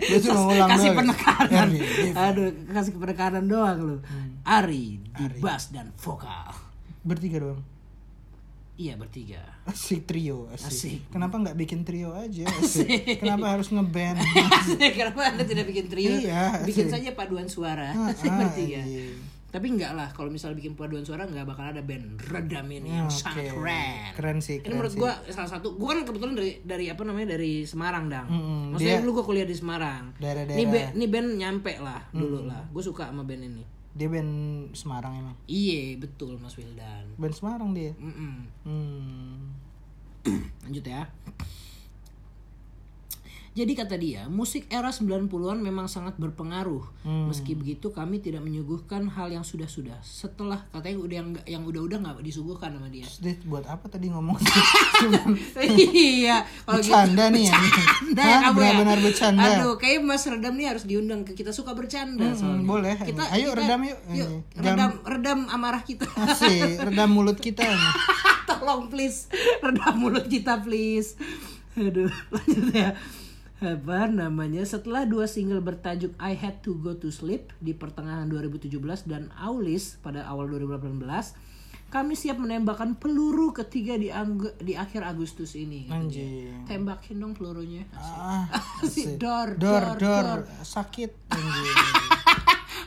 [SPEAKER 3] Dia cuma ngulang
[SPEAKER 1] kasih
[SPEAKER 3] doang.
[SPEAKER 1] penekanan.
[SPEAKER 3] Erdin, Devan.
[SPEAKER 1] Aduh, kasih penekanan doang lu.
[SPEAKER 3] Hmm.
[SPEAKER 1] Ari di bass dan vokal.
[SPEAKER 3] Bertiga doang.
[SPEAKER 1] Iya bertiga.
[SPEAKER 3] Asik trio, asik.
[SPEAKER 1] Asik.
[SPEAKER 3] Kenapa nggak bikin trio aja? Asik. Kenapa harus ngeband?
[SPEAKER 1] Kenapa anda tidak bikin trio?
[SPEAKER 3] Iya,
[SPEAKER 1] bikin
[SPEAKER 3] asik.
[SPEAKER 1] saja paduan suara
[SPEAKER 3] Ah,
[SPEAKER 1] asik ya?
[SPEAKER 3] ah,
[SPEAKER 1] bertiga.
[SPEAKER 3] iya.
[SPEAKER 1] Tapi enggak lah, kalau misal bikin paduan suara nggak bakal ada band redam ini yang
[SPEAKER 3] Ah, Oke.
[SPEAKER 1] Iya, sangat keren.
[SPEAKER 3] Keren sih,
[SPEAKER 1] Ini
[SPEAKER 3] keren
[SPEAKER 1] menurut
[SPEAKER 3] sih.
[SPEAKER 1] gua salah satu. Gua kan kebetulan dari dari apa namanya dari Semarang dang.
[SPEAKER 3] Mm-mm,
[SPEAKER 1] Maksudnya
[SPEAKER 3] dia-
[SPEAKER 1] dulu gua kuliah di Semarang.
[SPEAKER 3] Daerah-daerah.
[SPEAKER 1] Ini band, ini band nyampe lah dulu lah. Gue suka sama band ini.
[SPEAKER 3] dia band Semarang emang.
[SPEAKER 1] Iya betul Mas Wildan.
[SPEAKER 3] Band Semarang dia.
[SPEAKER 1] Mm-mm.
[SPEAKER 3] Hmm.
[SPEAKER 1] Lanjut ya. Jadi kata dia, musik era 90-an memang sangat berpengaruh.
[SPEAKER 3] Hmm.
[SPEAKER 1] Meski begitu kami tidak menyuguhkan hal yang sudah-sudah. Setelah katanya udah yang nggak- yang udah-udah nggak disuguhkan sama dia.
[SPEAKER 3] Terus dia buat apa tadi ngomong? Cuman
[SPEAKER 1] iya, kalau gitu.
[SPEAKER 3] bercanda nih ya.
[SPEAKER 1] Oh, Bercanda ya kamu
[SPEAKER 3] Hah?
[SPEAKER 1] ya.
[SPEAKER 3] Benar-benar bercanda. Hmm,
[SPEAKER 1] Aduh, kayak Mas Redam nih harus diundang ke kita suka bercanda soalnya.
[SPEAKER 3] boleh. Ayo, Redam yuk. Eh, Jangan-
[SPEAKER 1] redam redam amarah kita.
[SPEAKER 3] Asik, redam mulut kita. ya? ini.
[SPEAKER 1] tolong please redam mulut kita please aduh lanjut ya apa namanya setelah dua single bertajuk I Had to Go to Sleep di pertengahan 2017 dan Aulis pada awal 2018 kami siap menembakkan peluru ketiga di angg- di akhir Agustus ini katanya.
[SPEAKER 3] Anjing.
[SPEAKER 1] tembakin dong pelurunya
[SPEAKER 3] Ah,
[SPEAKER 1] Asik. Dor, dor,
[SPEAKER 3] dor,
[SPEAKER 1] dor.
[SPEAKER 3] dor. Sakit. anjing.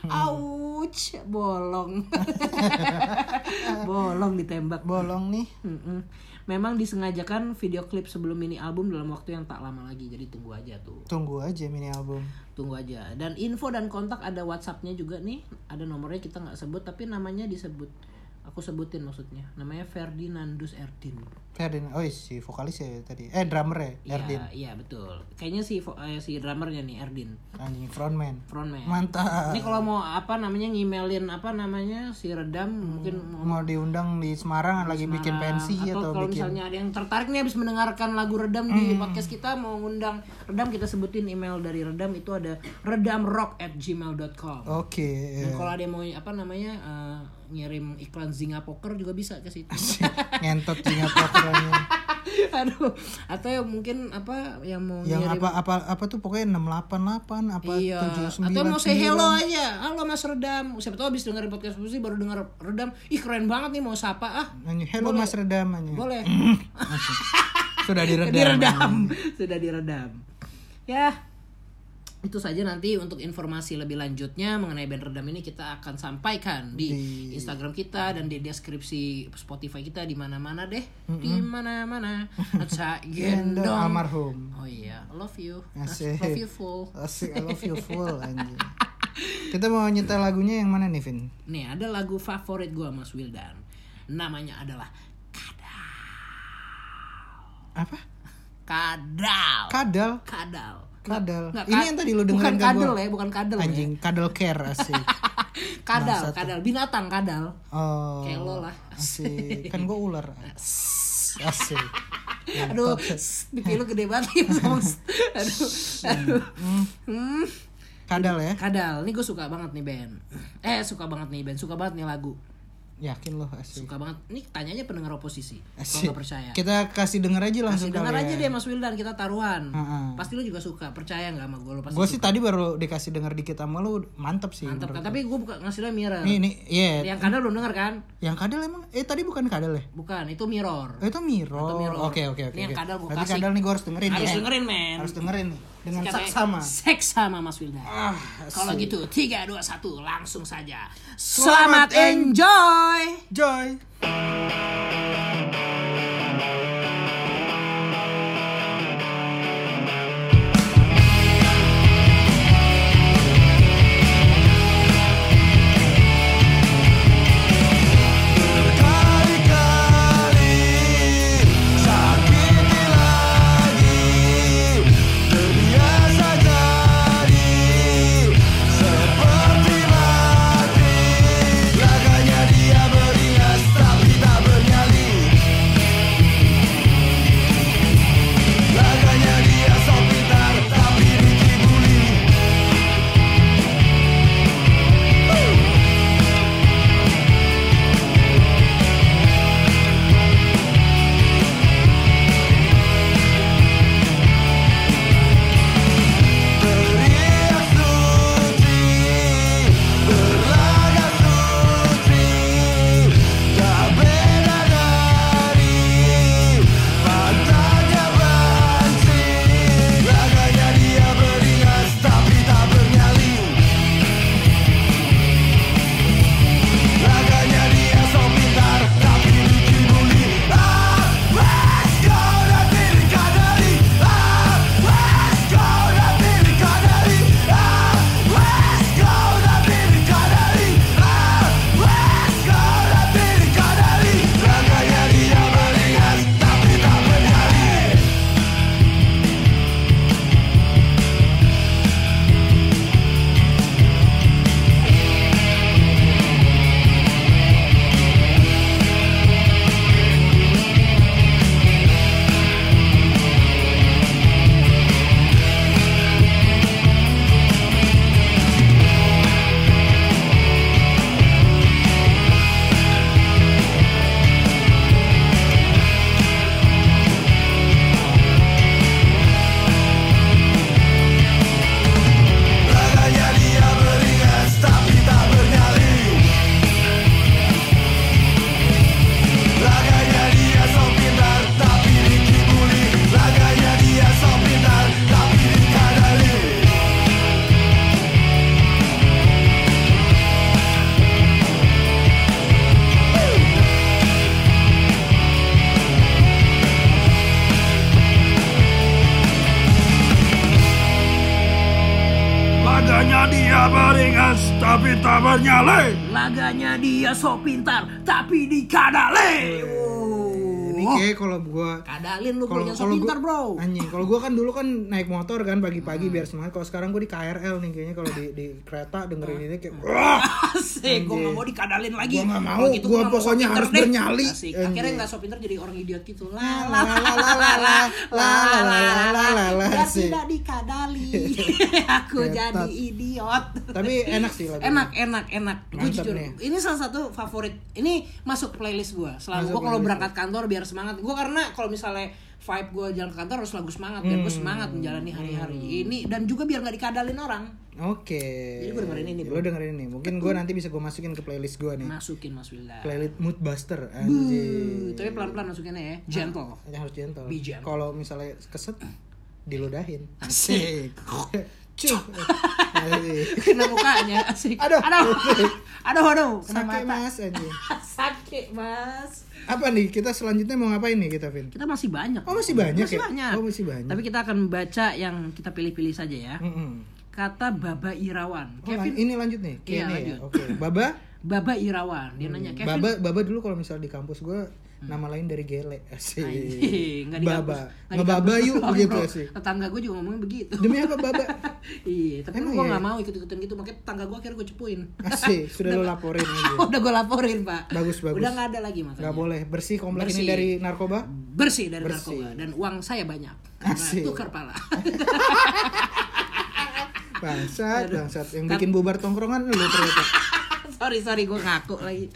[SPEAKER 1] ouch bolong bolong ditembak
[SPEAKER 3] Bolong nih.
[SPEAKER 1] Mm-mm. Memang disengajakan video klip sebelum mini album dalam waktu yang tak lama lagi, jadi tunggu aja tuh,
[SPEAKER 3] Tunggu aja mini album.
[SPEAKER 1] tunggu aja. Dan info dan kontak ada WhatsAppnya juga nih, ada nomornya kita nggak sebut, tapi namanya disebut. Aku sebutin maksudnya, namanya Ferdinandus Erdin.
[SPEAKER 3] Ferdin, oh si vokalis ya tadi. Eh drummer ya, Erdin.
[SPEAKER 1] Iya, iya betul. Kayaknya si vo- eh, si drummernya nih Erdin,
[SPEAKER 3] Anjing frontman.
[SPEAKER 1] frontman.
[SPEAKER 3] Mantap.
[SPEAKER 1] Ini kalau mau apa namanya ngemailin apa namanya si Redam mungkin mau
[SPEAKER 3] mau diundang di Semarang lagi bikin pensi
[SPEAKER 1] atau,
[SPEAKER 3] Iya, atau,
[SPEAKER 1] kalau
[SPEAKER 3] bikin Hmm.
[SPEAKER 1] misalnya ada yang tertarik nih habis mendengarkan lagu Redam di podcast kita mau ngundang Redam kita sebutin email dari Redam itu ada redamrock@gmail.com.
[SPEAKER 3] Oke.
[SPEAKER 1] Dan kalau ada yang mau apa namanya eh, ngirim iklan Zinga Poker juga bisa ke situ.
[SPEAKER 3] Ngentot jingat pokoknya.
[SPEAKER 1] Aduh, atau yang mungkin apa yang mau
[SPEAKER 3] Yang
[SPEAKER 1] ngirim
[SPEAKER 3] apa Kan apa apa tuh pokoknya 688 apa
[SPEAKER 1] Iya,
[SPEAKER 3] 79.
[SPEAKER 1] atau mau say hello aja. Halo Mas Redam. Siapa tahu habis dengerin podcast Busi baru denger Redam, ih keren banget nih mau sapa ah.
[SPEAKER 3] Nanya, hello Mas Redam nanya.
[SPEAKER 1] Boleh.
[SPEAKER 3] Sudah diredam.
[SPEAKER 1] diredam sudah diredam ya itu saja nanti untuk informasi lebih lanjutnya mengenai band redam ini kita akan sampaikan di, Instagram kita dan di deskripsi Spotify kita di mana-mana deh di mana-mana Aca
[SPEAKER 3] Gendong
[SPEAKER 1] gendong
[SPEAKER 3] almarhum.
[SPEAKER 1] oh iya love you
[SPEAKER 3] Asik.
[SPEAKER 1] love you full
[SPEAKER 3] Asik, I love you full anjing. Kita mau nyetel lagunya yang mana nih, Vin?
[SPEAKER 1] nih ada lagu favorit gua Mas Wildan namanya adalah
[SPEAKER 3] Apa?
[SPEAKER 1] kadal
[SPEAKER 3] Kadal.
[SPEAKER 1] kadal
[SPEAKER 3] Kadal.
[SPEAKER 1] Nggak,
[SPEAKER 3] Ini
[SPEAKER 1] ka-
[SPEAKER 3] yang tadi lu
[SPEAKER 1] bukan
[SPEAKER 3] dengerin kan
[SPEAKER 1] kadal
[SPEAKER 3] gua?
[SPEAKER 1] ya bukan kadal ya.
[SPEAKER 3] Anjing, kadal care asik.
[SPEAKER 1] kadal
[SPEAKER 3] Bangsat.
[SPEAKER 1] kadal binatang kadal
[SPEAKER 3] Oh.
[SPEAKER 1] Kayak lo lah.
[SPEAKER 3] Asik. Kan gua ular. Asik.
[SPEAKER 1] aduh s- pipi lu gede banget ya ngomong s- aduh aduh Hmm.
[SPEAKER 3] Kadal ya.
[SPEAKER 1] kadal ini gue suka banget nih band eh suka banget nih band suka banget nih lagu
[SPEAKER 3] Yakin loh asli.
[SPEAKER 1] Suka banget. Nih tanya aja pendengar oposisi.
[SPEAKER 3] Asli.
[SPEAKER 1] Kalau nggak percaya.
[SPEAKER 3] Kita kasih denger aja langsung
[SPEAKER 1] Dengar
[SPEAKER 3] kali
[SPEAKER 1] aja
[SPEAKER 3] ya.
[SPEAKER 1] deh Mas Wildan kita taruhan.
[SPEAKER 3] Heeh.
[SPEAKER 1] Pasti lu juga suka. Percaya nggak sama gue? Lu pasti
[SPEAKER 3] Gue sih tadi baru dikasih denger dikit sama lu, mantep sih.
[SPEAKER 1] mantap kan.
[SPEAKER 3] menurut
[SPEAKER 1] Tapi gue buka ngasih lu mirror.
[SPEAKER 3] gua. Nih nih, iya.
[SPEAKER 1] Yang kadal belum denger kan?
[SPEAKER 3] Yang kadal emang eh tadi bukan kadal ya?
[SPEAKER 1] Bukan, itu mirror.
[SPEAKER 3] Oh, itu mirror.
[SPEAKER 1] Itu mirror.
[SPEAKER 3] Oke oke oke.
[SPEAKER 1] Ini yang
[SPEAKER 3] oke.
[SPEAKER 1] kadal gua
[SPEAKER 3] Berarti
[SPEAKER 1] kasih.
[SPEAKER 3] kadal nih gue harus dengerin.
[SPEAKER 1] Harus
[SPEAKER 3] ya.
[SPEAKER 1] dengerin, men.
[SPEAKER 3] Harus dengerin nih dengan
[SPEAKER 1] Capek.
[SPEAKER 3] saksama.
[SPEAKER 1] Seks sama Mas Wildan.
[SPEAKER 3] Ah,
[SPEAKER 1] Kalau
[SPEAKER 3] asli.
[SPEAKER 1] gitu 3 2 1 langsung saja. Selamat
[SPEAKER 3] Selamat
[SPEAKER 1] enjoy.
[SPEAKER 3] Joy.
[SPEAKER 4] Laganya dia beringas tapi tak bernyali.
[SPEAKER 1] Laganya dia sok pintar tapi dikadali.
[SPEAKER 3] Ini kayak kalau gue
[SPEAKER 1] Kadalin lu
[SPEAKER 3] kalau
[SPEAKER 1] kalau
[SPEAKER 3] kalau
[SPEAKER 1] sok pintar,
[SPEAKER 3] gua-
[SPEAKER 1] Bro. Hmm.
[SPEAKER 3] Anjing, kalau gua kan dulu kan naik motor kan pagi-pagi biar semangat. Kalau sekarang gua di KRL nih kayaknya kalau di di kereta dengerin ini kayak wah.
[SPEAKER 1] Asik, gue gak mau dikadalin lagi.
[SPEAKER 3] Gua nggak mau,
[SPEAKER 1] Kalau gitu
[SPEAKER 3] gua
[SPEAKER 1] nggak mau sok
[SPEAKER 3] pokoknya
[SPEAKER 1] pintar
[SPEAKER 3] harus
[SPEAKER 1] deh.
[SPEAKER 3] bernyali.
[SPEAKER 1] Asik.
[SPEAKER 3] Anjing.
[SPEAKER 1] Akhirnya gak sok pintar jadi orang idiot gitu. La la
[SPEAKER 3] La, la, la, la, la, la, la, la, la, la, la,
[SPEAKER 1] Biar
[SPEAKER 3] asik.
[SPEAKER 1] tidak dikadali. Aku jadi
[SPEAKER 3] Ketat.
[SPEAKER 1] idiot.
[SPEAKER 3] Tapi enak sih lagu.
[SPEAKER 1] Enak, enak, enak. Gue
[SPEAKER 3] Mantap
[SPEAKER 1] jujur,
[SPEAKER 3] nih.
[SPEAKER 1] ini salah satu favorit. Ini masuk playlist gue. Selalu
[SPEAKER 3] Masuk
[SPEAKER 1] gue kalau
[SPEAKER 3] playlist.
[SPEAKER 1] berangkat kantor biar semangat. Gue karena kalau misalnya vibe gue jalan ke kantor harus lagu semangat biar
[SPEAKER 3] Hmm.
[SPEAKER 1] gue semangat menjalani hari-hari ini dan juga biar nggak dikadalin orang.
[SPEAKER 3] Oke.
[SPEAKER 1] Jadi gua dengerin ini,
[SPEAKER 3] Lo dengerin ini. Mungkin gua nanti bisa gua masukin ke playlist gua nih.
[SPEAKER 1] Masukin Mas Wilda.
[SPEAKER 3] Playlist Moodbuster anjing.
[SPEAKER 1] Tapi pelan-pelan masukinnya ya, gentle.
[SPEAKER 3] Yang harus gentle.
[SPEAKER 1] Be gentle.
[SPEAKER 3] Kalau misalnya keset diludahin.
[SPEAKER 1] Asik.
[SPEAKER 3] Cuh. Asik.
[SPEAKER 1] Kena mukanya, asik.
[SPEAKER 3] Aduh.
[SPEAKER 1] aduh, aduh, aduh. Kena
[SPEAKER 3] Sakit
[SPEAKER 1] mata.
[SPEAKER 3] mas anjing.
[SPEAKER 1] Sakit mas.
[SPEAKER 3] Apa nih kita selanjutnya mau ngapain nih kita Vin?
[SPEAKER 1] Kita masih banyak.
[SPEAKER 3] Oh, masih banyak
[SPEAKER 1] Masih
[SPEAKER 3] ya?
[SPEAKER 1] banyak.
[SPEAKER 3] Oh, masih banyak.
[SPEAKER 1] Tapi kita akan baca yang kita pilih-pilih saja ya.
[SPEAKER 3] Mm-mm.
[SPEAKER 1] Kata Baba Irawan.
[SPEAKER 3] Oh, lan-
[SPEAKER 1] Kevin
[SPEAKER 3] ini lanjut nih. Kayak
[SPEAKER 1] Iya,
[SPEAKER 3] ini
[SPEAKER 1] lanjut.
[SPEAKER 3] ya. Oke. Baba,
[SPEAKER 1] Baba Irawan. Dia nanya Iya, Kevin.
[SPEAKER 3] Hmm,
[SPEAKER 1] Hmm.
[SPEAKER 3] Baba, Baba dulu kalau misalnya di kampus gua nama lain dari Gele. Asik.
[SPEAKER 1] Anjing, nggak di
[SPEAKER 3] Baba.
[SPEAKER 1] kampus. Nggak di
[SPEAKER 3] Ngebaba
[SPEAKER 1] kampus
[SPEAKER 3] yuk
[SPEAKER 1] doang,
[SPEAKER 3] begitu
[SPEAKER 1] bro.
[SPEAKER 3] sih.
[SPEAKER 1] Tetangga gue juga ngomongnya begitu.
[SPEAKER 3] Demi apa Baba?
[SPEAKER 1] iya, tapi
[SPEAKER 3] Emang
[SPEAKER 1] gue
[SPEAKER 3] iya?
[SPEAKER 1] nggak mau ikut-ikutan gitu. Makanya tetangga gue akhirnya gue cepuin.
[SPEAKER 3] Asik, sudah lo laporin aja.
[SPEAKER 1] Udah gue laporin pak.
[SPEAKER 3] Bagus, bagus.
[SPEAKER 1] Udah nggak ada lagi makanya.
[SPEAKER 3] Gak boleh bersih komplek
[SPEAKER 1] Bersih.
[SPEAKER 3] ini dari narkoba.
[SPEAKER 1] bersih dari
[SPEAKER 3] Bersih.
[SPEAKER 1] narkoba dan uang saya banyak
[SPEAKER 3] Asik.
[SPEAKER 1] karena tukar pala
[SPEAKER 3] Bangsat,
[SPEAKER 1] Aduh.
[SPEAKER 3] bangsat. Yang bikin bubar tongkrongan lu ternyata.
[SPEAKER 1] sorry sorry gue ngaku lagi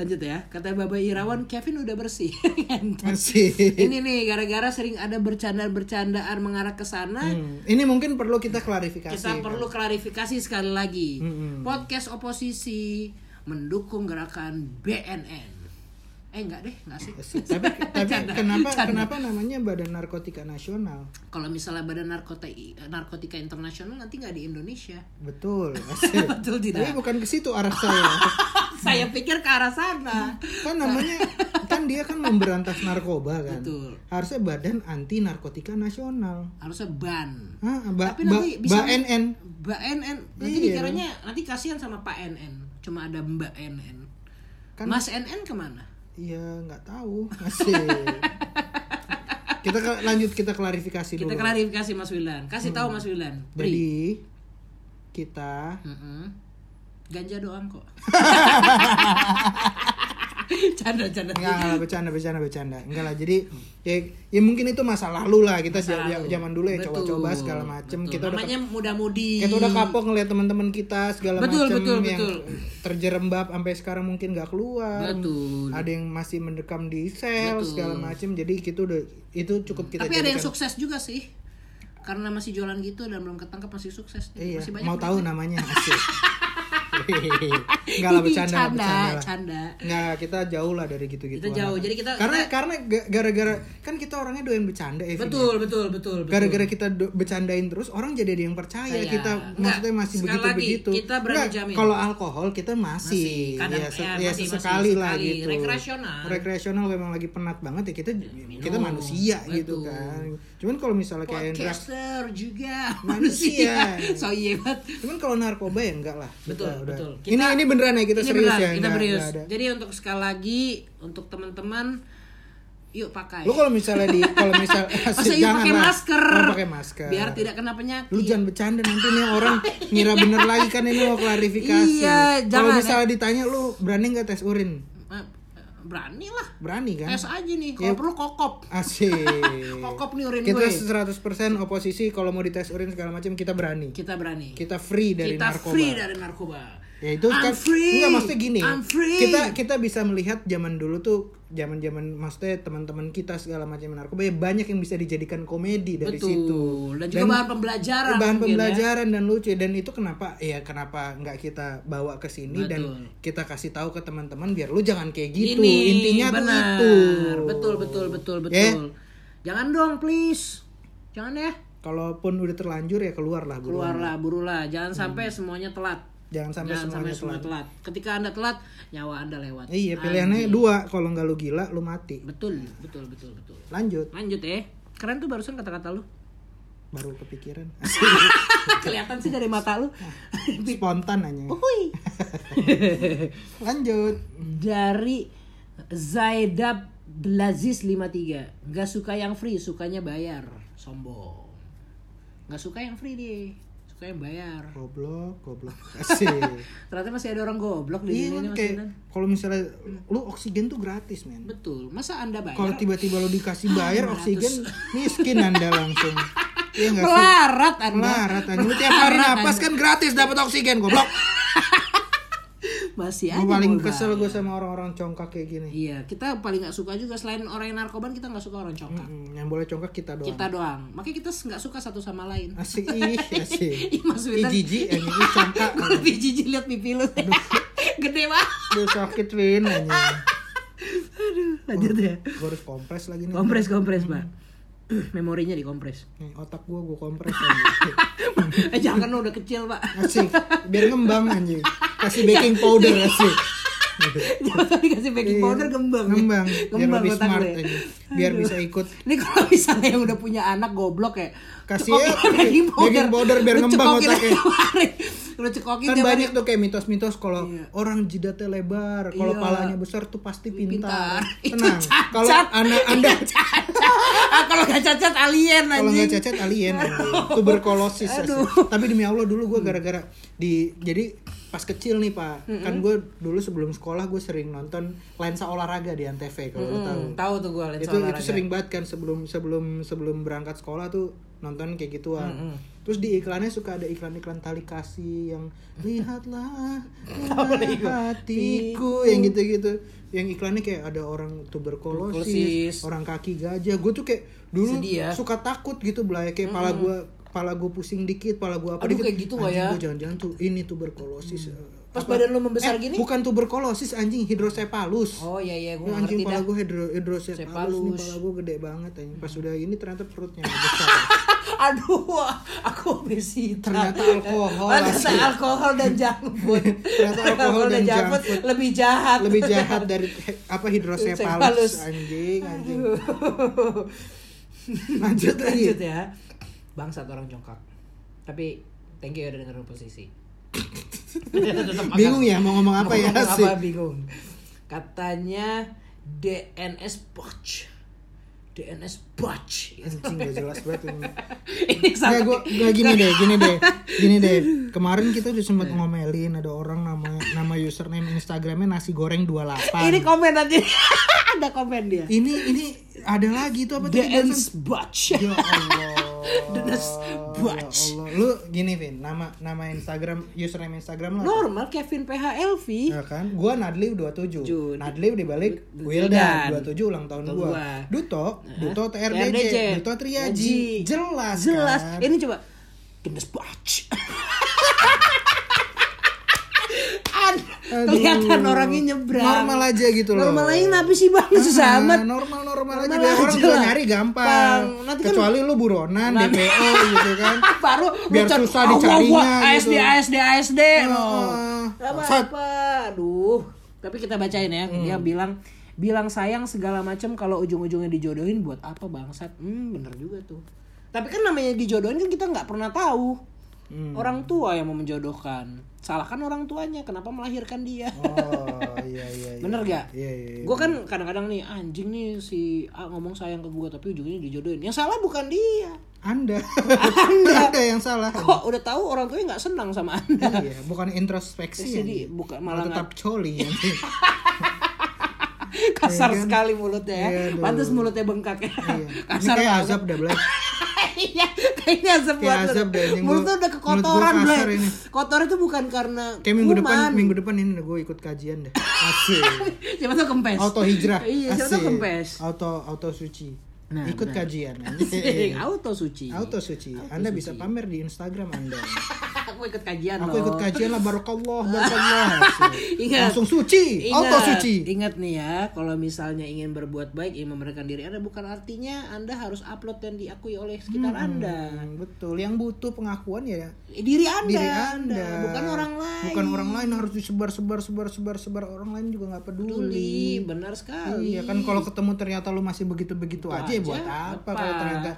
[SPEAKER 1] Lanjut ya. Kata Bapak Irawan, Kevin udah bersih. Ngentot.
[SPEAKER 3] Masih.
[SPEAKER 1] Ini nih gara-gara sering ada bercandaan-bercandaan mengarah ke sana.
[SPEAKER 3] Hmm, Ini mungkin perlu kita klarifikasi.
[SPEAKER 1] Kita perlu klarifikasi sekali lagi. Podcast oposisi mendukung gerakan BNN. Eh enggak deh, enggak sih.
[SPEAKER 3] Tapi, tapi
[SPEAKER 1] Canda,
[SPEAKER 3] kenapa
[SPEAKER 1] canda.
[SPEAKER 3] kenapa namanya Badan Narkotika Nasional?
[SPEAKER 1] Kalau misalnya Badan Narkotika, Narkotika Internasional nanti nggak di Indonesia.
[SPEAKER 3] Betul. Asik.
[SPEAKER 1] Betul tidak?
[SPEAKER 3] Tapi bukan ke situ arah saya.
[SPEAKER 1] Saya pikir ke arah sana.
[SPEAKER 3] kan namanya kan dia kan memberantas narkoba kan.
[SPEAKER 1] Betul.
[SPEAKER 3] Harusnya Badan Anti Narkotika Nasional.
[SPEAKER 1] Harusnya ban.
[SPEAKER 3] Hah, ba,
[SPEAKER 1] Tapi nanti
[SPEAKER 3] ba-
[SPEAKER 1] bisa
[SPEAKER 3] ba- NN.
[SPEAKER 1] Mbak NN nanti
[SPEAKER 3] Iya.
[SPEAKER 1] dikiranya nanti kasihan sama Pak NN. Cuma ada Mbak NN.
[SPEAKER 3] Kan-
[SPEAKER 1] Mas NN kemana?
[SPEAKER 3] Iya, nggak tahu. Masih. kita ke- lanjut kita klarifikasi
[SPEAKER 1] Kita
[SPEAKER 3] dulu.
[SPEAKER 1] klarifikasi Mas Wilan. Kasih tahu Mas Wilan. Beri.
[SPEAKER 3] Jadi kita
[SPEAKER 1] Mm-mm. Ganja doang kok. canda canda.
[SPEAKER 3] Enggak, enggak, bercanda, bercanda, bercanda. Enggak lah, jadi ya, ya mungkin itu masa lalu lah kita
[SPEAKER 1] Masa lalu.
[SPEAKER 3] sejak- zaman dulu ya
[SPEAKER 1] Betul,
[SPEAKER 3] coba-coba segala macem.
[SPEAKER 1] betul.
[SPEAKER 3] Kita udah
[SPEAKER 1] Namanya muda-mudi.
[SPEAKER 3] kita udah kapok ngeliat teman-teman kita segala
[SPEAKER 1] Iya. Betul,
[SPEAKER 3] macem
[SPEAKER 1] betul,
[SPEAKER 3] yang
[SPEAKER 1] betul.
[SPEAKER 3] terjerembab sampai sekarang mungkin nggak keluar.
[SPEAKER 1] Betul.
[SPEAKER 3] Ada yang masih mendekam di sel
[SPEAKER 1] Betul.
[SPEAKER 3] segala macem. Jadi kita udah itu cukup kita
[SPEAKER 1] Tapi ada yang
[SPEAKER 3] jadikan-
[SPEAKER 1] sukses juga sih. Karena masih jualan gitu dan belum ketangkep masih sukses.
[SPEAKER 3] Iya,
[SPEAKER 1] Masih
[SPEAKER 3] mau
[SPEAKER 1] banyak
[SPEAKER 3] tahu namanya asik. Enggak lah bercanda, lah,
[SPEAKER 1] canda,
[SPEAKER 3] bercanda lah.
[SPEAKER 1] canda.
[SPEAKER 3] Nggak, kita jauh lah dari gitu-gitu.
[SPEAKER 1] Kita jauh, jadi kita-
[SPEAKER 3] karena
[SPEAKER 1] kita-
[SPEAKER 3] karena ga- gara-gara kan kita orangnya doyan bercanda ya. Vin, ya?
[SPEAKER 1] Betul, betul, betul, betul.
[SPEAKER 3] gara-gara kita do- bercandain terus orang jadi ada yang percaya
[SPEAKER 1] Percaya.
[SPEAKER 3] kita
[SPEAKER 1] Enggak,
[SPEAKER 3] maksudnya masih
[SPEAKER 1] sekali
[SPEAKER 3] begitu begitu
[SPEAKER 1] lagi, kita berani jamin.
[SPEAKER 3] kalau alkohol kita
[SPEAKER 1] Masih,
[SPEAKER 3] masih,
[SPEAKER 1] kadang-
[SPEAKER 3] ya, se-
[SPEAKER 1] ya,
[SPEAKER 3] ya
[SPEAKER 1] masih-
[SPEAKER 3] sesekali
[SPEAKER 1] masih
[SPEAKER 3] lah
[SPEAKER 1] sekali.
[SPEAKER 3] gitu
[SPEAKER 1] Rekreasional.
[SPEAKER 3] rekreasional memang lagi penat banget ya kita kita
[SPEAKER 1] minum.
[SPEAKER 3] manusia gitu
[SPEAKER 1] Betul.
[SPEAKER 3] kan cuman kalau misalnya kayak drak-
[SPEAKER 1] podcaster juga
[SPEAKER 3] Manusia.
[SPEAKER 1] so iya banget
[SPEAKER 3] cuman kalau narkoba ya enggak lah
[SPEAKER 1] betul
[SPEAKER 3] Udah- udah.
[SPEAKER 1] betul
[SPEAKER 3] ini ini beneran ya kita
[SPEAKER 1] ini
[SPEAKER 3] serius
[SPEAKER 1] beneran,
[SPEAKER 3] ya
[SPEAKER 1] kita
[SPEAKER 3] enggak-
[SPEAKER 1] serius
[SPEAKER 3] enggak ada.
[SPEAKER 1] jadi untuk sekali lagi untuk teman-teman yuk pakai
[SPEAKER 3] lu kalau misalnya di kalau misal
[SPEAKER 1] Masa yuk pakai
[SPEAKER 3] lah.
[SPEAKER 1] masker
[SPEAKER 3] Jangan pakai masker
[SPEAKER 1] biar tidak kena penyakit
[SPEAKER 3] lu jangan bercanda nanti nih orang ngira bener lagi kan ini mau klarifikasi
[SPEAKER 1] Iya, jangan,
[SPEAKER 3] kalau misalnya ditanya lu berani nggak tes urin
[SPEAKER 1] Eh, berani lah
[SPEAKER 3] berani kan
[SPEAKER 1] tes aja nih kalau
[SPEAKER 3] Iya.
[SPEAKER 1] perlu kokop
[SPEAKER 3] asik
[SPEAKER 1] kokop nih urin
[SPEAKER 3] kita
[SPEAKER 1] gue
[SPEAKER 3] 100% oposisi kalau mau dites urin segala macam kita berani
[SPEAKER 1] kita berani
[SPEAKER 3] kita free dari
[SPEAKER 1] kita
[SPEAKER 3] narkoba
[SPEAKER 1] free dari narkoba
[SPEAKER 3] ya itu
[SPEAKER 1] I'm
[SPEAKER 3] kan
[SPEAKER 1] free.
[SPEAKER 3] enggak maksudnya gini
[SPEAKER 1] I'm free.
[SPEAKER 3] kita kita bisa melihat zaman dulu tuh zaman zaman maksudnya teman-teman kita segala macam narkoba ya banyak yang bisa dijadikan komedi dari
[SPEAKER 1] betul
[SPEAKER 3] situ
[SPEAKER 1] dan juga bahan pembelajaran
[SPEAKER 3] bahan
[SPEAKER 1] mungkin ya.
[SPEAKER 3] pembelajaran dan lucu dan itu kenapa ya kenapa nggak kita bawa ke sini dan kita kasih tahu ke teman-teman biar lu jangan kayak gitu
[SPEAKER 1] Ini,
[SPEAKER 3] intinya
[SPEAKER 1] benar.
[SPEAKER 3] tuh itu
[SPEAKER 1] Betul betul betul betul.
[SPEAKER 3] Ya?
[SPEAKER 1] Jangan dong please. Jangan ya.
[SPEAKER 3] kalaupun udah terlanjur ya keluarlah bro
[SPEAKER 1] Keluarlah burulah. Jangan sampai semuanya telat.
[SPEAKER 3] jangan Hmm. sampai
[SPEAKER 1] Jangan sampai
[SPEAKER 3] semuanya
[SPEAKER 1] semua
[SPEAKER 3] telat
[SPEAKER 1] telat. Ketika Anda telat, nyawa Anda lewat.
[SPEAKER 3] iya pilihannya
[SPEAKER 1] Anjing.
[SPEAKER 3] dua kalau nggak lu gila lu mati
[SPEAKER 1] Betul, betul, betul, betul.
[SPEAKER 3] lanjut
[SPEAKER 1] Lanjut ya. Keren tuh barusan kata-kata lu.
[SPEAKER 3] baru kepikiran
[SPEAKER 1] Kelihatan sih dari mata lu.
[SPEAKER 3] spontan aja
[SPEAKER 1] Uhuy.
[SPEAKER 3] lanjut
[SPEAKER 1] dari Zaidab Blaziz 53 Gak suka yang free, sukanya bayar Sombong Gak suka yang free deh Suka yang bayar
[SPEAKER 3] goblok goblok asik
[SPEAKER 1] Ternyata masih ada orang goblok di sini
[SPEAKER 3] Iya kan
[SPEAKER 1] Mas
[SPEAKER 3] kayak
[SPEAKER 1] Dinan.
[SPEAKER 3] kalau misalnya lu oksigen tuh gratis men.
[SPEAKER 1] Betul, masa anda bayar?
[SPEAKER 3] Kalau tiba-tiba lo dikasih bayar oksigen, miskin anda langsung. Iya nggak sih?
[SPEAKER 1] Melarat anda
[SPEAKER 3] Melarat aja. Lu tiap hari
[SPEAKER 1] Melarat
[SPEAKER 3] napas
[SPEAKER 1] Anda.
[SPEAKER 3] kan gratis dapat oksigen, goblok.
[SPEAKER 1] Masih Ya, aja
[SPEAKER 3] Gue paling
[SPEAKER 1] mau
[SPEAKER 3] kesel
[SPEAKER 1] bayar.
[SPEAKER 3] gue sama orang-orang congkak kayak gini.
[SPEAKER 1] Iya, kita paling gak suka juga Selain orang yang narkoban, kita gak suka orang congkak
[SPEAKER 3] Mm, yang boleh congkak kita doang.
[SPEAKER 1] Kita doang, makanya kita nggak suka satu sama lain
[SPEAKER 3] Asik ih, asik.
[SPEAKER 1] Ih, Mas
[SPEAKER 3] Iya. Ih
[SPEAKER 1] Wilan.
[SPEAKER 3] jijik, anjing ih congkak.
[SPEAKER 1] Gue lebih jijik liat pipi lu Gede banget
[SPEAKER 3] Aduh sakit Win anjing.
[SPEAKER 1] Lanjut ya
[SPEAKER 3] Gue harus kompres lagi nih.
[SPEAKER 1] Kompres, kompres pak Memorinya dikompres
[SPEAKER 3] Nih, otak gue gue kompres anjing.
[SPEAKER 1] Eh jangan lu udah kecil pak
[SPEAKER 3] Asik, biar ngembang anjing. Kasih baking powder asik.
[SPEAKER 1] Jangan tadi kasih Iya. baking
[SPEAKER 3] Iya.
[SPEAKER 1] powder gembang
[SPEAKER 3] Ngembang, biar
[SPEAKER 1] Gembang
[SPEAKER 3] lebih
[SPEAKER 1] otak
[SPEAKER 3] smart
[SPEAKER 1] lu ya.
[SPEAKER 3] aja. Biar
[SPEAKER 1] Aduh.
[SPEAKER 3] bisa ikut
[SPEAKER 1] Ini kalau misalnya yang udah punya anak goblok ya
[SPEAKER 3] Kasih ya
[SPEAKER 1] cekokin baking powder
[SPEAKER 3] baking powder biar
[SPEAKER 1] Lu
[SPEAKER 3] ngembang
[SPEAKER 1] cekokin
[SPEAKER 3] otaknya.
[SPEAKER 1] tiap hari. Lu cekokin
[SPEAKER 3] kan
[SPEAKER 1] tiap hari.
[SPEAKER 3] banyak tuh kayak mitos-mitos kalau
[SPEAKER 1] Iya.
[SPEAKER 3] orang jidatnya lebar, kalau
[SPEAKER 1] Iya.
[SPEAKER 3] palanya besar tuh pasti pintar.
[SPEAKER 1] Itu
[SPEAKER 3] Tenang.
[SPEAKER 1] cacat.
[SPEAKER 3] Kalau anak Anda
[SPEAKER 1] Cacat. Ah, Kalau gak cacat alien anjing
[SPEAKER 3] kalau nggak cacat alien, anjing. tuberkulosis. asli.
[SPEAKER 1] Aduh.
[SPEAKER 3] Tapi demi Allah dulu gue gara-gara di jadi pas kecil nih pak kan gue dulu sebelum sekolah gue sering nonton lensa olahraga di antv kalau lo tahu
[SPEAKER 1] Hmm, tahu tuh gue lensa
[SPEAKER 3] itu
[SPEAKER 1] olahraga.
[SPEAKER 3] itu sering banget kan sebelum sebelum sebelum berangkat sekolah tuh nonton kayak gituan terus di iklannya suka ada iklan-iklan tali kasih yang lihatlah lihat hatiku yang gitu-gitu yang iklannya kayak ada orang tuberkulosis
[SPEAKER 1] Tuberkulosis.
[SPEAKER 3] orang kaki gajah gue tuh kayak dulu
[SPEAKER 1] Sedih ya.
[SPEAKER 3] suka takut gitu belai kayak pala gue pala gue pusing dikit pala gue apa
[SPEAKER 1] Aduh,
[SPEAKER 3] dikit
[SPEAKER 1] kayak gitu nggak
[SPEAKER 3] Anjing,
[SPEAKER 1] ya?" Mm.
[SPEAKER 3] gua jangan-jangan tuh ini tuberkulosis eh,
[SPEAKER 1] Pas
[SPEAKER 3] Apa-
[SPEAKER 1] badan lu membesar
[SPEAKER 3] Eh,
[SPEAKER 1] gini?
[SPEAKER 3] bukan tuberkulosis anjing hidrosepalus
[SPEAKER 1] Oh iya iya gue
[SPEAKER 3] Ya,
[SPEAKER 1] ngerti
[SPEAKER 3] anjing
[SPEAKER 1] dah.
[SPEAKER 3] pala gue hidro, hidrosepalus nih
[SPEAKER 1] Sepalus.
[SPEAKER 3] pala gue gede banget anjing. Pas udah ini ternyata perutnya nggak besar.
[SPEAKER 1] Aduh, aku obesitas.
[SPEAKER 3] Ternyata alkohol.
[SPEAKER 1] Ternyata alkohol dan junk food.
[SPEAKER 3] Ternyata alkohol dan
[SPEAKER 1] junk
[SPEAKER 3] junk
[SPEAKER 1] food
[SPEAKER 3] food.
[SPEAKER 1] lebih jahat.
[SPEAKER 3] Lebih jahat dari he- apa
[SPEAKER 1] Sepalus.
[SPEAKER 3] hidrosepalus anjing anjing. Lanjut lagi.
[SPEAKER 1] Lanjut ya. Bangsat orang jongkak. Tapi thank you ya udah dengerin posisi. Tetep agak-
[SPEAKER 3] Bingung ya mau ngomong apa
[SPEAKER 1] Mau
[SPEAKER 3] ya
[SPEAKER 1] ngomong
[SPEAKER 3] sih.
[SPEAKER 1] Apa bingung. Katanya DNS botch. DNS botch.
[SPEAKER 3] Anjing gak jelas banget ini.
[SPEAKER 1] Ini
[SPEAKER 3] Nggak,
[SPEAKER 1] sampai
[SPEAKER 3] gua, nggak, gini deh, gini deh, gini deh. Kemarin kita udah
[SPEAKER 1] Iya.
[SPEAKER 3] sempat ngomelin ada orang nama nama username Instagramnya nasi goreng 28
[SPEAKER 1] Ini komen nanti. Ada komen dia.
[SPEAKER 3] ini ini ada lagi tuh apa tadi barusan?
[SPEAKER 1] DNS botch.
[SPEAKER 3] Ya Allah.
[SPEAKER 1] DNS
[SPEAKER 3] Ya
[SPEAKER 1] botch.
[SPEAKER 3] Allah. Lu gini Vin, nama nama Instagram username Instagram lu apa?
[SPEAKER 1] Normal Kevin PHLV.
[SPEAKER 3] Ya kan? Gua Nadliw 27.
[SPEAKER 1] Jud.
[SPEAKER 3] Nadliw dibalik
[SPEAKER 1] Wildan.
[SPEAKER 3] Wildan 27 ulang tahun
[SPEAKER 1] Tahun
[SPEAKER 3] gua.
[SPEAKER 1] gua.
[SPEAKER 3] Duto, Duto
[SPEAKER 1] TRDJ.
[SPEAKER 3] TRDJ, Duto Triaji.
[SPEAKER 1] Triaji.
[SPEAKER 3] Jelas.
[SPEAKER 1] Jelas.
[SPEAKER 3] kan?
[SPEAKER 1] Ini coba. Genes botch. An-
[SPEAKER 3] Aduh.
[SPEAKER 1] Kelihatan orangnya nyebrang.
[SPEAKER 3] Normal aja gitu loh.
[SPEAKER 1] Normal aja kenapa sih bang? Susah
[SPEAKER 3] Ah,
[SPEAKER 1] amat.
[SPEAKER 3] Normal-normal aja,
[SPEAKER 1] Normal
[SPEAKER 3] biar orang
[SPEAKER 1] aja
[SPEAKER 3] juga
[SPEAKER 1] lah.
[SPEAKER 3] nyari gampang.
[SPEAKER 1] Bang, nanti kan-
[SPEAKER 3] Kecuali lu buronan, DPO gitu kan.
[SPEAKER 1] Baru lu
[SPEAKER 3] Biar
[SPEAKER 1] cat-
[SPEAKER 3] susah
[SPEAKER 1] Wah, wah,
[SPEAKER 3] dicarinya
[SPEAKER 1] wah, ASD,
[SPEAKER 3] gitu.
[SPEAKER 1] ASD, ASD loh.
[SPEAKER 3] Ah,
[SPEAKER 1] Apa,
[SPEAKER 3] bangsat. Hmm.
[SPEAKER 1] apa? Aduh. Tapi kita bacain ya. Dia bilang bilang sayang segala macam kalau ujung-ujungnya dijodohin buat apa bangsat? Hmm, bener juga tuh. Tapi kan namanya dijodohin kan kita nggak pernah tahu.
[SPEAKER 3] Hmm.
[SPEAKER 1] Orang tua yang mau menjodohkan. Salahkan orang tuanya, kenapa melahirkan dia?
[SPEAKER 3] Oh, iya iya. iya.
[SPEAKER 1] Bener gak?
[SPEAKER 3] Iya iya. iya.
[SPEAKER 1] Gue kan kadang-kadang nih anjing nih si A ngomong sayang ke gue tapi ujungnya dijodohin. Yang salah bukan dia.
[SPEAKER 3] Anda.
[SPEAKER 1] Anda.
[SPEAKER 3] Anda yang salah.
[SPEAKER 1] Kok udah tahu orang tuanya nggak senang sama anda?
[SPEAKER 3] Iya, bukan introspeksi ya.
[SPEAKER 1] Jadi,
[SPEAKER 3] Ji.
[SPEAKER 1] bukan-
[SPEAKER 3] malah
[SPEAKER 1] malah
[SPEAKER 3] tetap coli ya.
[SPEAKER 1] Kasar
[SPEAKER 3] Iya kan?
[SPEAKER 1] sekali mulutnya ya.
[SPEAKER 3] Iya, aduh.
[SPEAKER 1] Pantas mulutnya bengkak ya.
[SPEAKER 3] Iya. Ini
[SPEAKER 1] Kasar
[SPEAKER 3] kayak
[SPEAKER 1] banget.
[SPEAKER 3] azab dah Blay.
[SPEAKER 1] Iya, kayaknya azab
[SPEAKER 3] Kayak
[SPEAKER 1] banget.
[SPEAKER 3] azab deh, anjing.
[SPEAKER 1] Mulut
[SPEAKER 3] Gua-
[SPEAKER 1] tuh udah
[SPEAKER 3] mulut
[SPEAKER 1] kekotoran,
[SPEAKER 3] gua
[SPEAKER 1] Bre.
[SPEAKER 3] kasar ini.
[SPEAKER 1] Kotor itu bukan karena
[SPEAKER 3] Kayak minggu depan,
[SPEAKER 1] kuman.
[SPEAKER 3] minggu depan ini gue ikut kajian deh. Asik.
[SPEAKER 1] Siapa tuh kempes.
[SPEAKER 3] Auto hijrah.
[SPEAKER 1] Iya, siapa tuh
[SPEAKER 3] Asik.
[SPEAKER 1] kempes.
[SPEAKER 3] Auto auto suci.
[SPEAKER 1] Nah,
[SPEAKER 3] ikut
[SPEAKER 1] benar.
[SPEAKER 3] kajian. Iya,
[SPEAKER 1] Asik, Auto suci.
[SPEAKER 3] Auto suci.
[SPEAKER 1] Auto
[SPEAKER 3] Anda bisa
[SPEAKER 1] suci.
[SPEAKER 3] pamer di Instagram Anda.
[SPEAKER 1] Aku ikut kajian
[SPEAKER 3] Aku
[SPEAKER 1] loh.
[SPEAKER 3] ikut kajian lah barokallah barokallah. Asik.
[SPEAKER 1] Ingat.
[SPEAKER 3] Langsung suci. Auto suci.
[SPEAKER 1] Ingat nih ya, kalau misalnya ingin berbuat baik, ingin memberikan diri Anda bukan artinya Anda harus upload dan diakui oleh sekitar Anda.
[SPEAKER 3] Hmm, betul. Yang butuh pengakuan ya
[SPEAKER 1] Eh, Diri Anda,
[SPEAKER 3] diri anda.
[SPEAKER 1] bukan orang lain.
[SPEAKER 3] bukan orang lain harus disebar sebar sebar sebar sebar orang lain juga nggak peduli
[SPEAKER 1] Peduli, benar sekali.
[SPEAKER 3] iya kan kalau ketemu ternyata lu masih begitu begitu aja, ya buat
[SPEAKER 1] aja,
[SPEAKER 3] apa
[SPEAKER 1] apa?
[SPEAKER 3] kalau ternyata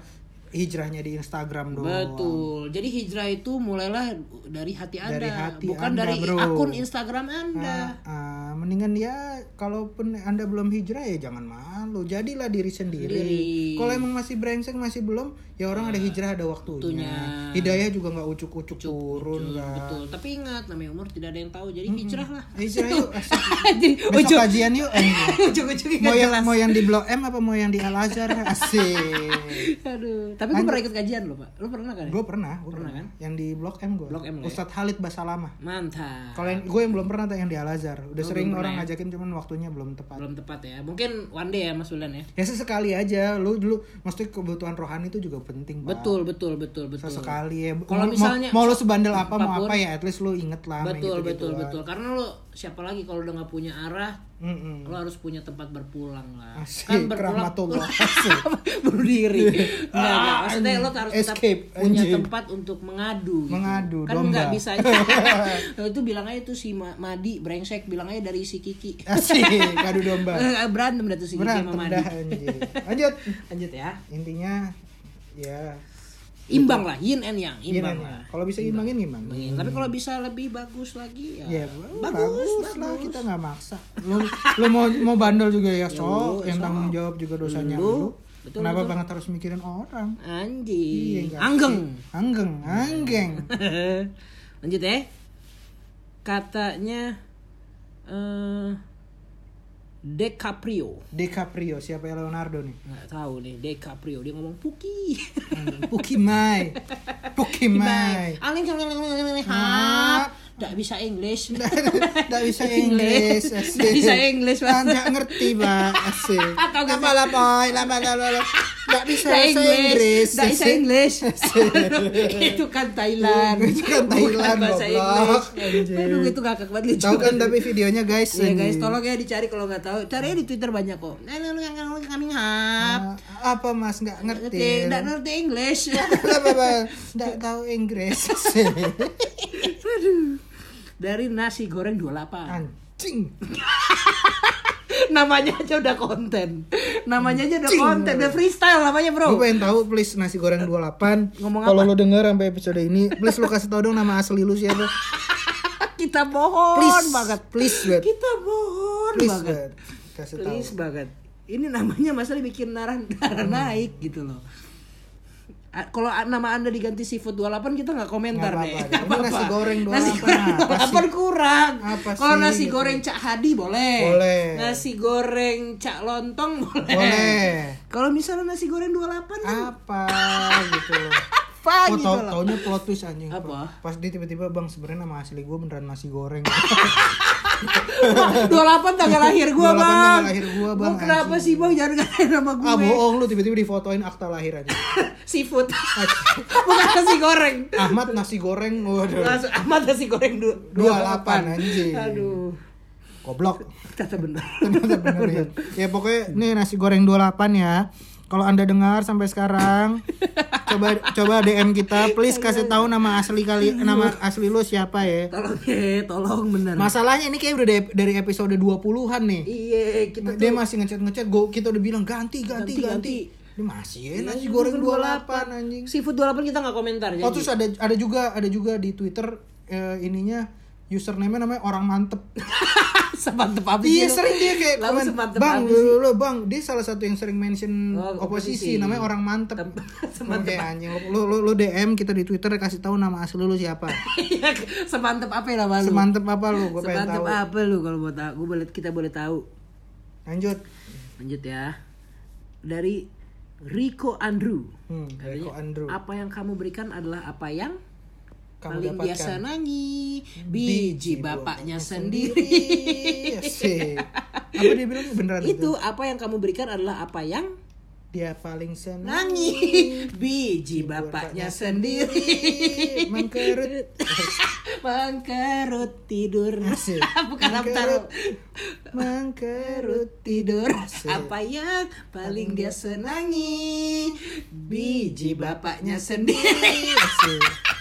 [SPEAKER 3] hijrahnya di Instagram doang
[SPEAKER 1] Betul. Jadi hijrah itu mulailah dari hati Anda,
[SPEAKER 3] Dari hati
[SPEAKER 1] bukan
[SPEAKER 3] Anda,
[SPEAKER 1] dari
[SPEAKER 3] bro.
[SPEAKER 1] akun Instagram Anda.
[SPEAKER 3] Nah, ah, mendingan ya kalaupun anda belum hijrah ya jangan malu jadilah diri sendiri
[SPEAKER 1] Sendiri. Nah,
[SPEAKER 3] kalau emang masih brengsek masih belum ya orang ada hijrah ada waktunya,
[SPEAKER 1] waktunya.
[SPEAKER 3] hidayah juga nggak ucuk-ucuk turun kan.
[SPEAKER 1] Betul. Tapi ingat namanya umur tidak ada yang tahu. Jadi hijrahlah.
[SPEAKER 3] hijrah yuk asik.
[SPEAKER 1] Jadi
[SPEAKER 3] besok
[SPEAKER 1] ujung
[SPEAKER 3] kajian yuk Eh,
[SPEAKER 1] ujung-ujungnya
[SPEAKER 3] mau
[SPEAKER 1] nggak
[SPEAKER 3] yang
[SPEAKER 1] jelas.
[SPEAKER 3] mau yang di Blok M apa mau yang di Al Azhar asik
[SPEAKER 1] Aduh. Tapi gue pernah ikut kajian loh, Pak. Lu pernah kan? ya?
[SPEAKER 3] gue pernah gue pernah,
[SPEAKER 1] kan?
[SPEAKER 3] yang di Blok M gue
[SPEAKER 1] Blok M lo ya?
[SPEAKER 3] Ustadz Halid Basalama
[SPEAKER 1] Mantap.
[SPEAKER 3] kalau yang gue yang belum pernah tuh yang di Al Azhar udah sering
[SPEAKER 1] belum
[SPEAKER 3] orang
[SPEAKER 1] pernah ya?
[SPEAKER 3] ngajakin cuman waktunya belum tepat
[SPEAKER 1] Belum tepat ya. Mungkin one day ya Mas Ulan ya.
[SPEAKER 3] ya sesekali aja lu dulu maksudnya kebutuhan rohani itu juga penting Pak.
[SPEAKER 1] Betul, betul, betul, betul.
[SPEAKER 3] sesekali ya
[SPEAKER 1] Kalau
[SPEAKER 3] Mau-
[SPEAKER 1] misalnya-
[SPEAKER 3] mau, mau lu sebandel apa mau
[SPEAKER 1] apapun.
[SPEAKER 3] apa ya at least lu inget lah main
[SPEAKER 1] Betul,
[SPEAKER 3] gitu-gitu kan.
[SPEAKER 1] betul,
[SPEAKER 3] lah.
[SPEAKER 1] betul. Karena lo siapa lagi kalau udah nggak punya arah,
[SPEAKER 3] Mm-mm.
[SPEAKER 1] lo harus punya tempat berpulang lah.
[SPEAKER 3] Asik,
[SPEAKER 1] kan berpulang
[SPEAKER 3] rahmatullah. Asik.
[SPEAKER 1] bunuh diri. Enggak, enggak. Maksudnya lo harus tetap
[SPEAKER 3] Escape,
[SPEAKER 1] punya
[SPEAKER 3] anjing.
[SPEAKER 1] tempat untuk mengadu. gitu.
[SPEAKER 3] Mengadu,
[SPEAKER 1] Kan
[SPEAKER 3] domba.
[SPEAKER 1] nggak bisa. Nah, itu bilang aja tuh si Ma- Madi brengsek, bilang aja dari si Kiki.
[SPEAKER 3] asik kadu domba
[SPEAKER 1] Eh, Berantem dah tuh si Kiki sama
[SPEAKER 3] berantem
[SPEAKER 1] Madi.
[SPEAKER 3] dah anjing lanjut
[SPEAKER 1] Lanjut ya.
[SPEAKER 3] intinya ya
[SPEAKER 1] Imbang lah, yin and yang, imbang
[SPEAKER 3] gimana?
[SPEAKER 1] lah.
[SPEAKER 3] kalau bisa imbangin gimana
[SPEAKER 1] Imbangin. Tapi kalau bisa lebih bagus lagi ya.
[SPEAKER 3] Ya,
[SPEAKER 1] bagus,
[SPEAKER 3] bagus, lah
[SPEAKER 1] bagus.
[SPEAKER 3] kita nggak maksa. Lu, lu mau mau bandel juga ya
[SPEAKER 1] lu,
[SPEAKER 3] sok, yang
[SPEAKER 1] sok.
[SPEAKER 3] tanggung jawab juga dosanya
[SPEAKER 1] Lu.
[SPEAKER 3] lu.
[SPEAKER 1] Betul,
[SPEAKER 3] Kenapa
[SPEAKER 1] betul.
[SPEAKER 3] banget harus mikirin orang? Iya,
[SPEAKER 1] Anjing.
[SPEAKER 3] nggak
[SPEAKER 1] Anggeng.
[SPEAKER 3] sih? Anggeng, anggeng.
[SPEAKER 1] Lanjut ya. katanya eh DiCaprio.
[SPEAKER 3] DiCaprio siapa ya Leonardo nih?
[SPEAKER 1] Nggak tahu nih DiCaprio dia ngomong Puki.
[SPEAKER 3] Pukimai. Pukimai.
[SPEAKER 1] Aling hap. Nggak bisa English.
[SPEAKER 3] Tidak bisa Inggris. asik.
[SPEAKER 1] Nggak bisa Inggris, Pak.
[SPEAKER 3] Ah, nggak ngerti, Pak. Asik.
[SPEAKER 1] Atau nggak-
[SPEAKER 3] Lama lah, Boy. Lama lah, lama lah. Nggak bisa
[SPEAKER 1] Nggak
[SPEAKER 3] bahasa Inggris.
[SPEAKER 1] Nggak bisa
[SPEAKER 3] asik.
[SPEAKER 1] English. itu kan Thailand.
[SPEAKER 3] Itu kan Thailand,
[SPEAKER 1] Bukan bahasa
[SPEAKER 3] goblok.
[SPEAKER 1] Inggris. Aduh itu kakak banget lucu.
[SPEAKER 3] Tahu kan tapi videonya guys.
[SPEAKER 1] Iya
[SPEAKER 3] ini.
[SPEAKER 1] guys, tolong ya dicari kalau nggak tahu. Cari di Twitter banyak kok. Nah, lu yang kami hap.
[SPEAKER 3] Ah, Apa Mas nggak ngerti?
[SPEAKER 1] Ngerti, nggak ngerti English.
[SPEAKER 3] Enggak tahu Inggris. asik.
[SPEAKER 1] Dari nasi goreng 28.
[SPEAKER 3] Anjing.
[SPEAKER 1] Namanya aja udah konten. Namanya aja udah konten, udah freestyle namanya,
[SPEAKER 3] Gue
[SPEAKER 1] Bro.
[SPEAKER 3] pengen tahu please nasi goreng 28
[SPEAKER 1] Ngomong
[SPEAKER 3] Kalau
[SPEAKER 1] apa?
[SPEAKER 3] lu denger sampai episode ini Please lu kasih tau dong nama asli lu siapa
[SPEAKER 1] Ah, Kita bohong
[SPEAKER 3] Please
[SPEAKER 1] banget.
[SPEAKER 3] Please banget
[SPEAKER 1] Kita bohong
[SPEAKER 3] Please
[SPEAKER 1] banget.
[SPEAKER 3] banget Kasih tau
[SPEAKER 1] Please banget. Ini namanya masalah bikin darah darah
[SPEAKER 3] Hmm.
[SPEAKER 1] naik gitu loh. A- Kalau a- nama anda diganti seafood 28 kita nggak komentar deh.
[SPEAKER 3] Nggak apa-apa,
[SPEAKER 1] Nggak
[SPEAKER 3] ini nasi
[SPEAKER 1] apa-apa.
[SPEAKER 3] goreng
[SPEAKER 1] Nasi
[SPEAKER 3] 28,
[SPEAKER 1] goreng
[SPEAKER 3] apa
[SPEAKER 1] 28 kurang.
[SPEAKER 3] Apa
[SPEAKER 1] Kalau
[SPEAKER 3] sih,
[SPEAKER 1] nasi
[SPEAKER 3] gitu.
[SPEAKER 1] goreng cak hadi boleh.
[SPEAKER 3] Boleh.
[SPEAKER 1] Nasi goreng cak lontong boleh.
[SPEAKER 3] Boleh
[SPEAKER 1] Kalau misalnya nasi goreng 28 kan
[SPEAKER 3] Apa gitu loh
[SPEAKER 1] apa
[SPEAKER 3] Ah. Oh,
[SPEAKER 1] gitu
[SPEAKER 3] tau,
[SPEAKER 1] loh.
[SPEAKER 3] taunya plot twist anjing
[SPEAKER 1] Apa?
[SPEAKER 3] Pas dia tiba-tiba bang sebenarnya nama asli gue beneran nasi goreng
[SPEAKER 1] 28 tanggal lahir gua,
[SPEAKER 3] 28
[SPEAKER 1] Bang.
[SPEAKER 3] tanggal lahir gua,
[SPEAKER 1] Lu
[SPEAKER 3] Bang,
[SPEAKER 1] kenapa sih,
[SPEAKER 3] anjing.
[SPEAKER 1] Bang? Jangan ngatain nama gue.
[SPEAKER 3] Ah bohong lu tiba-tiba difotoin akta lahir aja
[SPEAKER 1] Seafood. Bukan nasi goreng.
[SPEAKER 3] Ahmad nasi goreng Waduh
[SPEAKER 1] Langsung amat nasi goreng du-
[SPEAKER 3] 28, anjing.
[SPEAKER 1] Aduh.
[SPEAKER 3] Goblok
[SPEAKER 1] Kata bener.
[SPEAKER 3] Ternyata bener ya. Ya pokoknya nih nasi goreng 28 ya. Kalau Anda dengar sampai sekarang coba coba DM kita please kasih tahu nama asli kali nama asli lu siapa ya.
[SPEAKER 1] tolong ya, tolong bener.
[SPEAKER 3] Masalahnya ini kayak udah de- dari episode 20-an nih.
[SPEAKER 1] Iya, kita
[SPEAKER 3] Dia masih ngechat-ngechat gua kita udah bilang ganti ganti
[SPEAKER 1] Ganti,
[SPEAKER 3] ganti. Dia masih ya nasi goreng 28 anjing.
[SPEAKER 1] Seafood 28 kita nggak komentar.
[SPEAKER 3] Oh
[SPEAKER 1] janji.
[SPEAKER 3] terus ada ada juga ada juga di Twitter eh, ininya username-nya namanya orang mantep.
[SPEAKER 1] semantep apa sih
[SPEAKER 3] Iya
[SPEAKER 1] lu?
[SPEAKER 3] sering dia kayak
[SPEAKER 1] Lalu
[SPEAKER 3] komen,
[SPEAKER 1] semantep
[SPEAKER 3] bang,
[SPEAKER 1] apa
[SPEAKER 3] lu,
[SPEAKER 1] sih?
[SPEAKER 3] lu, lu, bang, dia salah satu yang sering mention
[SPEAKER 1] Oh,
[SPEAKER 3] oposisi,
[SPEAKER 1] oposisi.
[SPEAKER 3] namanya orang mantep.
[SPEAKER 1] Tem- semantep
[SPEAKER 3] Oke anjing, lu, lu, lu DM kita di Twitter kasih tahu nama asli lu siapa,
[SPEAKER 1] Iya, semantep apa ya nama lu?
[SPEAKER 3] semantep apa lu, gue pengen
[SPEAKER 1] Semantep
[SPEAKER 3] tahu.
[SPEAKER 1] apa lu kalau mau tahu? Gua boleh kita boleh tahu.
[SPEAKER 3] Lanjut,
[SPEAKER 1] Lanjut ya. Dari Rico Andrew.
[SPEAKER 3] hmm, Rico
[SPEAKER 1] Katanya,
[SPEAKER 3] Andrew,
[SPEAKER 1] Apa yang kamu berikan adalah apa yang
[SPEAKER 3] kamu
[SPEAKER 1] paling
[SPEAKER 3] dapatkan
[SPEAKER 1] biasa nangi biji bapaknya sendiri.
[SPEAKER 3] Asik. apa dia bilang beneran itu?
[SPEAKER 1] Itu apa yang kamu berikan adalah apa yang
[SPEAKER 3] Dia paling senang
[SPEAKER 1] Nah. nangi biji bapaknya sendiri.
[SPEAKER 3] mengkerut.
[SPEAKER 1] Mangkerut tidur.
[SPEAKER 3] Asik.
[SPEAKER 1] Bukan
[SPEAKER 3] Mangkerut.
[SPEAKER 1] Abtaro. Kerut
[SPEAKER 3] Mangkerut.
[SPEAKER 1] tidur.
[SPEAKER 3] Asik.
[SPEAKER 1] Apa yang paling dia senangi? Biji bapaknya sendiri.
[SPEAKER 3] Asik. Iya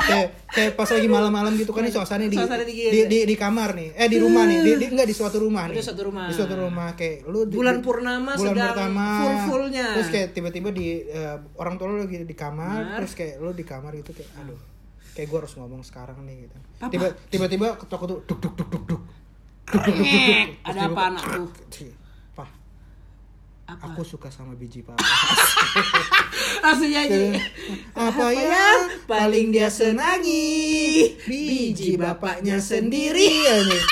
[SPEAKER 3] kayak kayak pas lagi malam-malam gitu kan ini suasana di,
[SPEAKER 1] Suasana di
[SPEAKER 3] di,
[SPEAKER 1] gini.
[SPEAKER 3] di di kamar nih eh di rumah nih di, di enggak di suatu rumah nih
[SPEAKER 1] Di suatu rumah.
[SPEAKER 3] di suatu rumah kayak lu di-
[SPEAKER 1] Bulan purnama
[SPEAKER 3] bulan
[SPEAKER 1] sedang
[SPEAKER 3] purnama,
[SPEAKER 1] full-fullnya.
[SPEAKER 3] terus kayak tiba-tiba di eh, orang tua lu lagi di kamar terus kayak lu di kamar gitu kayak aduh kayak gue harus ngomong sekarang nih gitu tiba tiba-tiba ketok ketok duk duk duk duk duk duk duk duk duk duk
[SPEAKER 1] Ada apa anakku?
[SPEAKER 3] Pah,
[SPEAKER 1] Apa?
[SPEAKER 3] aku suka sama biji papa
[SPEAKER 1] Langsung nyanyi. Oh ya,
[SPEAKER 3] apa ya? yang paling dia senangi biji bapaknya sendiri anjing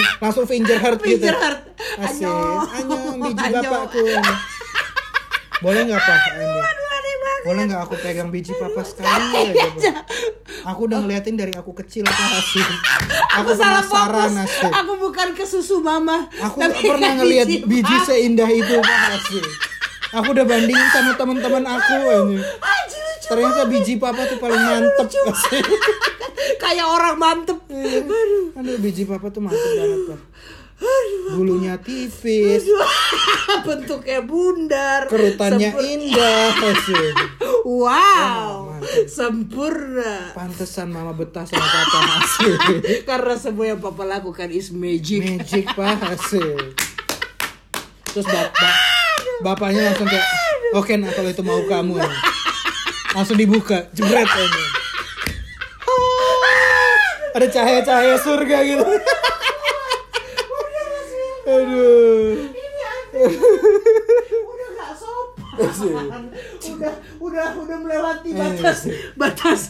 [SPEAKER 3] Anjing, langsung finger heart gitu
[SPEAKER 1] Finger heart.
[SPEAKER 3] Asik.
[SPEAKER 1] Anyong.
[SPEAKER 3] Anyong, biji
[SPEAKER 1] Anyong.
[SPEAKER 3] bapakku anjing. boleh nggak pak Anjing?
[SPEAKER 1] Aduh, aneh banget.
[SPEAKER 3] boleh nggak aku pegang biji papa sekali aja, Pak? aku udah ngeliatin dari aku kecil apa asik aku,
[SPEAKER 1] Aku salah
[SPEAKER 3] penasaran
[SPEAKER 1] fokus.
[SPEAKER 3] asik
[SPEAKER 1] Aku bukan ke susu mama.
[SPEAKER 3] aku
[SPEAKER 1] Tapi
[SPEAKER 3] nggak pernah
[SPEAKER 1] ke
[SPEAKER 3] ngelihat
[SPEAKER 1] biji
[SPEAKER 3] biji
[SPEAKER 1] bak-
[SPEAKER 3] seindah itu pak asik aku udah bandingin sama teman-teman aku anjing.
[SPEAKER 1] Anjir, lucu
[SPEAKER 3] Ternyata biji papa tuh paling mantep Asik.
[SPEAKER 1] Kayak orang mantep.
[SPEAKER 3] Hmm.
[SPEAKER 1] Aduh.
[SPEAKER 3] Aduh biji papa tuh mantep banget Pak. Bulunya tipis,
[SPEAKER 1] Bentuknya bundar.
[SPEAKER 3] kerutannya iya. Oh,
[SPEAKER 1] Sempur-
[SPEAKER 3] indah Asik.
[SPEAKER 1] Wow,
[SPEAKER 3] mantap.
[SPEAKER 1] sempurna.
[SPEAKER 3] Pantesan mama betah sama papa Asik.
[SPEAKER 1] Karena semua yang papa lakukan is magic.
[SPEAKER 3] Magic pak Asik. Terus bapak Bapaknya langsung kayak Oke nah kalau itu mau kamu ya." Langsung dibuka Jebret ini Ada cahaya-cahaya surga gitu Aduh
[SPEAKER 1] Gitu Udah gak sopan.
[SPEAKER 3] Iya
[SPEAKER 1] udah udah udah melewati batas batas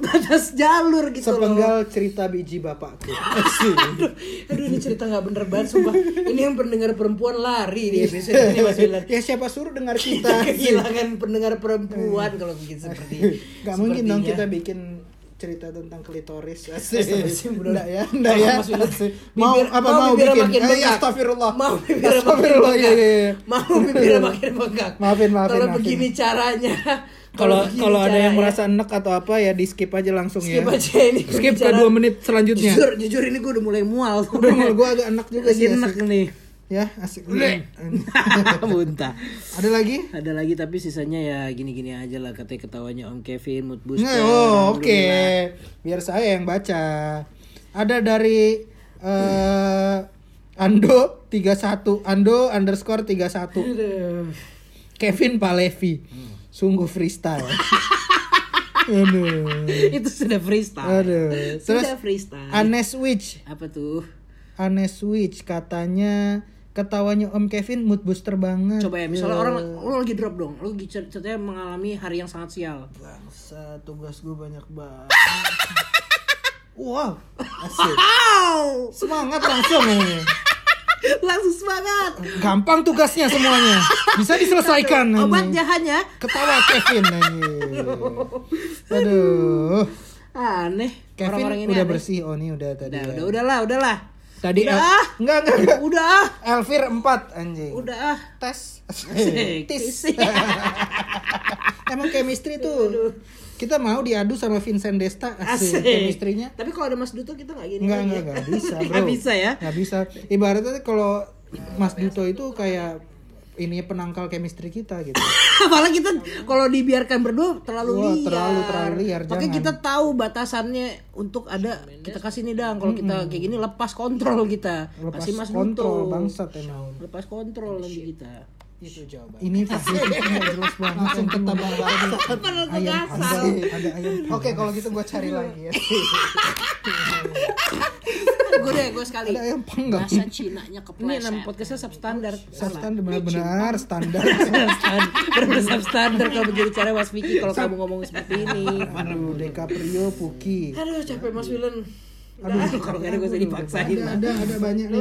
[SPEAKER 1] batas jalur gitu loh.
[SPEAKER 3] Sepenggal cerita biji bapakku. Asik.
[SPEAKER 1] Aduh, aduh ini cerita nggak bener banget sumpah. Ini yang pendengar perempuan lari
[SPEAKER 3] Iya,
[SPEAKER 1] nih episode ini Mas Wilan.
[SPEAKER 3] ya siapa suruh dengar
[SPEAKER 1] Kita
[SPEAKER 3] kita?
[SPEAKER 1] kehilangan pendengar perempuan kalau bikin seperti
[SPEAKER 3] Gak Iya. mungkin dong
[SPEAKER 1] sepertinya.
[SPEAKER 3] kita bikin cerita tentang klitoris
[SPEAKER 1] Asik,
[SPEAKER 3] asik
[SPEAKER 1] bener.
[SPEAKER 3] Nggak ya nggak ya
[SPEAKER 1] Mas Wilan.
[SPEAKER 3] Asik. mau
[SPEAKER 1] Bibir-
[SPEAKER 3] apa mau
[SPEAKER 1] bibirnya
[SPEAKER 3] bikin
[SPEAKER 1] makin
[SPEAKER 3] Eh,
[SPEAKER 1] bengkak.
[SPEAKER 3] astagfirullah
[SPEAKER 1] Mau bibirnya makin
[SPEAKER 3] astagfirullah iya
[SPEAKER 1] bengkak.
[SPEAKER 3] iya iya.
[SPEAKER 1] Mau bibirnya makin bengkak.
[SPEAKER 3] Maafin, maafin,
[SPEAKER 1] Kalau
[SPEAKER 3] maafin.
[SPEAKER 1] begini caranya.
[SPEAKER 3] kalau
[SPEAKER 1] begini
[SPEAKER 3] kalau ada yang
[SPEAKER 1] caranya.
[SPEAKER 3] merasa enek atau apa ya di skip aja langsung
[SPEAKER 1] skip
[SPEAKER 3] ya
[SPEAKER 1] aja ini
[SPEAKER 3] skip ke
[SPEAKER 1] pembicaraan.
[SPEAKER 3] dua menit selanjutnya
[SPEAKER 1] Jujur, jujur ini gue udah mulai mual.
[SPEAKER 3] udah mal gue agak enak juga
[SPEAKER 1] lagi
[SPEAKER 3] Iya, sih
[SPEAKER 1] enak
[SPEAKER 3] asik.
[SPEAKER 1] nih.
[SPEAKER 3] ya asik
[SPEAKER 1] Muntah.
[SPEAKER 3] ada lagi
[SPEAKER 1] Ada lagi tapi sisanya ya gini-gini aja lah katanya ketawanya Om Kevin mood booster.
[SPEAKER 3] Nggak, oh, oke.
[SPEAKER 1] Alhamdulillah.
[SPEAKER 3] Biar saya yang baca. Ada dari eh Ando 31, Ando underscore 31.
[SPEAKER 1] Aduh.
[SPEAKER 3] Kevin Palevi. Sungguh freestyle. aduh,
[SPEAKER 1] Itu sudah freestyle.
[SPEAKER 3] aduh. Terus
[SPEAKER 1] sudah freestyle.
[SPEAKER 3] Anes Witch,
[SPEAKER 1] Apa tuh?
[SPEAKER 3] Anes Witch katanya ketawanya Om Kevin mood booster banget.
[SPEAKER 1] Coba ya misalnya orang lo lagi drop dong, lo lagi cer- ceritanya mengalami hari yang sangat sial.
[SPEAKER 3] Bangsa, tugas gue banyak banget. wow, asik.
[SPEAKER 1] Wow,
[SPEAKER 3] Semangat langsung ini.
[SPEAKER 1] langsung semangat.
[SPEAKER 3] Gampang tugasnya semuanya. Bisa diselesaikan. anjing.
[SPEAKER 1] Obat jahatnya
[SPEAKER 3] Ketawa Kevin anjing. Aduh.
[SPEAKER 1] aneh.
[SPEAKER 3] Kevin
[SPEAKER 1] Orang-orang ini
[SPEAKER 3] udah
[SPEAKER 1] aneh.
[SPEAKER 3] bersih oh ini udah tadi.
[SPEAKER 1] Udah,
[SPEAKER 3] ya.
[SPEAKER 1] udah, udahlah, udahlah.
[SPEAKER 3] Tadi
[SPEAKER 1] Udah,
[SPEAKER 3] El-
[SPEAKER 1] ah.
[SPEAKER 3] enggak enggak enggak.
[SPEAKER 1] Udah ah,
[SPEAKER 3] Elvir 4 anjing.
[SPEAKER 1] udah ah.
[SPEAKER 3] Tes.
[SPEAKER 1] Asik,
[SPEAKER 3] Eh,
[SPEAKER 1] Iya.
[SPEAKER 3] Tis.
[SPEAKER 1] tis.
[SPEAKER 3] Emang chemistry tuh. Kita mau diadu sama Vincent Desta asik,
[SPEAKER 1] Asik.
[SPEAKER 3] chemistry-nya.
[SPEAKER 1] Tapi kalau ada Mas Duto kita nggak gini.
[SPEAKER 3] Enggak,
[SPEAKER 1] lagi
[SPEAKER 3] enggak,
[SPEAKER 1] ya.
[SPEAKER 3] enggak bisa, bro.
[SPEAKER 1] Nggak bisa ya.
[SPEAKER 3] Enggak bisa. Ibaratnya kalau Mas Duto itu kayak ini penangkal chemistry kita gitu.
[SPEAKER 1] Apalagi kita kalau dibiarkan berdua terlalu
[SPEAKER 3] Wah,
[SPEAKER 1] liar.
[SPEAKER 3] terlalu, terlalu liar,
[SPEAKER 1] Makanya
[SPEAKER 3] jangan.
[SPEAKER 1] kita tahu batasannya untuk ada kita kasih nih dang kalau kita kayak gini lepas kontrol kita.
[SPEAKER 3] Lepas
[SPEAKER 1] kasih Mas
[SPEAKER 3] kontrol
[SPEAKER 1] Duto.
[SPEAKER 3] bangsat emang.
[SPEAKER 1] Lepas kontrol nanti kita.
[SPEAKER 3] Ini pasti nggak jelas banget. Langsung ketambah lagi.
[SPEAKER 1] Perlu
[SPEAKER 3] Ayam
[SPEAKER 1] kegasal.
[SPEAKER 3] panggang, ada ayam. Oke, kalau gitu gue cari lagi ya.
[SPEAKER 1] gue deh, gue sekali.
[SPEAKER 3] Ada ayam panggang.
[SPEAKER 5] Bahasa Cinanya
[SPEAKER 1] Ini enam
[SPEAKER 5] kepleset.
[SPEAKER 1] podcastnya substandar.
[SPEAKER 3] Substan benar-benar standar.
[SPEAKER 1] Benar-benar substandar kalau begini cara Mas Vicky kalau kamu ngomong seperti ini.
[SPEAKER 3] Aduh, DiCaprio, Puki.
[SPEAKER 1] Aduh capek Mas Wilan. Aduh, kalau gak ada gue usah dipaksain
[SPEAKER 3] Ada,
[SPEAKER 1] lah.
[SPEAKER 3] ada, ada banyak nih.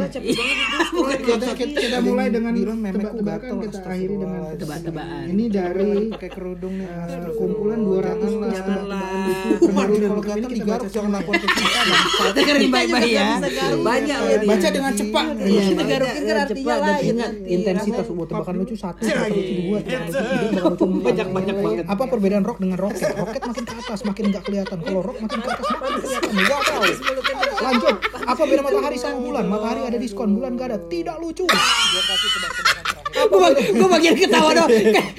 [SPEAKER 3] Kita, kita, kita mulai dengan tebak-tebakan kita akhiri dengan
[SPEAKER 1] Tebak-tebakan.
[SPEAKER 3] Ini dari pakai kerudung nih kumpulan 200 lah. Kalau kalau gatal digaruk jangan lapor ke kita. Bang.
[SPEAKER 1] Kita dengerin baik-baik ya.
[SPEAKER 3] Iya,
[SPEAKER 1] Banyak ya dia.
[SPEAKER 3] Baca dengan cepat.
[SPEAKER 1] Iya, kita garukin kan artinya
[SPEAKER 3] Cepat dan
[SPEAKER 1] lain.
[SPEAKER 3] ingat intensitas buat tebakan lucu satu, tebakan lucu dua, tebakan lucu tiga, Iya, banyak banyak banget. Apa perbedaan rock dengan roket? Roket makin ke atas, makin nggak kelihatan. Kalau rock makin ke atas, makin kelihatan. Gak tahu. Lanjut. Apa beda matahari sama bulan? Matahari ada diskon, bulan nggak ada. Tidak lucu.
[SPEAKER 1] Gue gue bagian ketawa doang. Kayak-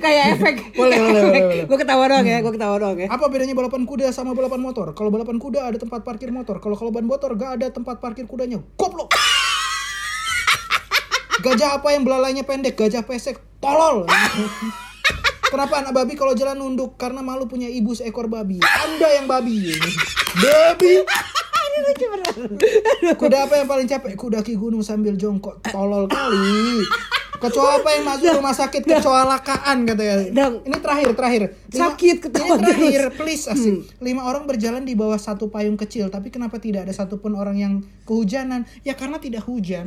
[SPEAKER 1] Kayak efek.
[SPEAKER 3] Iya. Boleh, boleh, boleh, boleh.
[SPEAKER 1] Gue ketawa doang ya, gue ketawa doang ya.
[SPEAKER 3] Apa bedanya balapan kuda sama balapan motor? Kalau balapan kuda ada tempat parkir motor. Kalau kalau ban motor gak ada tempat parkir kudanya. Goblok. Gajah apa yang belalainya pendek? Gajah pesek. Tolol. Kenapa anak babi kalau jalan nunduk? Karena malu punya ibu seekor babi. Anda yang babi. Babi. Kuda apa yang paling capek? Kuda ki gunung sambil jongkok. Tolol kali. Kecoa apa yang masuk rumah sakit kecoa lakaan katanya.
[SPEAKER 1] Dang.
[SPEAKER 3] Ini terakhir terakhir.
[SPEAKER 1] Sakit ketawa Hmm.
[SPEAKER 3] Ini terakhir please asik. Lima orang berjalan di bawah satu payung kecil, tapi kenapa tidak ada satupun orang yang kehujanan? Ya karena tidak hujan.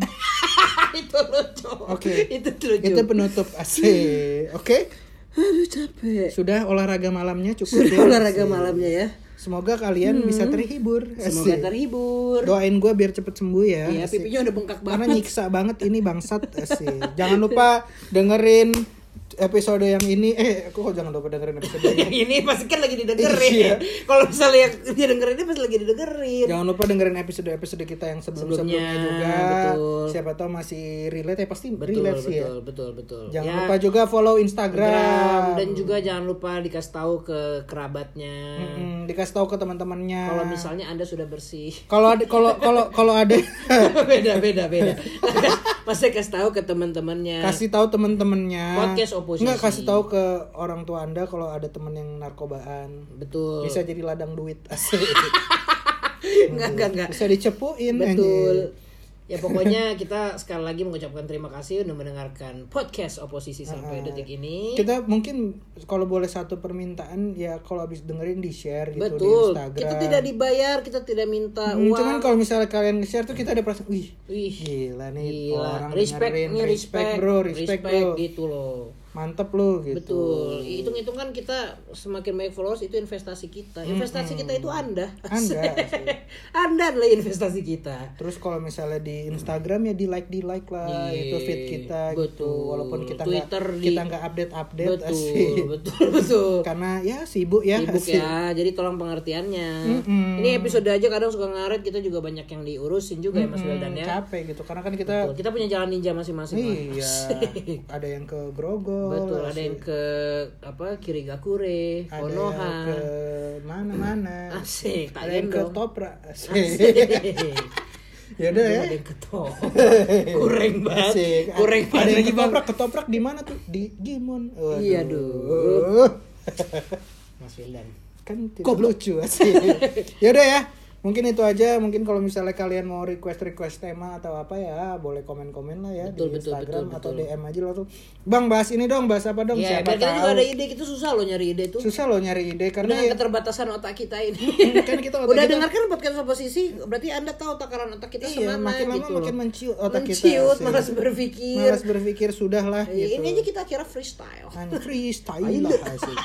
[SPEAKER 1] Itu lucu.
[SPEAKER 3] Oke.
[SPEAKER 1] Itu lucu.
[SPEAKER 3] Ah, Itu penutup asik. Oke.
[SPEAKER 1] Aduh capek.
[SPEAKER 3] Sudah olahraga malamnya cukup.
[SPEAKER 1] Sudah
[SPEAKER 3] ya?
[SPEAKER 1] olahraga malamnya ya.
[SPEAKER 3] Semoga kalian bisa terhibur.
[SPEAKER 1] Semoga
[SPEAKER 3] Asik.
[SPEAKER 1] terhibur.
[SPEAKER 3] Doain gue biar cepet sembuh ya.
[SPEAKER 1] Ya
[SPEAKER 3] Asik.
[SPEAKER 1] pipinya udah bengkak
[SPEAKER 3] Karena
[SPEAKER 1] banget.
[SPEAKER 3] nyiksa banget ini bangsat asik. Jangan lupa dengerin episode yang ini. Eh, kok jangan lupa dengerin episode yang ini.
[SPEAKER 1] Yang ini pasti kan lagi
[SPEAKER 3] Iya.
[SPEAKER 1] didengerin. Kalau misalnya yang dia dengerin ini pasti lagi didengerin.
[SPEAKER 3] Jangan lupa dengerin episode-episode kita yang sebelum-sebelumnya
[SPEAKER 1] Sebelumnya,
[SPEAKER 3] juga.
[SPEAKER 1] betul.
[SPEAKER 3] Siapa tahu masih relate ya pasti
[SPEAKER 1] Betul,
[SPEAKER 3] relate sih ya.
[SPEAKER 1] betul, betul, betul.
[SPEAKER 3] Jangan
[SPEAKER 1] Ya,
[SPEAKER 3] lupa juga follow Instagram.
[SPEAKER 1] Instagram. dan juga jangan lupa dikasih tahu ke kerabatnya.
[SPEAKER 3] Mm, dikasih tahu ke teman-temannya.
[SPEAKER 1] Kalau misalnya Anda sudah bersih.
[SPEAKER 3] kalau ada kalau kalau kalau ada
[SPEAKER 1] beda, beda, beda. Pasti kasih tahu ke teman-temannya.
[SPEAKER 3] kasih tahu teman-temannya.
[SPEAKER 1] Podcast oposisi.
[SPEAKER 3] Nggak, kasih tahu ke orang tua Anda kalau ada teman yang narkobaan.
[SPEAKER 1] Betul.
[SPEAKER 3] Bisa jadi ladang duit. Asik.
[SPEAKER 1] Enggak, enggak, enggak.
[SPEAKER 3] Bisa dicepuin
[SPEAKER 1] Betul.
[SPEAKER 3] anjing.
[SPEAKER 1] Ya pokoknya kita sekali lagi mengucapkan terima kasih udah mendengarkan podcast oposisi sampai detik ini.
[SPEAKER 3] kita mungkin kalau boleh satu permintaan ya kalau habis dengerin di share gitu
[SPEAKER 1] Betul.
[SPEAKER 3] di Instagram
[SPEAKER 1] Kita tidak dibayar, kita tidak minta
[SPEAKER 3] Hmm,
[SPEAKER 1] uang.
[SPEAKER 3] cuman kalau misalnya kalian share tuh kita ada perasaan wih
[SPEAKER 1] Wih,
[SPEAKER 3] gila nih orang
[SPEAKER 1] gila. Respect
[SPEAKER 3] dengerin.
[SPEAKER 1] nih, respect,
[SPEAKER 3] bro respect, bro
[SPEAKER 1] gitu loh.
[SPEAKER 3] mantep lo gitu
[SPEAKER 1] Betul. Hitung-hitung kan kita semakin banyak followers itu investasi kita. Investasi kita itu Anda.
[SPEAKER 3] Anda.
[SPEAKER 1] anda adalah investasi kita.
[SPEAKER 3] Terus kalau misalnya di Instagram ya di like di like lah
[SPEAKER 1] Iya,
[SPEAKER 3] itu feed kita gitu.
[SPEAKER 1] betul.
[SPEAKER 3] Walaupun kita
[SPEAKER 1] Twitter
[SPEAKER 3] nggak
[SPEAKER 1] di-
[SPEAKER 3] kita nggak update update
[SPEAKER 1] Betul, betul, betul.
[SPEAKER 3] Karena ya sibuk ya.
[SPEAKER 1] Sibuk
[SPEAKER 3] asik.
[SPEAKER 1] ya, jadi tolong pengertiannya.
[SPEAKER 3] Mm-mm.
[SPEAKER 1] Ini episode aja kadang suka ngaret, kita juga banyak yang diurusin juga ya Mas Wildan ya.
[SPEAKER 3] Capek gitu karena kan kita
[SPEAKER 1] Betul, Kita punya jalan ninja masing-masing. Mas.
[SPEAKER 3] iya ada yang ke Grogol.
[SPEAKER 1] Betul, ada
[SPEAKER 3] asik.
[SPEAKER 1] yang ke apa Kirigakure,
[SPEAKER 3] Ada
[SPEAKER 1] Konoha.
[SPEAKER 3] yang ke mana-mana.
[SPEAKER 1] Asik, tak
[SPEAKER 3] Ada yang ke
[SPEAKER 1] dong.
[SPEAKER 3] Topra. Asik.
[SPEAKER 1] Ya
[SPEAKER 3] Yaudah ya.
[SPEAKER 1] Ada yang ketoprak. Kurang banget.
[SPEAKER 3] Asik.
[SPEAKER 1] Kurang
[SPEAKER 3] Ada yang
[SPEAKER 1] banget.
[SPEAKER 3] di Toprak, ketoprak di mana tuh? Di Gimon. Waduh.
[SPEAKER 1] Iya, duh. Mas Wildan.
[SPEAKER 3] kan tidak lucu sih yaudah ya mungkin itu aja mungkin kalau misalnya kalian mau request request tema atau apa ya boleh komen komen lah ya
[SPEAKER 1] Betul,
[SPEAKER 3] di
[SPEAKER 1] betul,
[SPEAKER 3] Instagram
[SPEAKER 1] betul,
[SPEAKER 3] atau
[SPEAKER 1] betul.
[SPEAKER 3] DM aja lah tuh bang bahas ini dong bahas apa dong
[SPEAKER 1] Ya, biar
[SPEAKER 3] siapa
[SPEAKER 1] kita juga
[SPEAKER 3] tahu.
[SPEAKER 1] ada ide, kita susah loh nyari ide tuh.
[SPEAKER 3] susah loh nyari ide karena
[SPEAKER 1] Dengan
[SPEAKER 3] ya,
[SPEAKER 1] keterbatasan otak kita ini.
[SPEAKER 3] kan kita otak
[SPEAKER 1] Udah
[SPEAKER 3] kita-
[SPEAKER 1] dengarkan podcast oposisi, berarti Anda tahu takaran otak kita
[SPEAKER 3] Iya,
[SPEAKER 1] semana
[SPEAKER 3] makin lama
[SPEAKER 1] gitu
[SPEAKER 3] makin
[SPEAKER 1] loh.
[SPEAKER 3] menciut otak
[SPEAKER 1] Menciut,
[SPEAKER 3] kita sih.
[SPEAKER 1] malas berpikir.
[SPEAKER 3] malas berpikir sudah lah
[SPEAKER 1] Ya,
[SPEAKER 3] gitu
[SPEAKER 1] Ini aja kita kira freestyle.
[SPEAKER 3] Kan freestyle lah sih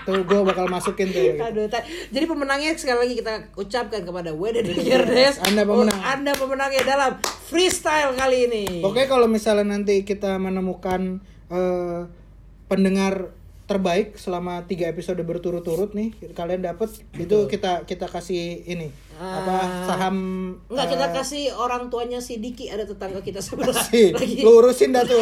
[SPEAKER 3] tuh gue bakal masukin tuh gitu.
[SPEAKER 1] Aduh, ta- jadi pemenangnya sekali lagi kita ucapkan kepada Wede Dikirdes.
[SPEAKER 3] Iya, Anda pemenang.
[SPEAKER 1] Oh, Anda pemenangnya dalam freestyle kali ini.
[SPEAKER 3] Oke kalau misalnya nanti kita menemukan eh, pendengar terbaik selama tiga episode berturut-turut nih kalian dapat itu kita kita kasih ini
[SPEAKER 1] Ah.
[SPEAKER 3] apa saham
[SPEAKER 1] Enggak kita
[SPEAKER 3] eh,
[SPEAKER 1] kasih orang tuanya si Diki ada tetangga kita sebelah
[SPEAKER 3] sih,
[SPEAKER 1] lagi.
[SPEAKER 3] lu urusin dah tuh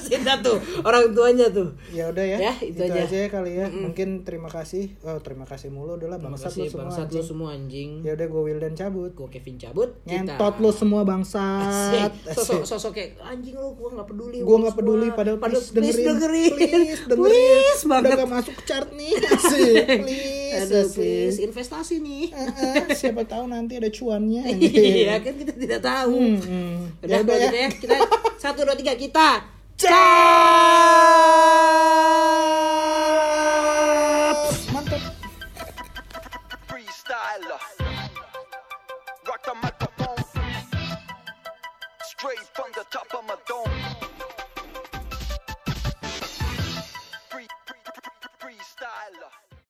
[SPEAKER 1] Sinta tuh orang tuanya tuh.
[SPEAKER 3] ya udah ya,
[SPEAKER 1] Ya, itu aja.
[SPEAKER 3] ya kali ya mungkin terima kasih oh terima kasih mulu udah lah bangsat lu
[SPEAKER 1] Masih
[SPEAKER 3] semua
[SPEAKER 1] bangsat lu
[SPEAKER 3] anjing.
[SPEAKER 1] semua anjing.
[SPEAKER 3] ya udah gue Wildan cabut
[SPEAKER 1] Gue Kevin cabut. kita-
[SPEAKER 3] ngentot lu semua
[SPEAKER 1] Asik.
[SPEAKER 3] bangsat
[SPEAKER 1] Sosok sosok kayak anjing lu gua nggak peduli.
[SPEAKER 3] gue
[SPEAKER 1] lu
[SPEAKER 3] nggak peduli
[SPEAKER 1] semua.
[SPEAKER 3] padahal
[SPEAKER 1] Padahal
[SPEAKER 3] please dengerin please
[SPEAKER 1] Please
[SPEAKER 3] dengerin
[SPEAKER 1] Please
[SPEAKER 3] udah
[SPEAKER 1] banget.
[SPEAKER 3] nggak masuk chart nih sih please
[SPEAKER 1] Aduh,
[SPEAKER 3] sih.
[SPEAKER 1] please investasi nih.
[SPEAKER 3] Eh, eh, siapa tahu nanti ada cuannya
[SPEAKER 1] Iya kan kita tidak tahu.
[SPEAKER 3] hmm.
[SPEAKER 1] Udah
[SPEAKER 3] Ya udah
[SPEAKER 1] kalau
[SPEAKER 3] ya.
[SPEAKER 1] gitu ya. Kita satu dua tiga kita.
[SPEAKER 3] mantap
[SPEAKER 2] freestyler. Rock the microphone. Straight from the top of my dome.